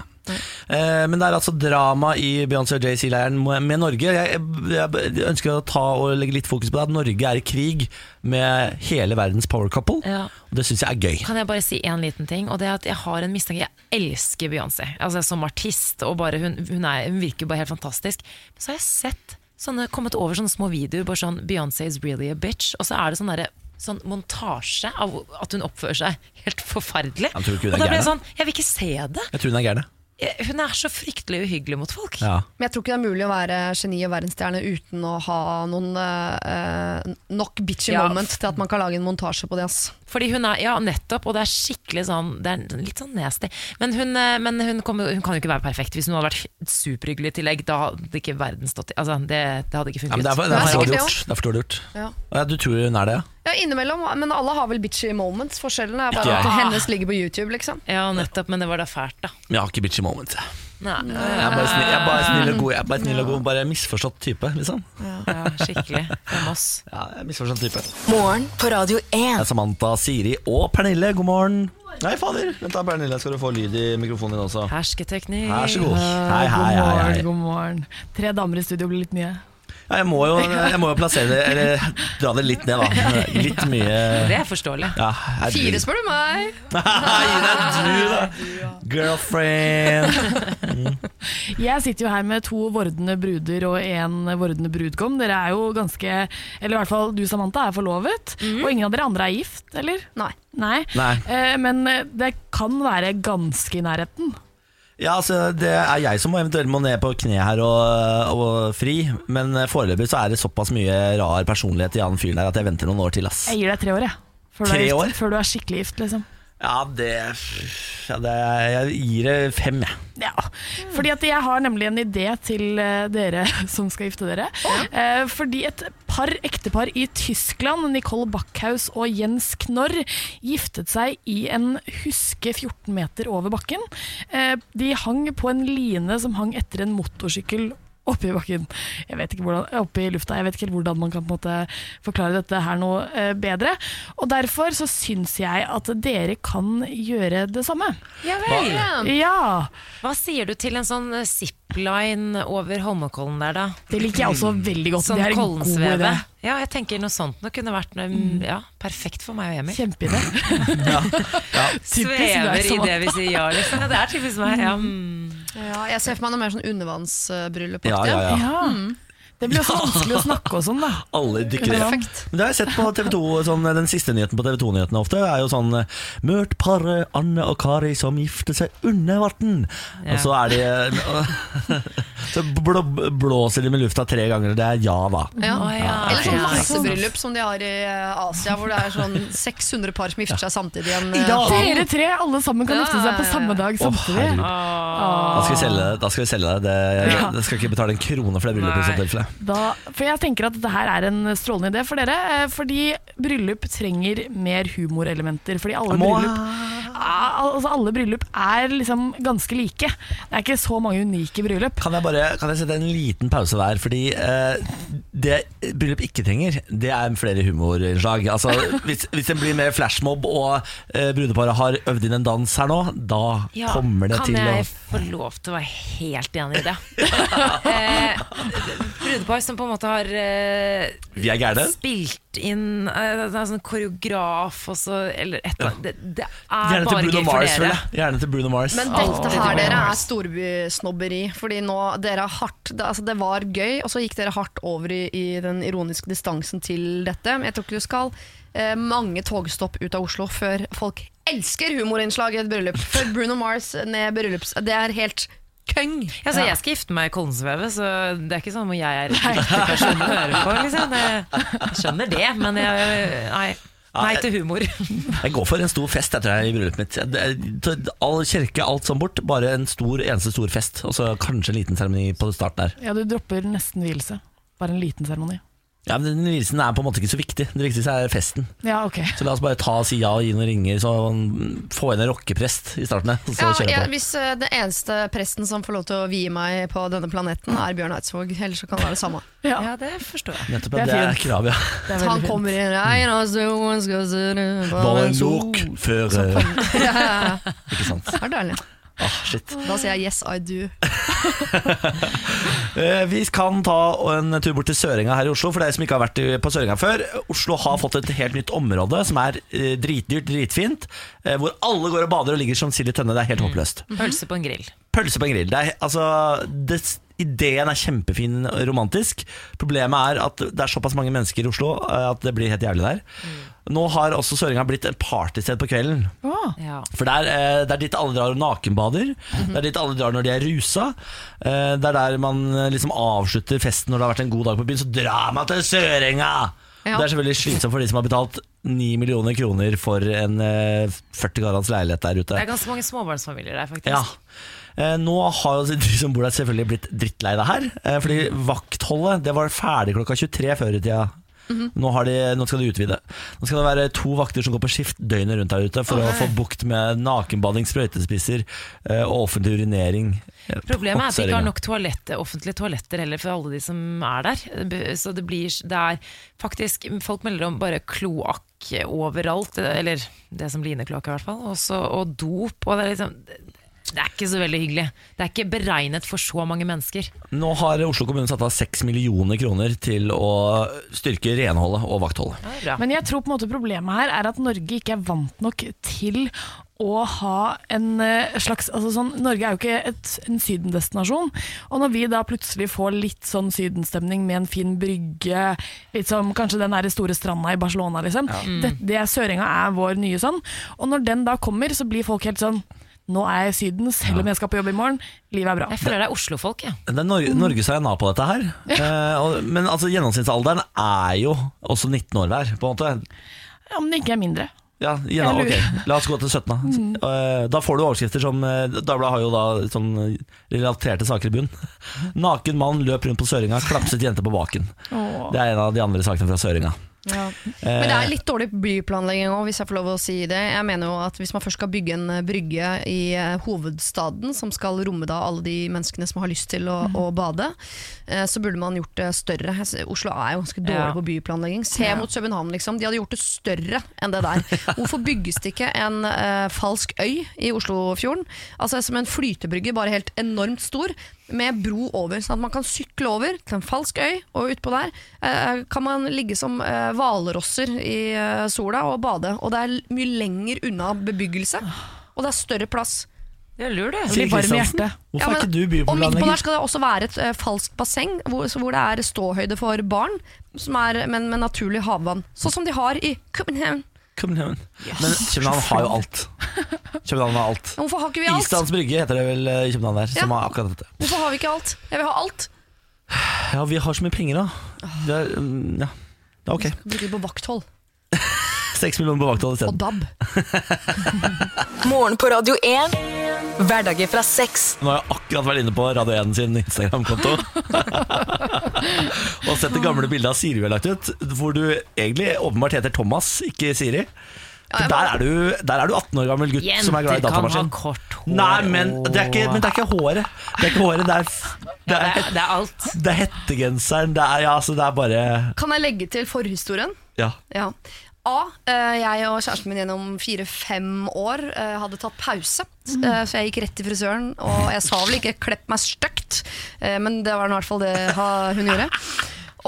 A: Eh, men det er altså drama i Beyoncé og JC-leiren med Norge. Jeg, jeg, jeg ønsker å ta og legge litt fokus på det at Norge er i krig med hele verdens power couple.
B: Ja.
A: Og det syns jeg er gøy.
B: Kan jeg bare si en liten ting? Og det er at Jeg har en mistanke. Jeg elsker Beyoncé altså, som artist. Og bare hun, hun, er, hun virker bare helt fantastisk. Men så har jeg sett sånne, kommet over sånne små videoer bare sånn 'Beyoncé is really a bitch'. Og så er det sånn derre Sånn montasje av at hun oppfører seg helt forferdelig.
A: Jeg tror ikke hun er
B: og da ble jeg
A: gæren.
B: sånn Jeg vil ikke se det!
A: Jeg tror hun er gæren.
B: Jeg- Hun er så fryktelig uhyggelig mot folk.
A: Ja.
F: Men jeg tror ikke det er mulig å være geni og verdensstjerne uten å ha noen eh, nok bitchy
B: Ja.
F: moment til at man kan lage en montasje på det. ass.
B: Fordi hun er, ja nettopp, og det er skikkelig sånn Det er litt sånn nasty. Men hun, eh, men hun, kommer- hun kan jo ikke være perfekt. Hvis hun hadde vært superhyggelig i tillegg, da hadde ikke verden stått i altså, det, det hadde ikke
A: Ja,
B: funket.
A: men det er for, det
F: Det
A: er
F: er
A: for dårlig
F: sikkert det
A: gjort. Det er for dårlig gjort.
F: Ja.
A: Ja, du tror hun er det, ja?
F: Ja, innimellom, men alle har vel bitchy moments. Forskjellen er
A: Ikke
F: bare
A: jeg.
F: at hennes ligger på YouTube, liksom.
B: Ja, nettopp, men det var da fælt, da.
A: Men jeg har ikke bitchy moment. Jeg
B: Nei,
A: er bare snill, jeg er bare snill og god. Jeg er bare snill og god Bare misforstått type, liksom.
B: ja, skikkelig. Fra Moss.
A: Ja, jeg er misforstått type. Det
E: Morgen på Radio 1.
A: er Samantha, Siri og Pernille, god morgen. Nei, fader. Vent da, Pernille, skal du få lyd i mikrofonen din også.
B: Hersketeknikk.
A: Vær så god. Hei, hei, hei. hei.
L: God morgen. Tre damer i studio blir litt mye.
A: Ja, jeg, må jo, jeg må jo plassere det, eller dra det litt ned, da. Litt mye
B: Det er forståelig.
A: ja,
F: Fire, spør du meg!
A: Gi deg du, da. Girlfriend.
L: Jeg sitter jo her med to vordende bruder og en vordende brudgom. Dere er jo ganske Eller i hvert fall du, Samantha, er forlovet. Og ingen av dere andre er gift, eller?
F: Nei.
L: Nei.
A: Nei.
L: Eh, men eh, det kan være ganske i nærheten.
A: Ja, altså, det er jeg som må eventuelt må ned på kne her og, og fri. Men foreløpig så er det såpass mye rar personlighet i han fyren der at jeg venter noen år til, ass.
L: Jeg gir deg tre år, jeg. Før du,
A: Tre
L: er gift,
A: år?
L: før du er skikkelig gift, liksom.
A: Ja, det, ja, det Jeg gir det fem, jeg.
L: Ja, fordi at jeg har nemlig en idé til eh, dere som skal gifte dere. Eh, fordi et par ektepar i Tyskland, Nicole Backhaus og Jens Knorr, giftet seg i en huske 14 meter over bakken. Eh, de hang på en line som hang etter en motorsykkel oppi bakken. Jeg vet ikke hvordan, oppe i lufta. Jeg vet ikke helt hvordan man kan på en måte forklare dette her noe eh, bedre. Og derfor så syns jeg at dere kan gjøre det samme.
B: Ja vel.
L: Ja,
B: Hva sier du til en sånn eh, zipline over Holmenkollen der, da?
L: Det liker jeg også veldig godt.
B: Sånn
L: det er en god idé.
B: Kollensveve. Ja, jeg tenker noe sånt nå kunne vært noe, ja, perfekt for meg og Emil.
L: Kjempeidé. Typisk
B: Svever
L: deg,
B: i
L: Samantha.
B: det vi sier ja, liksom. Ja, det er typisk meg. Ja, mm.
F: Ja, jeg ser for meg noe mer sånn undervannsbryllup.
A: Ja, ja, ja.
L: Ja. Det blir også vanskelig å snakke oss om, da.
A: Alle dykker ned.
F: Perfekt.
A: Men det har jeg sett på TV2, sånn, den siste nyheten på TV 2-nyhetene ofte. er jo sånn Mørt paret Anne og Kari som gifter seg under vann.
B: Ja.
A: Og så er de Så blå, blåser de med lufta tre ganger, og det er ja, da.
B: Å, ja.
F: Eller sånn
B: Ja,
F: massebryllup som de har i eh, Asia, hvor det er sånn 600 par som gifter seg samtidig. i En, eh,
L: Dere tre, alle sammen, kan
F: Ja,
L: gifte seg på
F: ja, ja.
L: samme dag
A: Å,
L: samtidig.
A: herregud. Da skal vi selge det. Da skal vi selge det. det
L: Ja.
A: Jeg skal ikke betale en krone for det bryllupet. i
B: Nei.
A: så tilfelle.
L: Da, for jeg tenker at dette her er en strålende idé for dere, eh, fordi bryllup trenger mer humorelementer. Fordi alle
A: Må-
L: bryllup, Ah, altså alle bryllup er liksom ganske like. Det er ikke så mange unike bryllup.
A: Kan jeg bare kan jeg sette en liten pause der? Fordi eh, det bryllup ikke trenger, det er flere humorinnslag. Altså, hvis, hvis det blir mer flashmob og eh, brudeparet har øvd inn en dans her nå, da
B: Ja,
A: kommer det
B: kan
A: til
B: jeg
A: å
B: få lov til å være helt enig i det? eh, brudepar som på en måte har eh,
A: Vi er gærne.
B: spilt inn eh, det er sånn koreograf og så Eller et eller annet. Det, det er
A: Gjerne til
B: bare
A: Bruno
B: gøy for
A: Mars, føler
B: dere.
A: jeg. Gjerne til Bruno Mars.
F: Men dette her dere er storbysnobberi. Fordi nå dere er hardt det, altså, det var gøy, og så gikk dere hardt over i i den ironiske distansen til dette. Men jeg tror ikke du skal eh, mange togstopp ut av Oslo før folk elsker humorinnslag i et bryllup. Før Bruno Mars ned bryllups... Det er helt køng.
B: Ja, så Jeg skal gifte meg i Kollensvevet, så det er ikke sånn at jeg er riktig person å høre på. Liksom. Jeg skjønner det, men jeg, nei, nei til humor.
A: Jeg går for en stor fest jeg tror jeg, i bryllupet mitt. Jeg- jeg- tar All kirke, alt sånn bort. Bare en stor, eneste stor fest. Og så kanskje en liten seremoni på starten der.
L: Ja, du dropper nesten vielse. Bare en liten seremoni.
A: Ja, men Den vielsen er på en måte ikke så viktig. Det viktigste er festen.
L: Ja, ok.
A: Så la oss bare ta og si ja og gi noen ringer, så mm, få inn en rockeprest i starten. der, Og så
F: Ja,
A: kjøre på.
F: jeg, hvis eh, den eneste presten som får lov til å vie meg på denne planeten, er Bjørn Eidsvåg, ellers så kan det være det samme.
L: Ja,
B: det forstår jeg.
A: Nettopp, ja, det er, krav, ja.
F: Han kommer i regn og solen skal skinne på
A: Bare
F: en sol.
A: lok før eh,
F: Ja,
A: Ikke sant.
F: det er deilig.
A: Ah, shit.
F: Da sier jeg yes, I do.
A: Eh, Vi kan ta en tur bort til Sørenga her i Oslo, for dere som ikke har vært i- på Sørenga før. Oslo har fått et helt nytt område som er eh, dritdyrt, dritfint, eh, hvor alle går og bader og ligger som sild i tønne. Det er
F: Mm.
A: helt håpløst.
B: Pølse på en grill.
A: Pølse på en grill. Det er, altså, det, ideen er kjempefin og romantisk. Problemet er at det er såpass mange mennesker i Oslo eh, at det blir helt jævlig der. Nå har også Sørenga blitt et partysted på kvelden.
B: Ja.
A: For det er, eh, det er dit alle drar og nakenbader. Det er dit alle drar når de er rusa. Eh, Det er der man eh, liksom avslutter festen når det har vært en god dag på byen. Så drar man til Sørenga!
F: Ja.
A: Det er selvfølgelig slitsomt for de som har betalt 9 millioner kroner for en eh, 40 karats leilighet der ute.
B: Det er ganske mange småbarnsfamilier der, faktisk.
A: Ja. Eh, Nå har jo de som bor der selvfølgelig blitt drittlei det her. eh, Fordi vaktholdet det var ferdig klokka 23 før i tida.
B: Mhm.
A: nå, har de, nå skal de utvide. Nå skal det være to vakter som går på skift døgnet rundt der ute for å få bukt med nakenbading, sprøytespisser eh, og offentlig urinering. eh, på
B: Problemet er at de ikke har
A: Sørenga.
B: nok toalett, offentlige toaletter heller for alle de som er der. B- Så det blir det er faktisk Folk melder om bare kloakk overalt, eller det som ligner kloakk i hvert fall, også, og dop. Og det, er liksom, det er ikke så veldig hyggelig. Det er ikke beregnet for så mange mennesker.
A: Nå har Oslo kommune satt av 6 millioner kroner til å styrke renholdet og vaktholdet.
L: Men jeg tror på en måte problemet her er at Norge ikke er vant nok til å ha en eh, slags altså sånn, Norge er jo ikke et, en sydendestinasjon. Og når vi da plutselig får litt sånn sydenstemning med en fin brygge, litt som kanskje den der store stranda i Barcelona, liksom. Det, det Sørenga er vår nye sånn. Og når den da kommer, så blir folk helt sånn Nå er jeg i Syden, selv om jeg skal på jobb i morgen. Livet er bra.
B: Jeg føler det er Oslo-folk, jeg.
A: Det er Nor Norgesarena på dette her. Eh, og- Men altså, gjennomsnittsalderen er jo også 19 år hver, på en måte.
L: Ja, men det ikke er mindre.
A: Ja, ja,
L: Jeg lurer.
A: ok. La oss gå til 17. Da,
F: Mm.
A: Eh, da får du overskrifter som eh, Dagbladet har jo da sånn eh, relaterte saker i bunn. 'Naken mann løp rundt på Søringa, klapset jente på baken'.
L: Åh.
A: Det er en av de andre sakene fra Søringa.
F: Men det er litt dårlig byplanlegging òg, hvis jeg får lov å si det. Jeg mener jo at Hvis man først skal bygge en eh, brygge i eh, hovedstaden, som skal romme da alle de menneskene som har lyst til å, å bade, eh, så burde man gjort det større. Jeg ser- Oslo er jo ganske
B: Ja.
F: dårlig på byplanlegging. Se mot København, liksom. De hadde gjort det større enn det der. Hvorfor bygges det ikke en eh, falsk øy i Oslofjorden? Altså Som en flytebrygge, bare helt enormt stor. Med bro over, sånn at man kan sykle over til en falsk øy, og utpå der eh, kan man ligge som eh, hvalrosser i eh, sola og bade. Og det er l- mye lenger unna bebyggelse, og det er større plass.
B: Det er lur, du.
L: Blir varm i
A: Kristiansen,
L: hjertet.
A: Hvorfor
F: Ja,
A: er
F: men-
A: ikke du
F: Og midt på der
A: byplanlegger?
F: skal det også være et eh, falskt basseng, hvor, så hvor det er ståhøyde for barn, som er, men med naturlig havvann. Sånn som de har i København.
A: København. Men København har jo alt. København har alt.
F: Men Hvorfor har ikke vi alt?
A: Islands Brygge heter det vel eh, i København der,
F: Ja.
A: som har akkurat dette.
F: Hvorfor har vi ikke alt? Jeg vil ha alt.
A: Ja, vi har så mye penger, da. Det er, mm, ja. Ja, Ok,
F: Bruke det på vakthold.
A: seks millioner på vakthold isteden.
F: Og DAB.
E: Morgen på Radio 1. Hverdager fra seks.
A: Nå har jeg akkurat vært inne på Radio 1 sin Instagram-konto Og sett det gamle bildet av Siri vi har lagt ut Hvor du egentlig åpenbart heter Thomas, ikke Siri For der er du, der er du 18 år gammel gutt som er glad
B: Jenter
A: i
B: kan ha
A: datamaskin
B: kort hår.
A: Nei, men det, er ikke, men det er ikke håret Det er ikke håret, det er, det
B: det,
A: er,
B: er, det er alt.
A: det er hettegenseren Det er, ja, altså, det er bare
F: Kan jeg legge til forhistorien?
A: ja.
F: Ja. A. eh, Jeg og kjæresten min gjennom fire-fem år eh, hadde tatt pause. Eh, Så jeg gikk rett til frisøren, og jeg sa vel ikke 'klepp meg stygt', eh, men det var i hvert fall det ha- hun gjorde.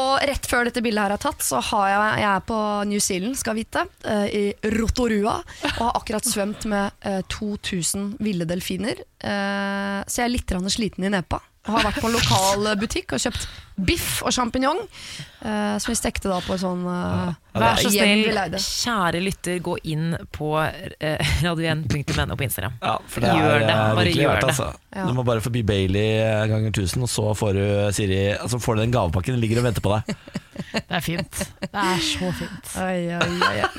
F: Og rett før dette bildet her er tatt, så har jeg, jeg er på New Zealand, skal vite, eh, i Rotorua, og har akkurat svømt med eh, 2000 ville delfiner. Eh, Så jeg er litt grann sliten i nepa. Har vært på en lokal butikk og kjøpt biff og sjampinjong. eh, som vi stekte da på en sånn eh,
B: Vær så
F: hjem vi
B: snill,
F: leide.
B: kjære lytter, gå inn på eh, radio1.no på Instagram.
A: Ja, for det
B: gjør
A: er
B: det.
A: eh,
B: Bare
A: virkelig
B: gjør
A: verdt
B: det.
A: altså. Du må bare forbi Bailey eh, ganger 1000, og så får du Siri Altså får du den gavepakken. Den ligger og venter på deg.
L: Det er fint. Det er så fint.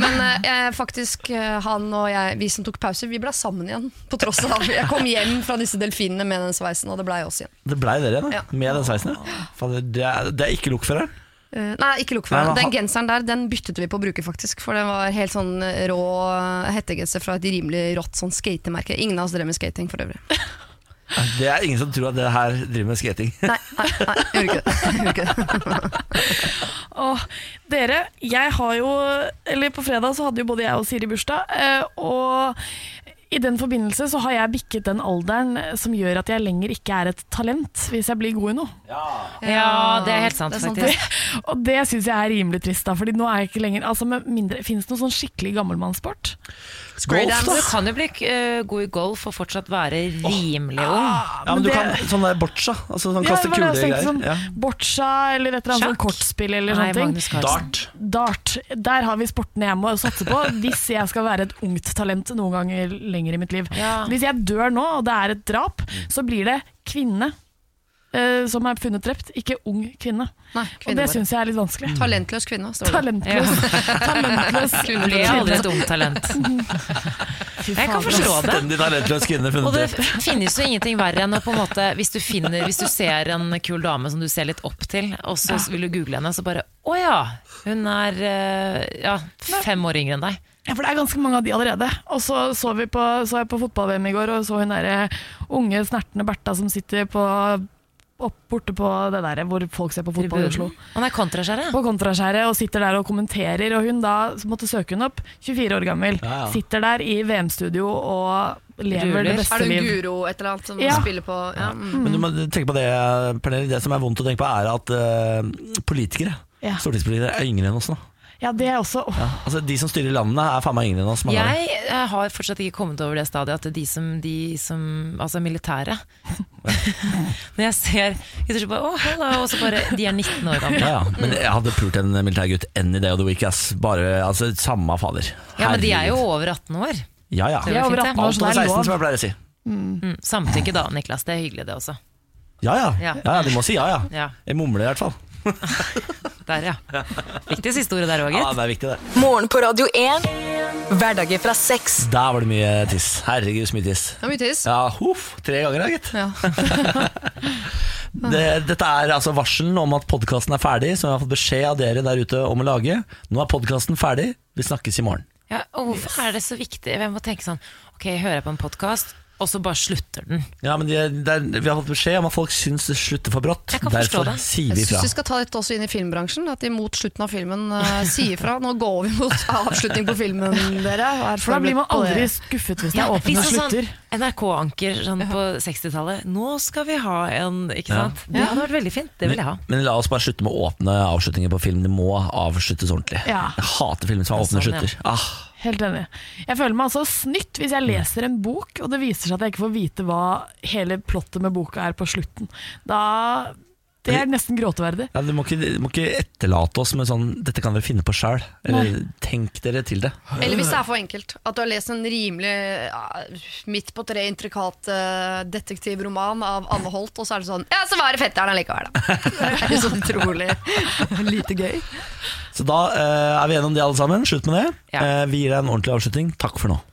F: Men eh, jeg, faktisk, eh, han og jeg, vi som tok pause, vi ble sammen igjen. På tross av Jeg kom hjem fra disse delfinene med den sveisen, og det blei oss igjen.
A: Det blei dere igjen, da, med den sveisen. ja. Fader, Det, er- det er ikke lokføreren.
F: Eh, nei, ikke lukk for
A: Nei,
F: meg.
A: men
F: Den
A: han-
F: genseren der den byttet vi på å bruke, faktisk. For den var helt sånn rå eh, hettegenser fra et rimelig rått sånn skatemerke. Ingen av oss drev med skating for øvrig.
A: Det er ingen som tror at det her driver med skating.
L: Åh, dere, jeg har jo Eller på fredag så hadde jo både jeg og Siri bursdag. eh, Og i den forbindelse så har jeg bikket den alderen som gjør at jeg lenger ikke er et talent, hvis jeg blir god i noe.
B: Ja, det er helt sant, faktisk.
L: og det syns jeg er rimelig trist, da. Fordi nå er jeg ikke lenger altså, med mindre, Finnes det noen sånn skikkelig gammelmannssport?
B: Golf, da? Du kan jo bli eh, god i golf og fortsatt være rimelig ung.
A: Ja, men
L: men
A: du
L: det-
A: kan sånn der boccia. Altså sånn
L: Ja,
A: kaste
L: det var det jeg
A: kulegreier.
L: tenkte, sånn
A: Ja.
L: Boccia eller et eller annet sånn kortspill eller
B: Nei,
L: sånne ting.
B: Magnus Carlsen.
A: Dart.
L: Dart. Der har vi sporten jeg må satse på hvis jeg skal være et ungt talent noen ganger lenger i mitt liv.
B: Ja.
L: Hvis jeg dør nå, og det er et drap, så blir det kvinne eh, som er funnet drept, ikke ung kvinne.
F: Nei,
L: og
F: kvinne
L: det
F: bare.
L: syns jeg er litt vanskelig.
B: Mm.
F: Talentløs kvinne, altså. står det.
L: Talentløs. Talentløs
B: Du blir aldri et ungt talent.
L: Fy
B: Jeg kan
L: fader,
B: forstå
L: ass.
B: det.
A: Stendig talentløs kvinne
B: Og
A: funnet
B: det
A: drept.
B: finnes jo ingenting verre enn å på en måte hvis du, finner, hvis du ser en kul dame som du ser litt opp til, og så vil du google henne, så bare Å ja! Hun er eh, ja, fem år yngre enn deg.
L: Ja, for det er ganske mange av de allerede. Og så så, vi på, så jeg på fotball-VM i går, og så hun derre unge, snertne Bertha som sitter på opp, borte på det der hvor folk ser på fotball i Oslo.
B: Han er kontraskjære.
L: På kontraskjæret og sitter der og kommenterer. Og hun da så måtte søke hun opp, 24 år gammel.
F: Ja, ja.
L: Sitter der i VM-studio og lever det
F: Er
L: beste
F: det en
L: liv.
F: guro et eller annet som
L: Ja.
F: spiller på ja. mm.
A: Men du må tenke på det, Pernille. Det som er vondt å tenke på, er at eh, politikere,
L: Ja.
A: stortingspolitikere, er yngre enn oss nå.
L: Ja, det er også åh,
A: Ja. Altså, de som styrer landene, er faen meg yngre enn oss. mange av dem.
B: Jeg eh, har fortsatt ikke kommet over det stadiet at de som, de som Altså militære. Når jeg ser jeg tror bare, oh, hello, Og så bare De er 19 år gamle.
A: Ja, ja. Men jeg hadde pult en militærgutt any day of the week. Ass. Bare, altså, samme fader.
B: Ja, men de er jo
A: Herregud.
B: over 18 år.
A: Ja, ja.
B: De er over 18 år,
A: Alt
B: så
A: over
B: det er
A: 16,
B: lov.
A: som jeg pleier å si.
B: Mm. Samtykke da, Niklas. Det er hyggelig, det også.
A: Ja ja. ja
B: Ja.
A: ja, de må si ja ja.
B: Ja.
A: Jeg mumler i hvert fall.
B: Der, ja. Viktig siste ordet der òg,
A: Ja,
B: gitt.
A: det er viktig, det.
E: Morgen på Radio 1. Hverdager fra seks.
A: Der var det mye tiss. Herregud, så mye tiss.
F: Det er mye tiss.
A: Ja, huff. Tre ganger, da, gitt.
F: Ja.
A: Det, dette er altså varselen om at podkasten er ferdig, som jeg har fått beskjed av dere der ute om å lage. Nå er podkasten ferdig, vi snakkes i morgen.
B: Ja, og hvorfor er det så viktig? Jeg må tenke sånn Ok, jeg hører på en podkast, og så bare slutter den.
A: Ja, men det, det er, Vi har fått beskjed om at folk syns det slutter for brått.
B: Jeg kan forstå
A: Derfor
B: det.
A: sier
F: Jeg
A: vi
F: syns
A: fra.
F: vi skal ta dette også inn i filmbransjen. At de mot slutten av filmen eh, sier fra. Nå går vi mot avslutning på filmen, dere. Vær
L: For da blir man
F: forberedt på det.
L: aldri skuffet hvis det
B: Ja,
L: er åpent og
B: liksom sånn
L: slutter.
B: NRK-anker sånn på 60-tallet. Nå skal vi ha en Ikke
A: Ja.
B: sant? Det hadde vært veldig fint. Det vil jeg ha.
A: Men la oss bare slutte med åpne avslutninger på film. Det må avsluttes ordentlig.
L: Ja.
A: Jeg hater filmer som har åpne
B: Sånn, ja.
A: slutter. Ah,
L: Helt enig. Jeg føler meg altså snytt hvis jeg leser en bok, og det viser seg at jeg ikke får vite hva hele plottet med boka er på slutten. Da Det er nesten gråteverdig.
A: ja, du, må ikke, du må ikke etterlate oss med sånn 'dette kan dere finne på sjæl'. Eller tenk dere til det.
F: Eller hvis det er for enkelt. At du har lest en rimelig ja, midt på tre intrikat eh, detektivroman av Anne Holt, og så er det sånn Ja, så var det fetteren allikevel, da. Det er så utrolig lite gøy.
A: Så da eh, er vi gjennom det, alle sammen. Slutt med det.
B: Ja.
A: Eh, vi gir deg en ordentlig avslutning. Takk for nå.